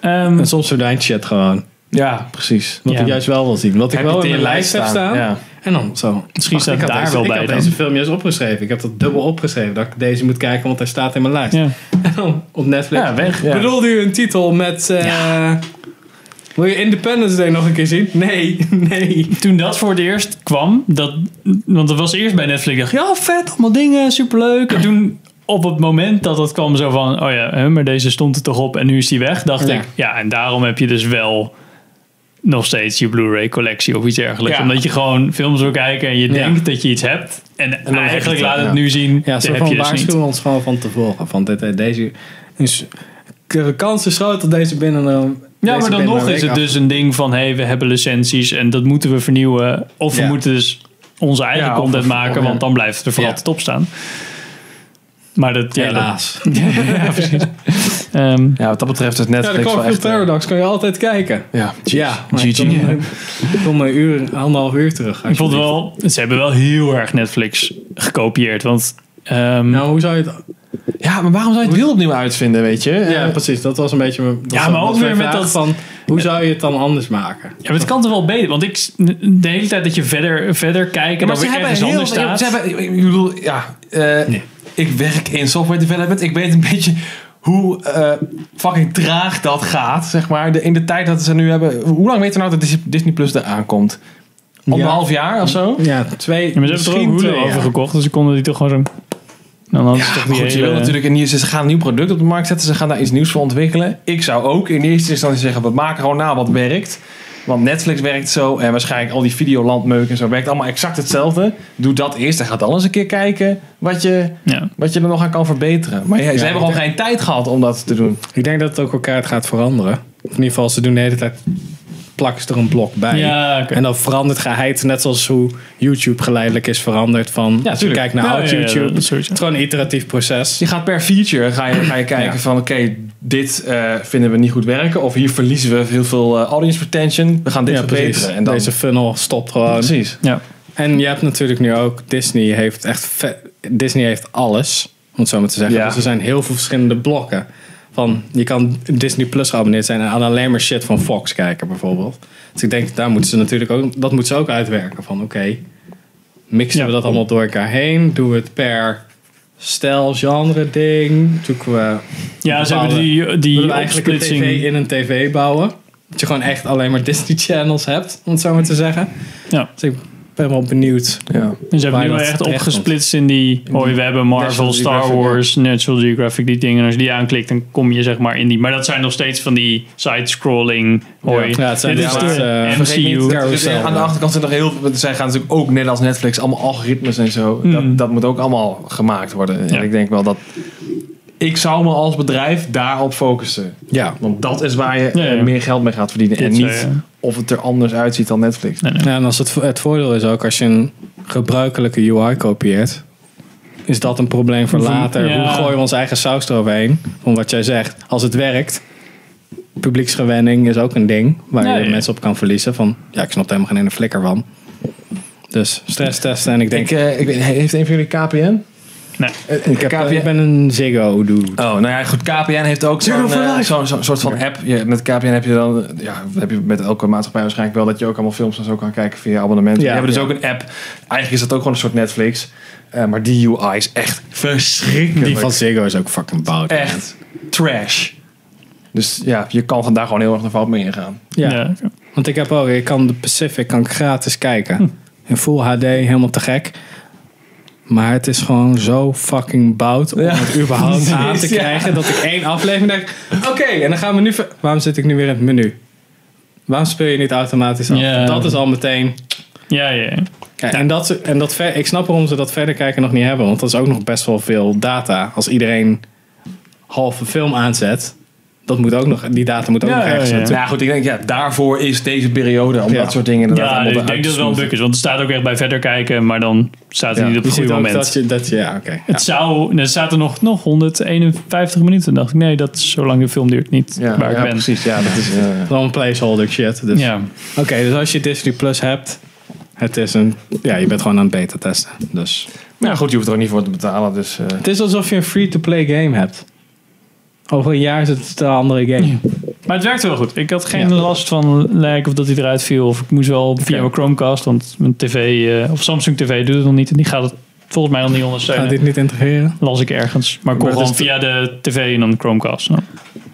Speaker 2: Ja.
Speaker 1: Ehm,
Speaker 2: en soms verdwijnt shit gewoon.
Speaker 3: Ja, precies.
Speaker 2: Wat
Speaker 3: Ja.
Speaker 2: ik juist wel wil zien. Wat ik
Speaker 3: Heb je
Speaker 2: wel
Speaker 3: het
Speaker 2: in mijn
Speaker 3: in je
Speaker 2: lijst heb
Speaker 3: lijst
Speaker 2: staan.
Speaker 3: staan? Ja.
Speaker 2: En dan zo.
Speaker 1: Misschien staat
Speaker 2: ik had
Speaker 1: daar
Speaker 2: deze,
Speaker 1: wel
Speaker 2: ik
Speaker 1: bij
Speaker 2: had
Speaker 1: dan.
Speaker 2: deze film juist opgeschreven. Ik heb dat dubbel opgeschreven. Dat ik deze moet kijken, want hij staat in mijn lijst. En dan op Netflix.
Speaker 1: Ja, weg, ja.
Speaker 2: Bedoelde u een titel met... eh, Wil je Independence Day nog een keer zien? Nee, nee.
Speaker 1: Toen dat voor het eerst kwam, dat, want dat was eerst bij Netflix. dacht, ja, vet, allemaal dingen, superleuk. En toen op het moment dat dat kwam, zo van, oh ja, hè, maar deze stond er toch op en nu is die weg, dacht
Speaker 2: Ja.
Speaker 1: ik. Ja, en daarom heb je dus wel nog steeds je Blu-ray collectie of iets dergelijks.
Speaker 2: Ja.
Speaker 1: Omdat je gewoon films wil kijken en je denkt dat je iets hebt. En,
Speaker 2: En dan heb
Speaker 1: eigenlijk
Speaker 2: je
Speaker 1: laat het
Speaker 2: ja.
Speaker 1: nu zien,
Speaker 2: Ja,
Speaker 1: dat
Speaker 2: ze
Speaker 1: heb je
Speaker 2: van
Speaker 1: dus niet.
Speaker 2: waarschuwen ons gewoon van tevoren. Van dit, eh, deze... Dus, de kans is groot dat deze binnen een...
Speaker 1: Ja,
Speaker 2: deze
Speaker 1: maar dan
Speaker 2: binnen
Speaker 1: nog
Speaker 2: een
Speaker 1: is
Speaker 2: week
Speaker 1: het dus een ding van... hé, hey, we hebben licenties en dat moeten we vernieuwen. Of we
Speaker 2: Ja.
Speaker 1: moeten dus onze eigen
Speaker 2: Ja, of-
Speaker 1: content
Speaker 2: of-
Speaker 1: maken...
Speaker 2: ja.
Speaker 1: want dan blijft het er voor
Speaker 2: Ja.
Speaker 1: altijd op staan. Maar dat... ja, dat-
Speaker 2: Helaas.
Speaker 1: ja, precies. Ehm,
Speaker 3: ja, wat dat betreft
Speaker 2: Ja,
Speaker 3: is
Speaker 2: de
Speaker 3: Netflix wel
Speaker 2: Cloverfield
Speaker 1: eh,
Speaker 3: echt... eh,
Speaker 2: Paradox kan je altijd kijken.
Speaker 3: Ja,
Speaker 2: Ja, maar
Speaker 1: GG.
Speaker 2: Ik kom, ik kom een uur, anderhalf uur terug.
Speaker 1: ik vond wel... Ze hebben wel heel erg Netflix gekopieerd, want... ehm,
Speaker 2: Nou, hoe zou je het...
Speaker 3: Ja, maar waarom zou je het wiel opnieuw uitvinden, weet je? Eh,
Speaker 2: Ja, precies. Dat was een beetje mijn... dat
Speaker 1: Ja,
Speaker 2: was-
Speaker 1: maar
Speaker 2: was
Speaker 1: ook weer
Speaker 2: mijn
Speaker 1: met
Speaker 2: vraag
Speaker 1: dat-
Speaker 2: Van, hoe zou je het dan anders maken?
Speaker 1: ja, maar het kan toch wel beter, want ik s- de hele tijd dat je verder, verder kijkt en
Speaker 3: maar
Speaker 1: dan
Speaker 3: ze
Speaker 1: weer
Speaker 3: hebben
Speaker 1: ergens
Speaker 3: heel...
Speaker 2: dus
Speaker 1: anders staat.
Speaker 3: Ze hebben, ik bedoel, ja... eh, Ik werk in software development. Ik weet een beetje hoe eh, fucking traag dat gaat, zeg maar. De, in de tijd dat ze nu hebben... Hoe lang weten we nou dat Dis- Disney Plus eraan komt? Anderhalf jaar of zo?
Speaker 2: Ja, twee...
Speaker 1: Ja, maar ze hebben er ook Hulu
Speaker 2: twee
Speaker 1: over
Speaker 2: jaar.
Speaker 1: gekocht, dus ze konden die toch gewoon zo... Dan hadden ze toch
Speaker 3: Maar
Speaker 1: die
Speaker 3: goed, je
Speaker 2: eh,
Speaker 1: hele-
Speaker 3: wil natuurlijk een nieuw, ze gaan een nieuw product op de markt zetten. Ze gaan daar iets nieuws voor ontwikkelen. Ik zou ook in eerste instantie zeggen, we maken gewoon na wat werkt. Want Netflix werkt zo en waarschijnlijk al die videolandmeuk en zo werkt allemaal exact hetzelfde. Doe dat eerst en ga dan eens een keer kijken wat je,
Speaker 1: Ja.
Speaker 3: wat je er nog aan kan verbeteren. Maar ja,
Speaker 2: Ja,
Speaker 3: ze hebben
Speaker 2: ik
Speaker 3: gewoon geen tijd gehad om dat te doen.
Speaker 2: Ik denk dat het ook elkaar het gaat veranderen. Of in ieder geval, ze doen de hele tijd... plakken ze er een blok bij.
Speaker 1: Ja, oké.
Speaker 2: En dan verandert geheid, net zoals hoe YouTube geleidelijk is veranderd. Van, als je
Speaker 3: tuurlijk.
Speaker 2: kijkt naar
Speaker 1: Ja,
Speaker 2: oud
Speaker 1: ja, ja,
Speaker 2: YouTube,
Speaker 1: dat- dat
Speaker 2: het is gewoon een iteratief proces.
Speaker 3: Je gaat per feature ga je, ga je kijken
Speaker 2: Ja.
Speaker 3: van oké, dit eh, vinden we niet goed werken. Of hier verliezen we heel veel eh, audience retention. We gaan dit
Speaker 2: Ja,
Speaker 3: verbeteren.
Speaker 2: precies.
Speaker 3: En dan,
Speaker 2: Deze funnel stopt gewoon.
Speaker 3: Precies.
Speaker 1: Ja.
Speaker 2: En je hebt natuurlijk nu ook Disney heeft echt vet- Disney heeft alles, om het zo maar te zeggen.
Speaker 3: Ja.
Speaker 2: Dus er zijn heel veel verschillende blokken. Van, je kan Disney Plus geabonneerd zijn en aan alleen maar shit van Fox kijken bijvoorbeeld. Dus ik denk, daar moeten ze natuurlijk ook, dat moeten ze ook uitwerken. Van oké, mixen we dat allemaal door elkaar heen? Doen we het per stijl, genre ding? Zoeken we
Speaker 1: Ja, ze
Speaker 2: bepaalde-
Speaker 1: hebben die,
Speaker 2: willen we
Speaker 1: die
Speaker 2: eigenlijk een
Speaker 1: opsplitsing...
Speaker 2: tv in een tv bouwen. Dat je gewoon echt alleen maar Disney Channels hebt, om het zo maar te zeggen.
Speaker 1: Ja.
Speaker 2: Dus ik ben wel benieuwd.
Speaker 3: ja.
Speaker 1: En ze Dus hebben nu
Speaker 2: Waar
Speaker 1: wel
Speaker 2: dat
Speaker 1: echt
Speaker 2: terecht
Speaker 1: opgesplitst in die... Hoi, we hebben Marvel,
Speaker 2: National
Speaker 1: Star
Speaker 2: Geographic,
Speaker 1: Wars, National Geographic, die dingen. En als je die aanklikt, dan kom je zeg maar in die... Maar dat zijn nog steeds van die side-scrolling... Hoi,
Speaker 2: Ja, het zijn
Speaker 1: dit
Speaker 2: die
Speaker 1: is de
Speaker 2: laatste, eh,
Speaker 3: Vergeet niet,
Speaker 1: MCU.
Speaker 3: dat er dus
Speaker 2: Carousel, eh.
Speaker 3: aan de
Speaker 2: ja.
Speaker 3: achterkant zijn nog heel veel. want Zij gaan natuurlijk ook net als Netflix allemaal algoritmes en zo. Dat, dat moet ook allemaal gemaakt worden. En
Speaker 1: Mhm. Ja.
Speaker 3: ik denk wel dat. Ik zou me als bedrijf daarop focussen.
Speaker 2: Ja.
Speaker 3: Want dat is waar je
Speaker 1: Ja, ja.
Speaker 3: eh, meer geld mee gaat verdienen.
Speaker 1: Dit
Speaker 3: en
Speaker 1: zou,
Speaker 3: niet
Speaker 1: ja.
Speaker 3: of het er anders uitziet dan Netflix.
Speaker 1: Nee, nee.
Speaker 2: Ja, en als het, het voordeel is ook als je een gebruikelijke UI kopieert, is dat een probleem voor
Speaker 1: Van-
Speaker 2: later.
Speaker 1: ja.
Speaker 2: Hoe gooien we onze eigen saus eroverheen? Van wat jij zegt. Als het werkt, publieksgewenning is ook een ding waar
Speaker 1: Ja,
Speaker 2: je
Speaker 1: ja.
Speaker 2: mensen op kan verliezen. Van ja, ik snap er helemaal geen ene flikker van. Dus stress testen en ik denk...
Speaker 3: Ik, eh, ik weet- heeft een van jullie KPN?
Speaker 1: Nee.
Speaker 3: Eh,
Speaker 2: Ik, heb, eh, ik ben een Ziggo dude.
Speaker 3: Oh, nou ja, goed. KPN heeft ook
Speaker 2: Zero
Speaker 3: zo'n
Speaker 2: for
Speaker 3: eh,
Speaker 2: life.
Speaker 3: zo'n- zo'n soort van app. Je, met KPN heb je dan, eh, ja, heb je met elke maatschappij waarschijnlijk wel dat je ook allemaal films en zo kan kijken via abonnement.
Speaker 2: Ja,
Speaker 3: die hebben dus
Speaker 2: ja.
Speaker 3: ook een app. Eigenlijk is dat ook gewoon een soort Netflix. Eh, maar die UI is echt verschrikkelijk.
Speaker 2: Die van Ziggo is ook fucking bouwd.
Speaker 3: Echt trash. Dus ja, je kan vandaag gewoon heel erg naar fout mee ingaan.
Speaker 2: Ja. Want ik heb ook, ik kan de Pacific kan ik gratis kijken.
Speaker 3: Hm.
Speaker 2: In full HD, helemaal te gek. Maar het is gewoon zo fucking bout om het überhaupt aan te
Speaker 3: Ja.
Speaker 2: krijgen dat ik één aflevering denk. Oké, en dan gaan we nu. ver- Waarom zit ik nu weer in het menu? Waarom speel je niet automatisch af?
Speaker 1: Ja.
Speaker 2: Dat is al meteen.
Speaker 1: Ja, ja.
Speaker 2: Kijk, en dat, ze- en dat ver, ik snap waarom ze dat verder kijken nog niet hebben, want dat is ook nog best wel veel data. Als iedereen halve film aanzet, dat moet ook nog, die data moet ook nog ergens
Speaker 3: ja.
Speaker 2: naartoe.
Speaker 3: Nou goed, ik denk ja, daarvoor is deze periode om dat soort dingen inderdaad
Speaker 1: Ja, dus
Speaker 3: allemaal
Speaker 1: ik denk dat
Speaker 3: eruit te
Speaker 1: het wel een
Speaker 3: smoesen.
Speaker 1: buk is. Want het staat ook echt bij verder kijken, maar dan staat het
Speaker 3: Ja,
Speaker 1: niet op
Speaker 3: je
Speaker 1: het
Speaker 3: ziet
Speaker 1: goede
Speaker 3: ook
Speaker 1: moment.
Speaker 2: Dat je, dat je, ja, oké.
Speaker 1: Het zou, er zaten nog, nog 151 minuten. dacht ik, nee, dat is zo lang de film duurt niet waar ik ben.
Speaker 3: Ja, dat is eh,
Speaker 2: dan een placeholder shit. Dus.
Speaker 1: Ja.
Speaker 2: Oké, dus als je Disney Plus hebt, het is een, ja, je bent gewoon aan het beta testen. Dus.
Speaker 3: Maar Nou ja, goed, je hoeft er ook niet voor te betalen. Dus, eh,
Speaker 2: Het is alsof je een free-to-play game hebt. Over een jaar is het een andere game.
Speaker 1: Maar het werkte wel goed. Ik had geen last van lag of dat hij eruit viel. Of ik moest wel via mijn Chromecast, want mijn tv eh, of Samsung TV doet het nog niet. En die gaat het volgens mij nog niet ondersteunen.
Speaker 2: Gaat dit niet integreren?
Speaker 1: Las ik ergens. Maar ik kon
Speaker 2: Maar dat
Speaker 1: gewoon via
Speaker 2: is
Speaker 1: de tv en dan Chromecast. Nou,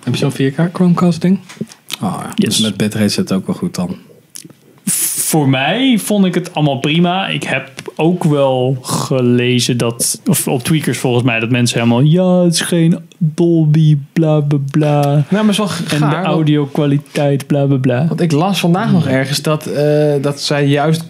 Speaker 2: Heb je zo'n 4K Chromecast ding? Nou, Oh, ja. Dus met bitrate zit het ook wel goed dan.
Speaker 1: Voor mij vond ik het allemaal prima. Ik heb ook wel gelezen dat, of op tweakers volgens mij, dat mensen helemaal, ja, het is geen Dolby, bla bla bla.
Speaker 3: Nou, maar zo
Speaker 1: En de audio kwaliteit, bla bla bla.
Speaker 3: Want ik las vandaag nog ergens dat, eh, dat zij juist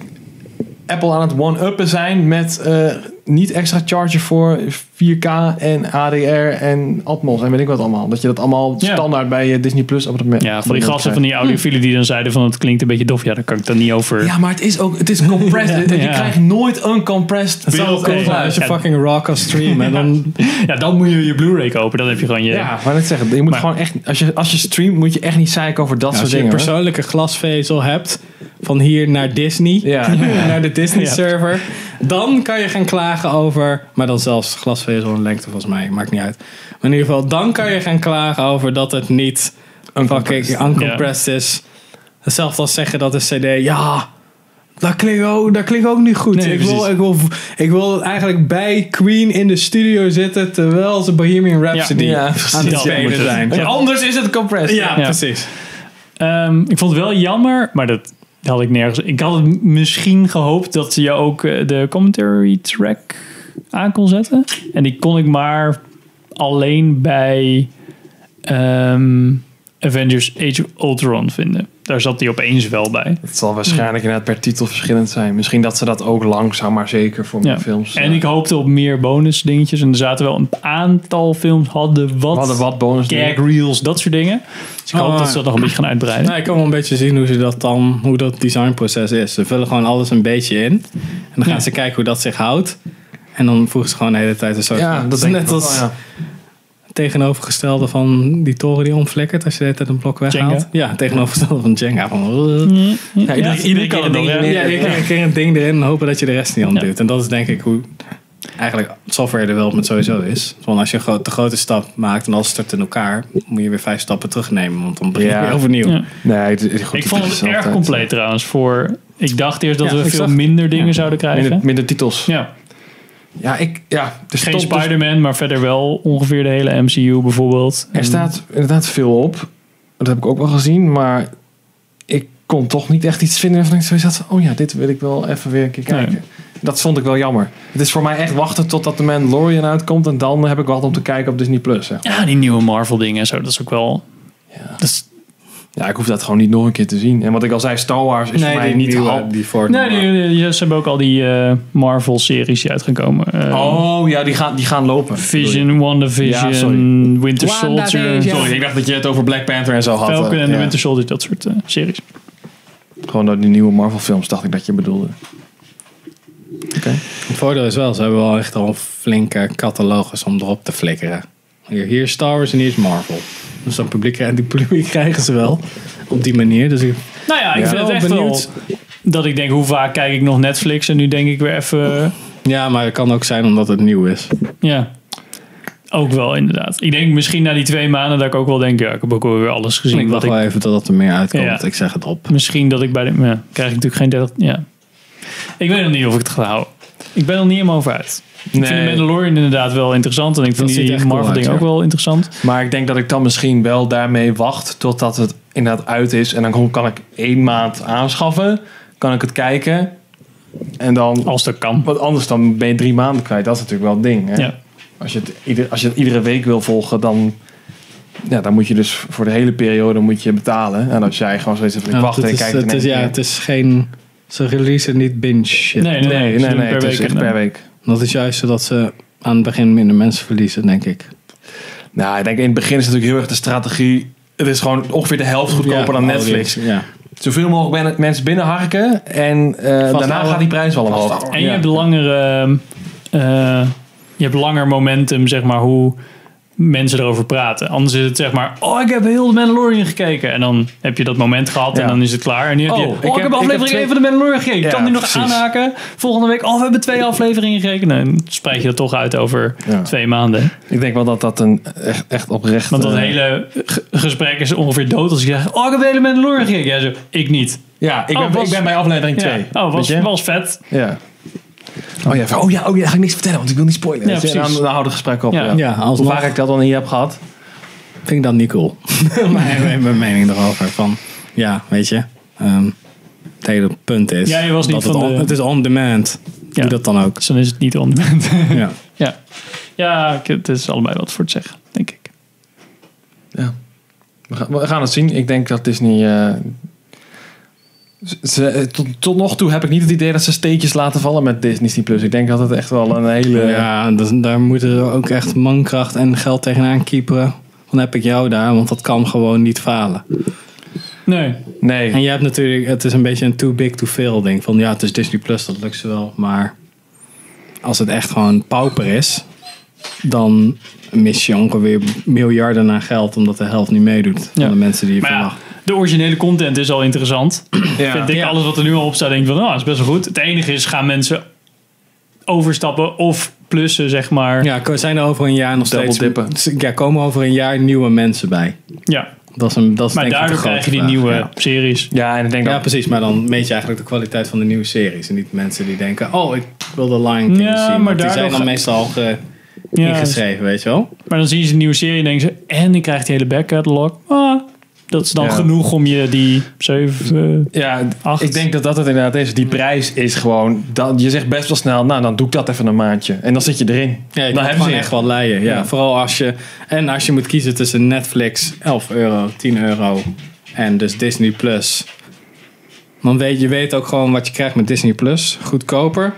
Speaker 3: Apple aan het one-uppen zijn met eh, niet extra charger voor 4K en ADR en Atmos en weet ik wat allemaal. Dat je dat allemaal
Speaker 1: Ja.
Speaker 3: standaard bij je Disney Plus abonnement
Speaker 1: Ja, van die gasten van die audiofielen die dan zeiden van het klinkt een beetje dof. Ja, daar kan ik dan niet over.
Speaker 3: Ja, maar het is ook, het is compressed.
Speaker 1: Ja.
Speaker 3: Je krijgt nooit uncompressed
Speaker 1: Het zou wel
Speaker 3: beeld.
Speaker 1: cool zijn als je fucking
Speaker 2: raw kan streamen.
Speaker 1: dan... Ja, dan moet je je Blu-ray kopen. Dan heb je gewoon je...
Speaker 3: Ja, maar dat zeggen. Je moet gewoon echt, als je, als je streamt, moet je echt niet zeiken over dat
Speaker 2: Ja,
Speaker 3: soort
Speaker 2: als je een
Speaker 3: dingen. hoor.
Speaker 2: persoonlijke glasvezel hebt, van hier naar Disney, naar de Disney
Speaker 3: Ja.
Speaker 2: server, dan kan je gaan klagen over, maar dan zelfs glasvezel en lengte volgens mij, maakt niet uit. Maar in ieder geval, dan kan je gaan klagen over dat het niet fucking uncompressed is. Hetzelfde als zeggen dat een cd, ja, dat klinkt ook, dat klinkt ook niet goed.
Speaker 1: Nee,
Speaker 2: ik, wil,
Speaker 1: precies.
Speaker 2: ik, wil, ik wil eigenlijk bij Queen in de studio zitten, terwijl ze Bohemian Rhapsody
Speaker 1: Ja, precies.
Speaker 2: aan het
Speaker 1: Dat moet
Speaker 2: spelen
Speaker 1: het.
Speaker 2: zijn.
Speaker 1: Want
Speaker 3: anders is het compressed.
Speaker 2: Ja, precies.
Speaker 1: Ehm, ik vond het wel jammer, maar dat had ik nergens. Ik had het misschien gehoopt dat ze je ook eh, de commentary track aan kon zetten. En die kon ik maar alleen bij ehm, Avengers Age of Ultron vinden. Daar zat die opeens wel bij.
Speaker 3: Het zal waarschijnlijk inderdaad per titel verschillend zijn. Misschien dat ze dat ook langzaam maar zeker voor
Speaker 1: Ja.
Speaker 3: mijn films. eh,
Speaker 1: En ik hoopte op meer bonus dingetjes. En er zaten wel een aantal films hadden wat,
Speaker 3: Hadden wat bonus
Speaker 1: gag
Speaker 3: dingen.
Speaker 1: reels, dat soort dingen. Dus ik hoop
Speaker 2: Oh.
Speaker 1: dat ze dat nog een beetje gaan uitbreiden.
Speaker 2: Nou, ik kan wel een beetje zien hoe ze dat dan, hoe dat designproces is. Ze vullen gewoon alles een beetje in. En dan gaan
Speaker 1: Ja.
Speaker 2: ze kijken hoe dat zich houdt. En dan voegen ze gewoon de hele tijd een soort.
Speaker 1: Ja,
Speaker 2: van-
Speaker 1: dat
Speaker 2: het is
Speaker 1: denk ik
Speaker 2: net
Speaker 1: ook
Speaker 2: als
Speaker 1: wel, ja.
Speaker 2: tegenovergestelde van die toren die omflikkert als je de hele tijd een blok weghaalt.
Speaker 1: Jenga.
Speaker 2: Ja, tegenovergestelde van Jenga. Van,
Speaker 1: Ja, iedereen- iedereen kan
Speaker 2: keer een
Speaker 1: het
Speaker 2: ding
Speaker 1: nog,
Speaker 2: erin.
Speaker 1: hè?
Speaker 2: Ja, iedere keer- keer een ding erin en hopen dat je de rest niet ontduwt. En dat is denk ik hoe eigenlijk software development sowieso is. Van als je een gro- te grote stap maakt en alles stort in elkaar, moet je weer vijf stappen terugnemen, want dan begin je weer overnieuw.
Speaker 1: Ja.
Speaker 3: Nee, het, het, goed,
Speaker 1: ik vond
Speaker 3: het
Speaker 1: het
Speaker 3: is
Speaker 1: erg
Speaker 3: altijd-
Speaker 1: compleet trouwens. Voor, ik dacht eerst dat
Speaker 3: Ja,
Speaker 1: we
Speaker 3: ik
Speaker 1: veel
Speaker 3: zag-
Speaker 1: minder dingen
Speaker 3: ja.
Speaker 1: zouden krijgen.
Speaker 3: eh, Minder, minder titels.
Speaker 1: Ja.
Speaker 3: Ja, ik, ja. Dus
Speaker 1: Geen
Speaker 3: stond dus-
Speaker 1: Spider-Man, maar verder wel ongeveer de hele MCU bijvoorbeeld.
Speaker 3: Er
Speaker 1: En-
Speaker 3: staat inderdaad veel op. Dat heb ik ook wel gezien. Maar ik kon toch niet echt iets vinden waarvan ik zo zat. van, Oh ja, dit wil ik wel even weer een keer kijken. Dat vond ik wel jammer. Het is voor mij echt wachten totdat de Mandalorian uitkomt. En dan heb ik wat om te kijken op Disney+. Plus.
Speaker 1: Ja, die nieuwe Marvel dingen en zo. Dat is ook wel...
Speaker 3: Ja.
Speaker 1: is-
Speaker 3: ja, ik hoef dat gewoon niet nog een keer te zien. En wat ik al zei, Star Wars is
Speaker 1: Nee,
Speaker 3: voor mij
Speaker 1: die
Speaker 3: niet...
Speaker 1: nieuwe,
Speaker 3: hap-
Speaker 1: Nee, die, die- ze hebben ook al die eh, Marvel-series die uitgekomen. Eh,
Speaker 3: Oh ja, die gaan, die gaan lopen.
Speaker 1: Vision, WandaVision,
Speaker 3: Ja, sorry.
Speaker 1: Winter Soldier.
Speaker 3: Sorry, ik dacht dat je het over Black Panther en zo had.
Speaker 1: Falcon en
Speaker 3: Ja.
Speaker 1: de Winter Soldier, dat soort eh, series.
Speaker 3: Gewoon door die nieuwe Marvel films dacht ik dat je bedoelde.
Speaker 2: Het voordeel is wel, ze hebben wel echt al een flinke catalogus om erop te flikkeren. Hier, hier is Star Wars en hier is Marvel. Dus dan publiek, die publiek krijgen ze wel op die manier. Dus ik
Speaker 1: Nou ja, ik
Speaker 2: ben
Speaker 1: vind het
Speaker 2: wel
Speaker 1: echt
Speaker 2: benieuwd.
Speaker 1: wel dat ik denk, hoe vaak kijk ik nog Netflix? En nu denk ik weer even...
Speaker 2: Ja, maar het kan ook zijn omdat het nieuw is.
Speaker 1: Ja. Ook wel, inderdaad. Ik denk misschien na die twee maanden dat ik ook wel denk, ja, ik heb ook wel weer alles gezien.
Speaker 2: ik
Speaker 1: wat
Speaker 2: wacht wel even totdat er meer uitkomt.
Speaker 1: Ja.
Speaker 2: Ik zeg het op.
Speaker 1: Misschien dat ik bij de... Ja, krijg ik natuurlijk geen 30... Ja. Ik weet nog niet of ik het ga houden. Ik ben er niet helemaal over uit. Ik vind
Speaker 3: Nee.
Speaker 1: de Mandalorian inderdaad wel interessant. En ik vind
Speaker 3: Dat ziet er
Speaker 1: die
Speaker 3: echt cool
Speaker 1: Marvel
Speaker 3: uit,
Speaker 1: ding
Speaker 3: ja.
Speaker 1: ook wel interessant.
Speaker 3: Maar ik denk dat ik dan misschien wel daarmee wacht totdat het inderdaad uit is. En dan kom- kan ik één maand aanschaffen. Kan ik het kijken. En dan,
Speaker 1: Als dat kan.
Speaker 3: Want anders dan ben je drie maanden kwijt. Dat is natuurlijk wel het ding. Hè?
Speaker 1: Ja.
Speaker 3: Als, je het ieder, als je het iedere week wil volgen, dan, ja, dan moet je dus voor de hele periode moet je betalen. En als jij gewoon zoiets hebt, ik
Speaker 2: Ja,
Speaker 3: wacht
Speaker 2: het
Speaker 3: en ik
Speaker 2: is-
Speaker 3: kijk
Speaker 2: het
Speaker 3: in één
Speaker 2: is- Ja,
Speaker 3: keer.
Speaker 2: het is geen... Ze releasen niet binge shit.
Speaker 3: Nee, nee, nee, Nee, ze nee, doen nee, per het is week echt en per dan- week.
Speaker 2: Dat is juist zodat ze aan het begin minder mensen verliezen, denk ik.
Speaker 3: Nou, ik denk in het begin is het natuurlijk heel erg de strategie. Het is gewoon ongeveer de helft goedkoper
Speaker 2: Ja,
Speaker 3: dan
Speaker 2: audience,
Speaker 3: Netflix.
Speaker 2: ja.
Speaker 3: Zoveel mogelijk men- mensen binnenharken. En eh, daarna gaat die prijs wel omhoog.
Speaker 1: En je hebt langere... eh, je hebt langer momentum, zeg maar, hoe mensen erover praten. Anders is het zeg maar, oh, ik heb heel de Mandalorian gekeken. En dan heb je dat moment gehad en
Speaker 3: Ja.
Speaker 1: dan is het klaar. En nu heb je,
Speaker 3: Oh,
Speaker 1: oh, ik,
Speaker 3: ik heb-
Speaker 1: heb
Speaker 3: ik heb
Speaker 1: aflevering
Speaker 3: twee-
Speaker 1: 1 van de Mandalorian gekeken. Ik
Speaker 3: Ja,
Speaker 1: kan die nog
Speaker 3: precies.
Speaker 1: aanhaken. Volgende week, oh, we hebben twee afleveringen gekeken. Nou, Dan spreid je dat toch uit over twee maanden.
Speaker 3: Ik denk wel dat dat een echt, echt oprecht...
Speaker 1: Want dat
Speaker 3: eh,
Speaker 1: hele ge- gesprek is ongeveer dood als ik zeg, oh, ik heb de hele Mandalorian gekeken. Jij zo, ik niet.
Speaker 3: Ja, ik ben- ik ben bij aflevering twee.
Speaker 1: Oh, was,
Speaker 3: Weet je?
Speaker 1: was vet.
Speaker 3: Ja. Oh ja, van, oh ja, oh ja, ga ik niks vertellen, want ik wil niet spoilen.
Speaker 1: Ja,
Speaker 3: Weet je, en
Speaker 1: precies.
Speaker 3: Dan, dan houden we het gesprek op.
Speaker 1: Ja.
Speaker 3: Ja.
Speaker 1: Ja,
Speaker 2: alsnog.
Speaker 3: Hoe vaak ik dat dan hier heb gehad.
Speaker 2: Vind ik dat niet cool. mijn, mijn mening erover. Van, ja, weet je. ehm, het hele punt is...
Speaker 1: Ja, je was niet
Speaker 2: dat het,
Speaker 1: van
Speaker 2: on-
Speaker 1: de-
Speaker 2: het is on demand. Doe dat dan ook.
Speaker 1: Dus dan is het niet on demand.
Speaker 2: ja.
Speaker 1: Ja, ja ik- het is allebei wat voor te zeggen, denk ik.
Speaker 3: We gaan, we gaan het zien. Ik denk dat Disney... eh, ze- ze, eh, tot, tot nog toe heb ik niet het idee dat ze steentjes laten vallen met Disney Plus. Ik denk dat het echt wel een hele...
Speaker 2: Ja, dus daar moeten we ook echt mankracht en geld tegenaan kieperen. Dan heb ik jou daar, want dat kan gewoon niet falen.
Speaker 1: Nee.
Speaker 3: Nee.
Speaker 2: En je hebt natuurlijk, het is een beetje een too big to fail ding. Van ja, het is Disney Plus, dat lukt ze wel. Maar als het echt gewoon pauper is, dan mis je ongeveer miljarden aan geld. Omdat de helft niet meedoet van de mensen die je
Speaker 1: Maar ja,
Speaker 2: verwacht.
Speaker 1: de originele content is al interessant. Vind ik alles wat er nu al op staat, denk ik van, nou, is best wel goed. Het enige is, gaan mensen overstappen of plussen, zeg maar.
Speaker 2: Ja, er zijn er over een jaar nog steeds... Ja, komen over een jaar nieuwe mensen bij.
Speaker 1: Ja.
Speaker 2: Dat is een, dat is
Speaker 1: Maar
Speaker 2: denk ik de
Speaker 1: daardoor
Speaker 2: grote
Speaker 1: krijg je die
Speaker 2: vraag,
Speaker 1: nieuwe
Speaker 2: ja.
Speaker 1: series.
Speaker 3: Ja, en ik denk
Speaker 2: ja precies. Maar dan meet je eigenlijk de kwaliteit van de nieuwe series. En niet mensen die denken, oh, ik wil de Lion King
Speaker 1: Ja,
Speaker 2: zien.
Speaker 1: maar
Speaker 2: want die
Speaker 1: daardoor
Speaker 2: zijn dan
Speaker 1: ga-
Speaker 2: meestal ge-
Speaker 1: Ja, dus-
Speaker 2: ingeschreven, weet je wel.
Speaker 1: Maar dan zien ze een nieuwe serie en denken ze, en ik krijg die hele backcatalog. Ah, dat is dan
Speaker 3: Ja.
Speaker 1: genoeg om je die zeven... eh,
Speaker 3: Ja,
Speaker 1: Acht.
Speaker 3: ik denk dat dat het inderdaad is. Die prijs is gewoon... Dat, je zegt best wel snel, nou dan doe ik dat even een maandje. En dan zit je erin.
Speaker 2: Ja, je kan
Speaker 3: dan hebben
Speaker 2: gewoon
Speaker 3: ze
Speaker 2: echt wat leien. Ja.
Speaker 3: Ja.
Speaker 2: Vooral als je... En als je moet kiezen tussen Netflix, 11 euro, 10 euro. En dus Disney Plus. Dan weet je weet ook gewoon wat je krijgt met Disney Plus. Goedkoper.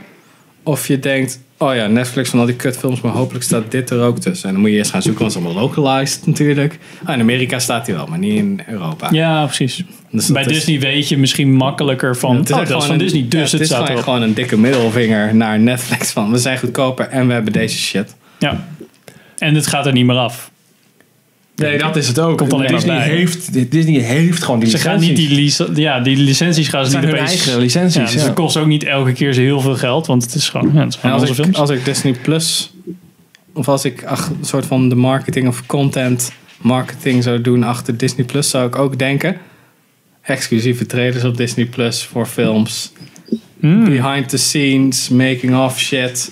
Speaker 2: Of je denkt, oh ja, Netflix van al die kutfilms. Maar hopelijk staat dit er ook tussen. En dan moet je eerst gaan zoeken, want het is allemaal localized natuurlijk. Ah, in Amerika staat hij wel, maar niet in Europa.
Speaker 1: Ja, precies.
Speaker 2: Dus
Speaker 1: Bij
Speaker 2: dat is-
Speaker 1: Disney weet je misschien makkelijker van,
Speaker 2: Ja,
Speaker 1: oh, dat
Speaker 2: echt
Speaker 1: is van
Speaker 2: gewoon een-
Speaker 1: Disney,
Speaker 2: ja,
Speaker 1: dus
Speaker 2: het
Speaker 1: het
Speaker 2: is
Speaker 1: staat
Speaker 2: gewoon,
Speaker 1: erop.
Speaker 2: gewoon een dikke middelvinger naar Netflix van we zijn goedkoper en we hebben deze shit.
Speaker 1: Ja. En het gaat er niet meer af.
Speaker 3: Nee, dat is het ook.
Speaker 1: Komt alleen maar
Speaker 3: Disney,
Speaker 1: bij.
Speaker 3: heeft, Disney heeft gewoon die
Speaker 1: Ze gaan niet die, lic- ja, die licenties gaan ze
Speaker 3: Het
Speaker 1: niet
Speaker 3: zijn hun
Speaker 1: opeens...
Speaker 3: eigen licenties,
Speaker 1: dus
Speaker 3: ja.
Speaker 1: het kost ook niet elke keer zo heel veel geld, want het is gewoon, ja, het is
Speaker 2: En
Speaker 1: gewoon
Speaker 2: als
Speaker 1: onze
Speaker 2: ik,
Speaker 1: films.
Speaker 2: als ik Disney Plus of als ik ach, een soort van de marketing of content marketing zou doen achter Disney Plus zou ik ook denken exclusieve trailers op Disney Plus voor films,
Speaker 1: Hmm.
Speaker 2: behind the scenes, making of shit.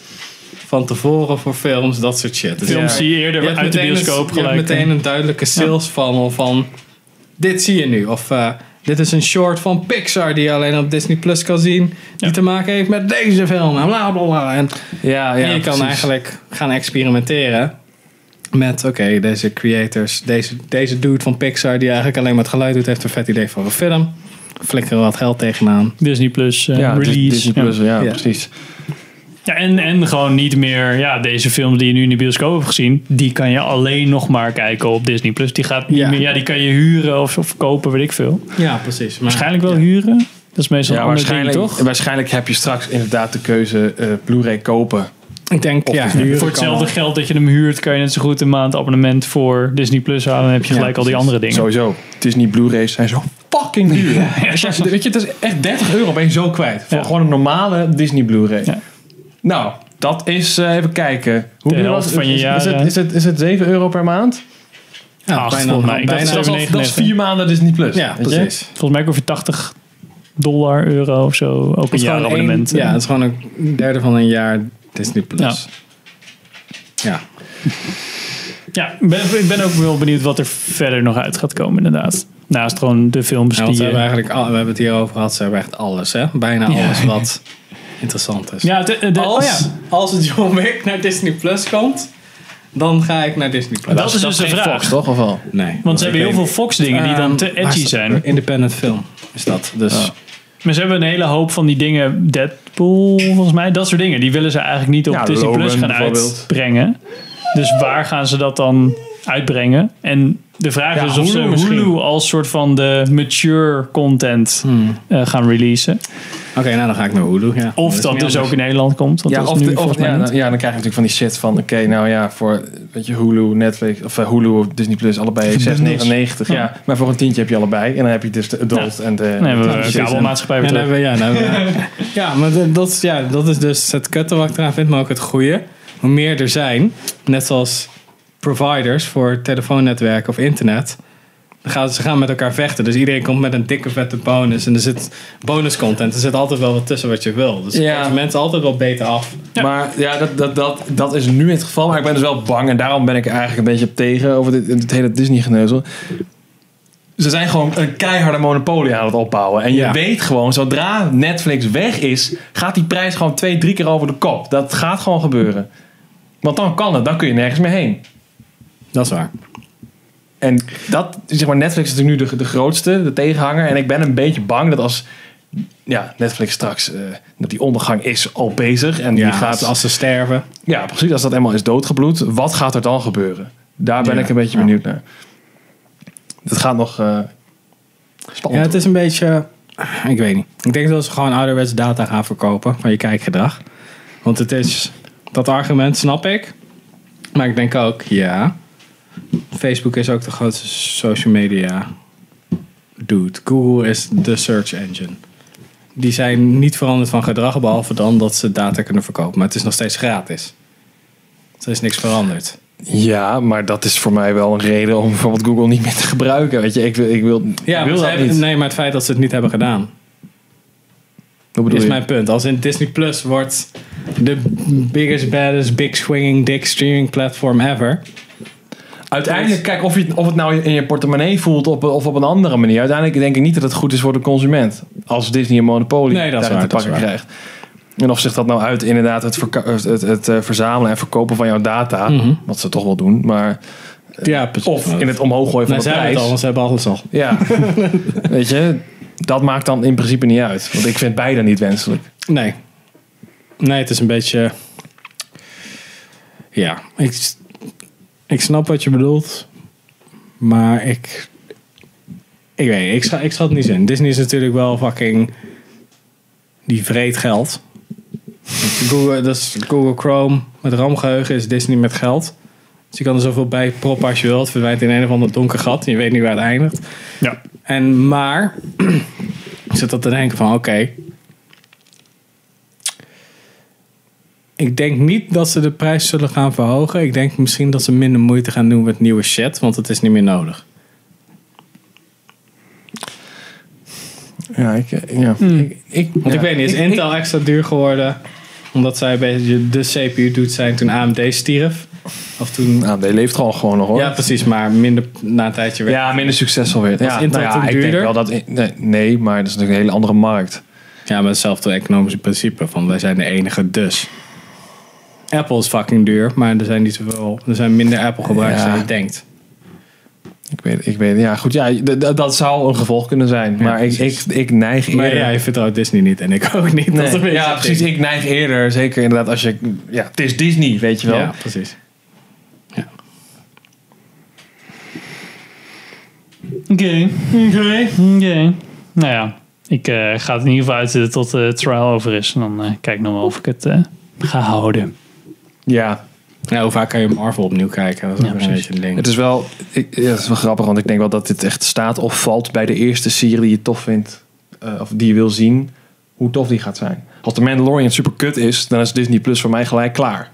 Speaker 2: Van tevoren voor films, dat soort shit. Dus
Speaker 1: Films die eerder
Speaker 2: hebt
Speaker 1: uit de
Speaker 2: meteen
Speaker 1: bioscoop
Speaker 2: een, Je hebt
Speaker 1: gelijk,
Speaker 2: meteen
Speaker 1: hè?
Speaker 2: een duidelijke sales funnel van... dit zie je nu. Of eh, dit is een short van Pixar die je alleen op Disney Plus kan zien. Die te maken heeft met deze film. En bla bla bla. En,
Speaker 3: ja,
Speaker 2: en je kan
Speaker 3: precies.
Speaker 2: eigenlijk gaan experimenteren. Met, oké, deze creators, deze, deze dude van Pixar die eigenlijk alleen maar het geluid doet, heeft een vet idee voor een film. Flikkeren wat geld tegenaan.
Speaker 1: Disney Plus eh,
Speaker 2: Ja, Dis-
Speaker 1: release.
Speaker 2: Disney Plus, ja,
Speaker 3: precies.
Speaker 1: Ja, en, en gewoon niet meer, ja, deze film die je nu in de bioscoop hebt gezien, die kan je alleen nog maar kijken op Disney Plus. Die gaat niet
Speaker 2: Ja.
Speaker 1: meer, ja, die kan je huren of, of kopen, weet ik veel.
Speaker 2: Ja, precies. Maar,
Speaker 1: Waarschijnlijk wel huren. Dat is meestal
Speaker 3: Ja,
Speaker 1: een ander ding,
Speaker 3: waarschijnlijk,
Speaker 1: toch?
Speaker 3: waarschijnlijk heb je straks inderdaad de keuze eh, Blu-ray kopen.
Speaker 2: Ik denk, ja, huren
Speaker 1: voor
Speaker 2: kan
Speaker 1: hetzelfde
Speaker 2: wel.
Speaker 1: geld dat je hem huurt, kan je net zo goed een maand abonnement voor Disney Plus houden. Dan heb je gelijk al die andere dingen.
Speaker 3: Sowieso. Disney Blu-rays zijn zo fucking duur. Weet je, het is echt 30 euro ben je zo kwijt. Voor gewoon een normale Disney Blu-ray. Nou, dat is, eh, even kijken.
Speaker 1: De
Speaker 3: duur
Speaker 1: helft
Speaker 3: was-
Speaker 1: van je
Speaker 3: is,
Speaker 1: jaar,
Speaker 3: Is het,
Speaker 1: hè?
Speaker 3: is, het, is het 7 euro per maand?
Speaker 1: Ja, Acht,
Speaker 3: bijna,
Speaker 1: volgens mij.
Speaker 3: bijna.
Speaker 1: Dat is-
Speaker 3: dat, is, al- dat is
Speaker 1: 7,99.
Speaker 3: vier maanden Disney Plus.
Speaker 1: Ja,
Speaker 3: weet je?
Speaker 1: precies. Volgens mij over 80 dollar, euro of zo. Ook een
Speaker 2: is
Speaker 1: jaar
Speaker 2: gewoon één-
Speaker 1: abonnement.
Speaker 2: ja, het is gewoon een derde van een jaar Disney Plus. Ja.
Speaker 1: Dus Ja, ik ben, ik ben ook wel benieuwd wat er verder nog uit gaat komen, inderdaad. Naast gewoon de films
Speaker 2: Ja, nou,
Speaker 1: die...
Speaker 2: want we, hebben
Speaker 1: eh,
Speaker 2: eigenlijk al, we hebben het hier over gehad. Ze hebben echt alles, hè? Bijna
Speaker 1: Ja.
Speaker 2: alles wat interessant is.
Speaker 1: Ja, de- de-
Speaker 2: als,
Speaker 1: oh ja.
Speaker 2: als het John Wick naar Disney Plus komt, dan ga ik naar Disney Plus.
Speaker 1: Dat is dus de
Speaker 2: geen
Speaker 1: vraag.
Speaker 2: Fox, toch? Of wel? Nee.
Speaker 1: Want ze hebben heel veel Fox-dingen die dan
Speaker 2: Ehm,
Speaker 1: te edgy
Speaker 2: waar is dat?
Speaker 1: zijn.
Speaker 2: Independent film is dat. Dus
Speaker 1: Ja. Maar ze hebben een hele hoop van die dingen. Deadpool, volgens mij. Dat soort dingen. Die willen ze eigenlijk niet op
Speaker 2: Ja,
Speaker 1: Disney
Speaker 2: Logan
Speaker 1: Plus gaan
Speaker 2: bijvoorbeeld.
Speaker 1: uitbrengen. Dus waar gaan ze dat dan uitbrengen? En de vraag
Speaker 2: Ja,
Speaker 1: is of
Speaker 2: Hulu
Speaker 1: ze
Speaker 2: misschien. Hmm.
Speaker 1: Hulu als soort van de mature content eh, gaan releasen.
Speaker 2: Oké, nou dan ga ik naar Hulu. Ja.
Speaker 1: Of dat dus ook in Nederland komt. Want
Speaker 3: Ja,
Speaker 1: dat is
Speaker 3: of
Speaker 1: nu
Speaker 3: de- of,
Speaker 1: volgens mij
Speaker 3: ja,
Speaker 2: nou,
Speaker 1: niet.
Speaker 3: dan, ja, dan krijg je natuurlijk van die shit van... Oké, nou ja, voor weet je, Hulu, Netflix... Of eh, Hulu of Disney Plus, allebei 6,99. Ja.
Speaker 1: Ja.
Speaker 3: maar voor een tientje heb je allebei. En dan heb je dus de adult en de...
Speaker 1: Dan hebben we
Speaker 3: de-
Speaker 1: kabelmaatschappij weer
Speaker 3: En dan
Speaker 1: terug.
Speaker 3: hebben we-
Speaker 2: ja, dan hebben we- Ja, maar de- dat, is- ja, dat is dus het kutte wat ik eraan vind, maar ook het goede. Hoe meer er zijn, net zoals providers voor telefoonnetwerk of internet, dan gaan, ze gaan met elkaar vechten. Dus iedereen komt met een dikke vette bonus. En er zit bonus content. Er zit altijd wel wat tussen wat je wil. Dus
Speaker 3: Ja.
Speaker 2: ja. mensen altijd wel beter af.
Speaker 3: Maar ja, dat, dat, dat, dat is nu het geval. Maar ik ben dus wel bang. En daarom ben ik er eigenlijk een beetje op tegen over dit, dit hele Disney-geneuzel. Ze zijn gewoon een keiharde monopolie aan het opbouwen. En je
Speaker 2: Ja.
Speaker 3: weet gewoon, zodra Netflix weg is... gaat die prijs gewoon twee, drie keer over de kop. Dat gaat gewoon gebeuren. Want dan kan het. Dan kun je nergens meer heen.
Speaker 2: Dat is waar.
Speaker 3: En dat, zeg maar, Netflix is natuurlijk nu de, de grootste, de tegenhanger. En ik ben een beetje bang dat als ja, Netflix straks, eh, dat die ondergang is al bezig. En
Speaker 2: Ja,
Speaker 3: die gaat,
Speaker 2: als- als ze sterven.
Speaker 3: Ja, precies. Als dat eenmaal is doodgebloed, wat gaat er dan gebeuren? Daar ben
Speaker 2: Ja,
Speaker 3: ik een beetje benieuwd naar. Dat gaat nog eh,
Speaker 2: Ja,
Speaker 3: spannend.
Speaker 2: het is een beetje. Ik weet niet. Ik denk dat ze gewoon ouderwets data gaan verkopen van je kijkgedrag. Want het is. Dat argument snap ik. Maar ik denk ook, ja. Facebook is ook de grootste social media dude. Google is de search engine. Die zijn niet veranderd van gedrag, behalve dan dat ze data kunnen verkopen. Maar het is nog steeds gratis. Dus er is niks veranderd.
Speaker 3: Ja, maar dat is voor mij wel een reden om bijvoorbeeld Google niet meer te gebruiken. Weet je, ik wil, ik wil,
Speaker 2: Ja,
Speaker 3: ik
Speaker 2: maar
Speaker 3: wil
Speaker 2: ze
Speaker 3: dat
Speaker 2: hebben-
Speaker 3: niet.
Speaker 2: nee, maar het feit dat ze het niet hebben gedaan.
Speaker 3: Wat bedoel
Speaker 2: is
Speaker 3: je?
Speaker 2: mijn punt. Als in Disney Plus wordt de biggest, baddest, big swinging, dick streaming platform ever.
Speaker 3: Uiteindelijk, kijk, of, je, of het nou in je portemonnee voelt op, of op een andere manier. Uiteindelijk denk ik niet dat het goed is voor de consument. Als Disney een monopolie
Speaker 2: Nee, dat is
Speaker 3: daarin
Speaker 2: waar,
Speaker 3: te
Speaker 2: dat is
Speaker 3: pakken
Speaker 2: waar.
Speaker 3: krijgt. En of zich dat nou uit inderdaad het, verka- het, het, het, eh, verzamelen en verkopen van jouw data.
Speaker 2: Mhm.
Speaker 3: Wat ze toch wel doen. Maar, eh,
Speaker 2: Ja, precies.
Speaker 3: of in het omhoog gooien van
Speaker 2: Nou,
Speaker 3: de
Speaker 2: ze hebben
Speaker 3: prijs.
Speaker 2: het al, want ze hebben alles al.
Speaker 3: Ja, weet je. Dat maakt dan in principe niet uit. Want ik vind beide niet wenselijk.
Speaker 2: Nee. Nee, het is een beetje... Ja, ik, s- ik snap wat je bedoelt. Maar ik... Ik weet niet, ik, scha- ik schat het niet in. Disney is natuurlijk wel fucking... Die vreet geld. Google, dat is Google Chrome met RAM-geheugen is Disney met geld. Dus je kan er zoveel bij proppen als je wilt. Het verdwijnt in een of ander donker gat. en Je weet niet waar het eindigt.
Speaker 1: Ja.
Speaker 2: En maar... ik zit dat te denken van, oké... Ik denk niet dat ze de prijs zullen gaan verhogen. Ik denk misschien dat ze minder moeite gaan doen met nieuwe shit, want het is niet meer nodig.
Speaker 3: Ja, ik, eh, ja. Ik, ik,
Speaker 2: Want ik
Speaker 3: ja.
Speaker 2: weet niet, is
Speaker 3: Ik- ik-
Speaker 2: Intel extra duur geworden omdat zij een beetje de CPU doet zijn toen AMD stierf? Of toen...
Speaker 3: AMD leeft gewoon, gewoon nog hoor.
Speaker 2: Ja, precies, maar minder na een tijdje werd.
Speaker 3: Ja, minder succesvol weer.
Speaker 2: Was
Speaker 3: Ja,
Speaker 2: Intel
Speaker 3: nou ja,
Speaker 2: toen
Speaker 3: ik
Speaker 2: duurder?
Speaker 3: denk wel dat... Nee, nee, maar dat is natuurlijk een hele andere markt.
Speaker 2: Ja, maar hetzelfde economische principe van wij zijn de enige dus. Apple is fucking duur, maar er zijn niet zoveel, er zijn minder Apple gebruikers
Speaker 3: Ja.
Speaker 2: dan je denkt.
Speaker 3: Ik weet, ik weet, ja, goed, ja, d- d- dat zou een gevolg kunnen zijn. Maar ik, ik, ik neig eerder.
Speaker 2: Maar ja, je vertrouwt Disney niet en ik ook niet.
Speaker 3: Nee,
Speaker 2: Dat is een beetje
Speaker 3: ja,
Speaker 2: het
Speaker 3: precies.
Speaker 2: ding.
Speaker 3: Ik neig eerder, zeker inderdaad, als je. Ja, het is Disney, weet je wel.
Speaker 2: Ja, precies.
Speaker 1: Oké, oké, oké. Nou ja, ik eh, ga het in ieder geval uitzetten tot eh, de trial over is. En dan eh, kijk ik nog wel of ik het eh, ga houden.
Speaker 3: Ja.
Speaker 2: Ja, hoe vaak kan je Marvel opnieuw kijken? Dat is ook een beetje een ding.
Speaker 3: Het is wel, ik, ja, het is wel grappig, want ik denk wel dat dit echt staat of valt bij de eerste serie die je tof vindt. eh, of die je wil zien, hoe tof die gaat zijn. Als de Mandalorian super kut is, dan is Disney Plus voor mij gelijk klaar.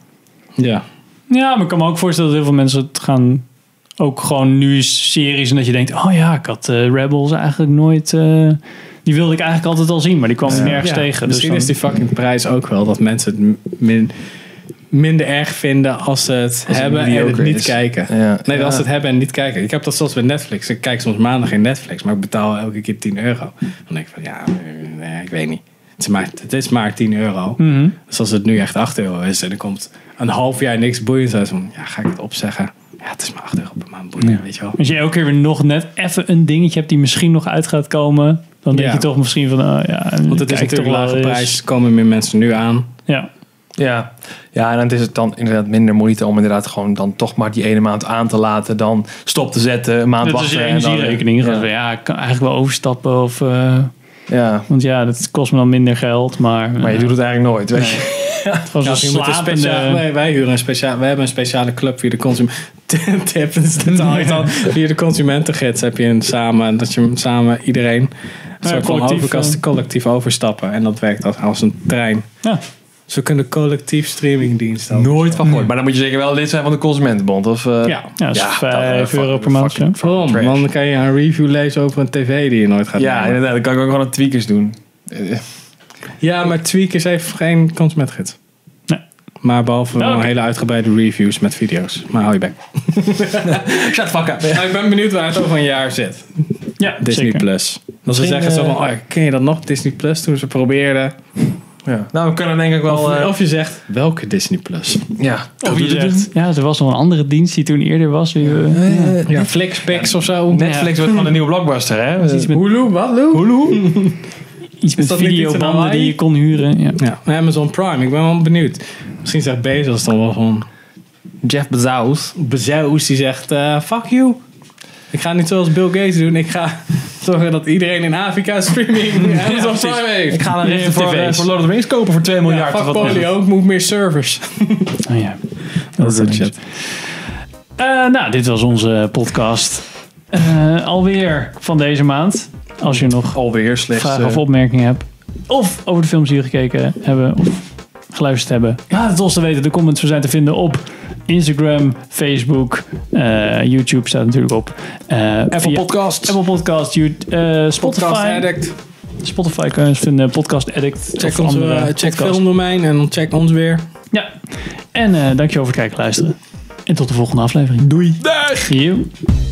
Speaker 2: Ja.
Speaker 1: Ja, maar ik kan me ook voorstellen dat heel veel mensen het gaan... Ook gewoon nu series en dat je denkt... Oh ja, ik had eh, Rebels eigenlijk nooit... eh, die wilde ik eigenlijk altijd al zien, maar die kwam nergens
Speaker 2: Ja.
Speaker 1: tegen. Dus
Speaker 2: Misschien
Speaker 1: dan-
Speaker 2: is die fucking prijs ook wel dat mensen het m- min, minder erg vinden als ze het
Speaker 1: het
Speaker 2: hebben en het
Speaker 1: mediocre
Speaker 2: niet
Speaker 1: is.
Speaker 2: kijken.
Speaker 1: Ja.
Speaker 2: Nee,
Speaker 1: Ja.
Speaker 2: als ze het hebben en niet kijken. Ik heb dat zelfs bij Netflix. Ik kijk soms maandag in Netflix, maar ik betaal elke keer 10 euro. Dan denk ik van ja, eh, nee, ik weet niet. Het is maar, het is maar 10 euro.
Speaker 1: Mhm.
Speaker 2: Dus als het nu echt 8 euro is en er komt een half jaar niks boeiends uit, dan ja, ga ik het opzeggen. Ja, het is maar 8 euro per maand boeiend, weet je wel.
Speaker 1: Als je elke keer weer nog net even een dingetje hebt die misschien nog uit gaat komen... Dan denk
Speaker 2: Ja.
Speaker 1: je toch misschien van... Oh ja,
Speaker 2: Want het is natuurlijk lage prijs, komen meer mensen nu aan.
Speaker 1: Ja.
Speaker 3: Ja. ja, en dan is het dan inderdaad minder moeite om inderdaad gewoon dan toch maar die ene maand aan te laten. Dan stop te zetten, een maand
Speaker 1: Dat is
Speaker 3: wachten.
Speaker 1: je
Speaker 3: en dan-
Speaker 1: energierekening. Ja. ja, ik kan eigenlijk wel overstappen of... eh,
Speaker 3: Ja.
Speaker 1: Want ja, dat kost me dan minder geld, maar... eh,
Speaker 3: Maar je doet het eigenlijk nooit, weet je.
Speaker 1: Het was
Speaker 2: Ja,
Speaker 1: een
Speaker 2: als je moet een
Speaker 1: slapende-
Speaker 2: speciaal- wij, wij huren een speciaal, wij hebben een speciale club via de consument. Tip is totaal niet al. Via de consumentengids heb je een samen dat je samen iedereen een soort van
Speaker 1: collectief,
Speaker 2: overkast-
Speaker 1: eh.
Speaker 2: collectief overstappen en dat werkt als, als een trein.
Speaker 1: Ja.
Speaker 2: Dus we kunnen collectief streamingdiensten.
Speaker 3: Nooit van gehoord. Maar dan moet je zeker wel lid zijn van de Consumentenbond. Of, eh,
Speaker 2: Ja. Ja, dat is
Speaker 1: €5 euro per maand, ja.
Speaker 2: Waarom? Want dan kan je een review lezen over een tv die je nooit gaat
Speaker 3: Ja,
Speaker 2: nemen.
Speaker 3: inderdaad. Dan kan ik ook gewoon een tweakers doen.
Speaker 2: Ja, maar Tweakers heeft geen consumentengids. Maar behalve
Speaker 3: Nou,
Speaker 2: wel
Speaker 3: oké.
Speaker 2: hele uitgebreide reviews met video's. Maar hou je bek.
Speaker 3: Shut fuck up.
Speaker 2: Nou, ik ben benieuwd waar het over een jaar zit.
Speaker 1: Ja,
Speaker 2: Disney
Speaker 1: zeker.
Speaker 2: Plus. Dan ze
Speaker 3: Misschien,
Speaker 2: zeggen zo
Speaker 3: eh,
Speaker 2: van, oh, ken je dat nog, Disney Plus, toen ze probeerden.
Speaker 3: Ja. Nou, we kunnen denk ik wel...
Speaker 2: Of,
Speaker 3: eh,
Speaker 2: of je zegt, welke Disney Plus?
Speaker 3: ja.
Speaker 1: Of je zegt, ja, er was nog een andere dienst die toen eerder was. Die, eh, ja.
Speaker 2: Ja, Flixpix of zo.
Speaker 3: Netflix wordt gewoon een nieuwe blockbuster, hè?
Speaker 1: Dat is iets met-
Speaker 2: Hulu, wat Lou? Hulu?
Speaker 1: Iets met
Speaker 2: dat niet iets in
Speaker 1: videobanden
Speaker 2: Hawaii?
Speaker 1: die je kon huren. Ja.
Speaker 2: Ja, maar Amazon Prime, ik ben wel benieuwd. Misschien zegt Bezos dan wel van...
Speaker 3: Jeff Bezos.
Speaker 2: Bezos, die zegt, eh, fuck you. Ik ga niet zoals Bill Gates doen, ik ga... Zorgen dat iedereen in Afrika streaming Amazon
Speaker 3: precies.
Speaker 2: Prime heeft.
Speaker 3: Ik ga dan rechten voor, eh,
Speaker 2: TV's.
Speaker 3: voor Lord of the Rings kopen voor 2 miljard.
Speaker 2: Ja, fuck
Speaker 3: of wat dan
Speaker 2: polio,
Speaker 3: ook.
Speaker 2: ik moet meer servers.
Speaker 1: Oh, ja.
Speaker 2: Dat is het shit.
Speaker 1: Eh, nou, dit was onze podcast. Eh, alweer van deze maand. Als je nog
Speaker 3: Alweer
Speaker 2: Dus,
Speaker 3: slechts.
Speaker 1: vragen
Speaker 3: eh,
Speaker 1: of opmerkingen hebt. Of over de films die we gekeken hebben. Of geluisterd hebben. Laat het ons te weten. De comments we zijn te vinden op Instagram, Facebook. eh, YouTube staat natuurlijk op. eh,
Speaker 3: Apple
Speaker 1: via-
Speaker 3: Podcasts.
Speaker 1: Apple Podcast. You- eh, Spotify.
Speaker 2: Podcast Addict.
Speaker 1: Spotify kun je ons vinden. Podcast Addict. of
Speaker 2: Check, onze,
Speaker 1: andere
Speaker 2: eh, check
Speaker 1: podcasts.
Speaker 2: filmdomein en dan check ons weer.
Speaker 1: Ja. En eh dankjewel voor het kijken en luisteren. En tot de volgende aflevering.
Speaker 2: Doei.
Speaker 1: Dag!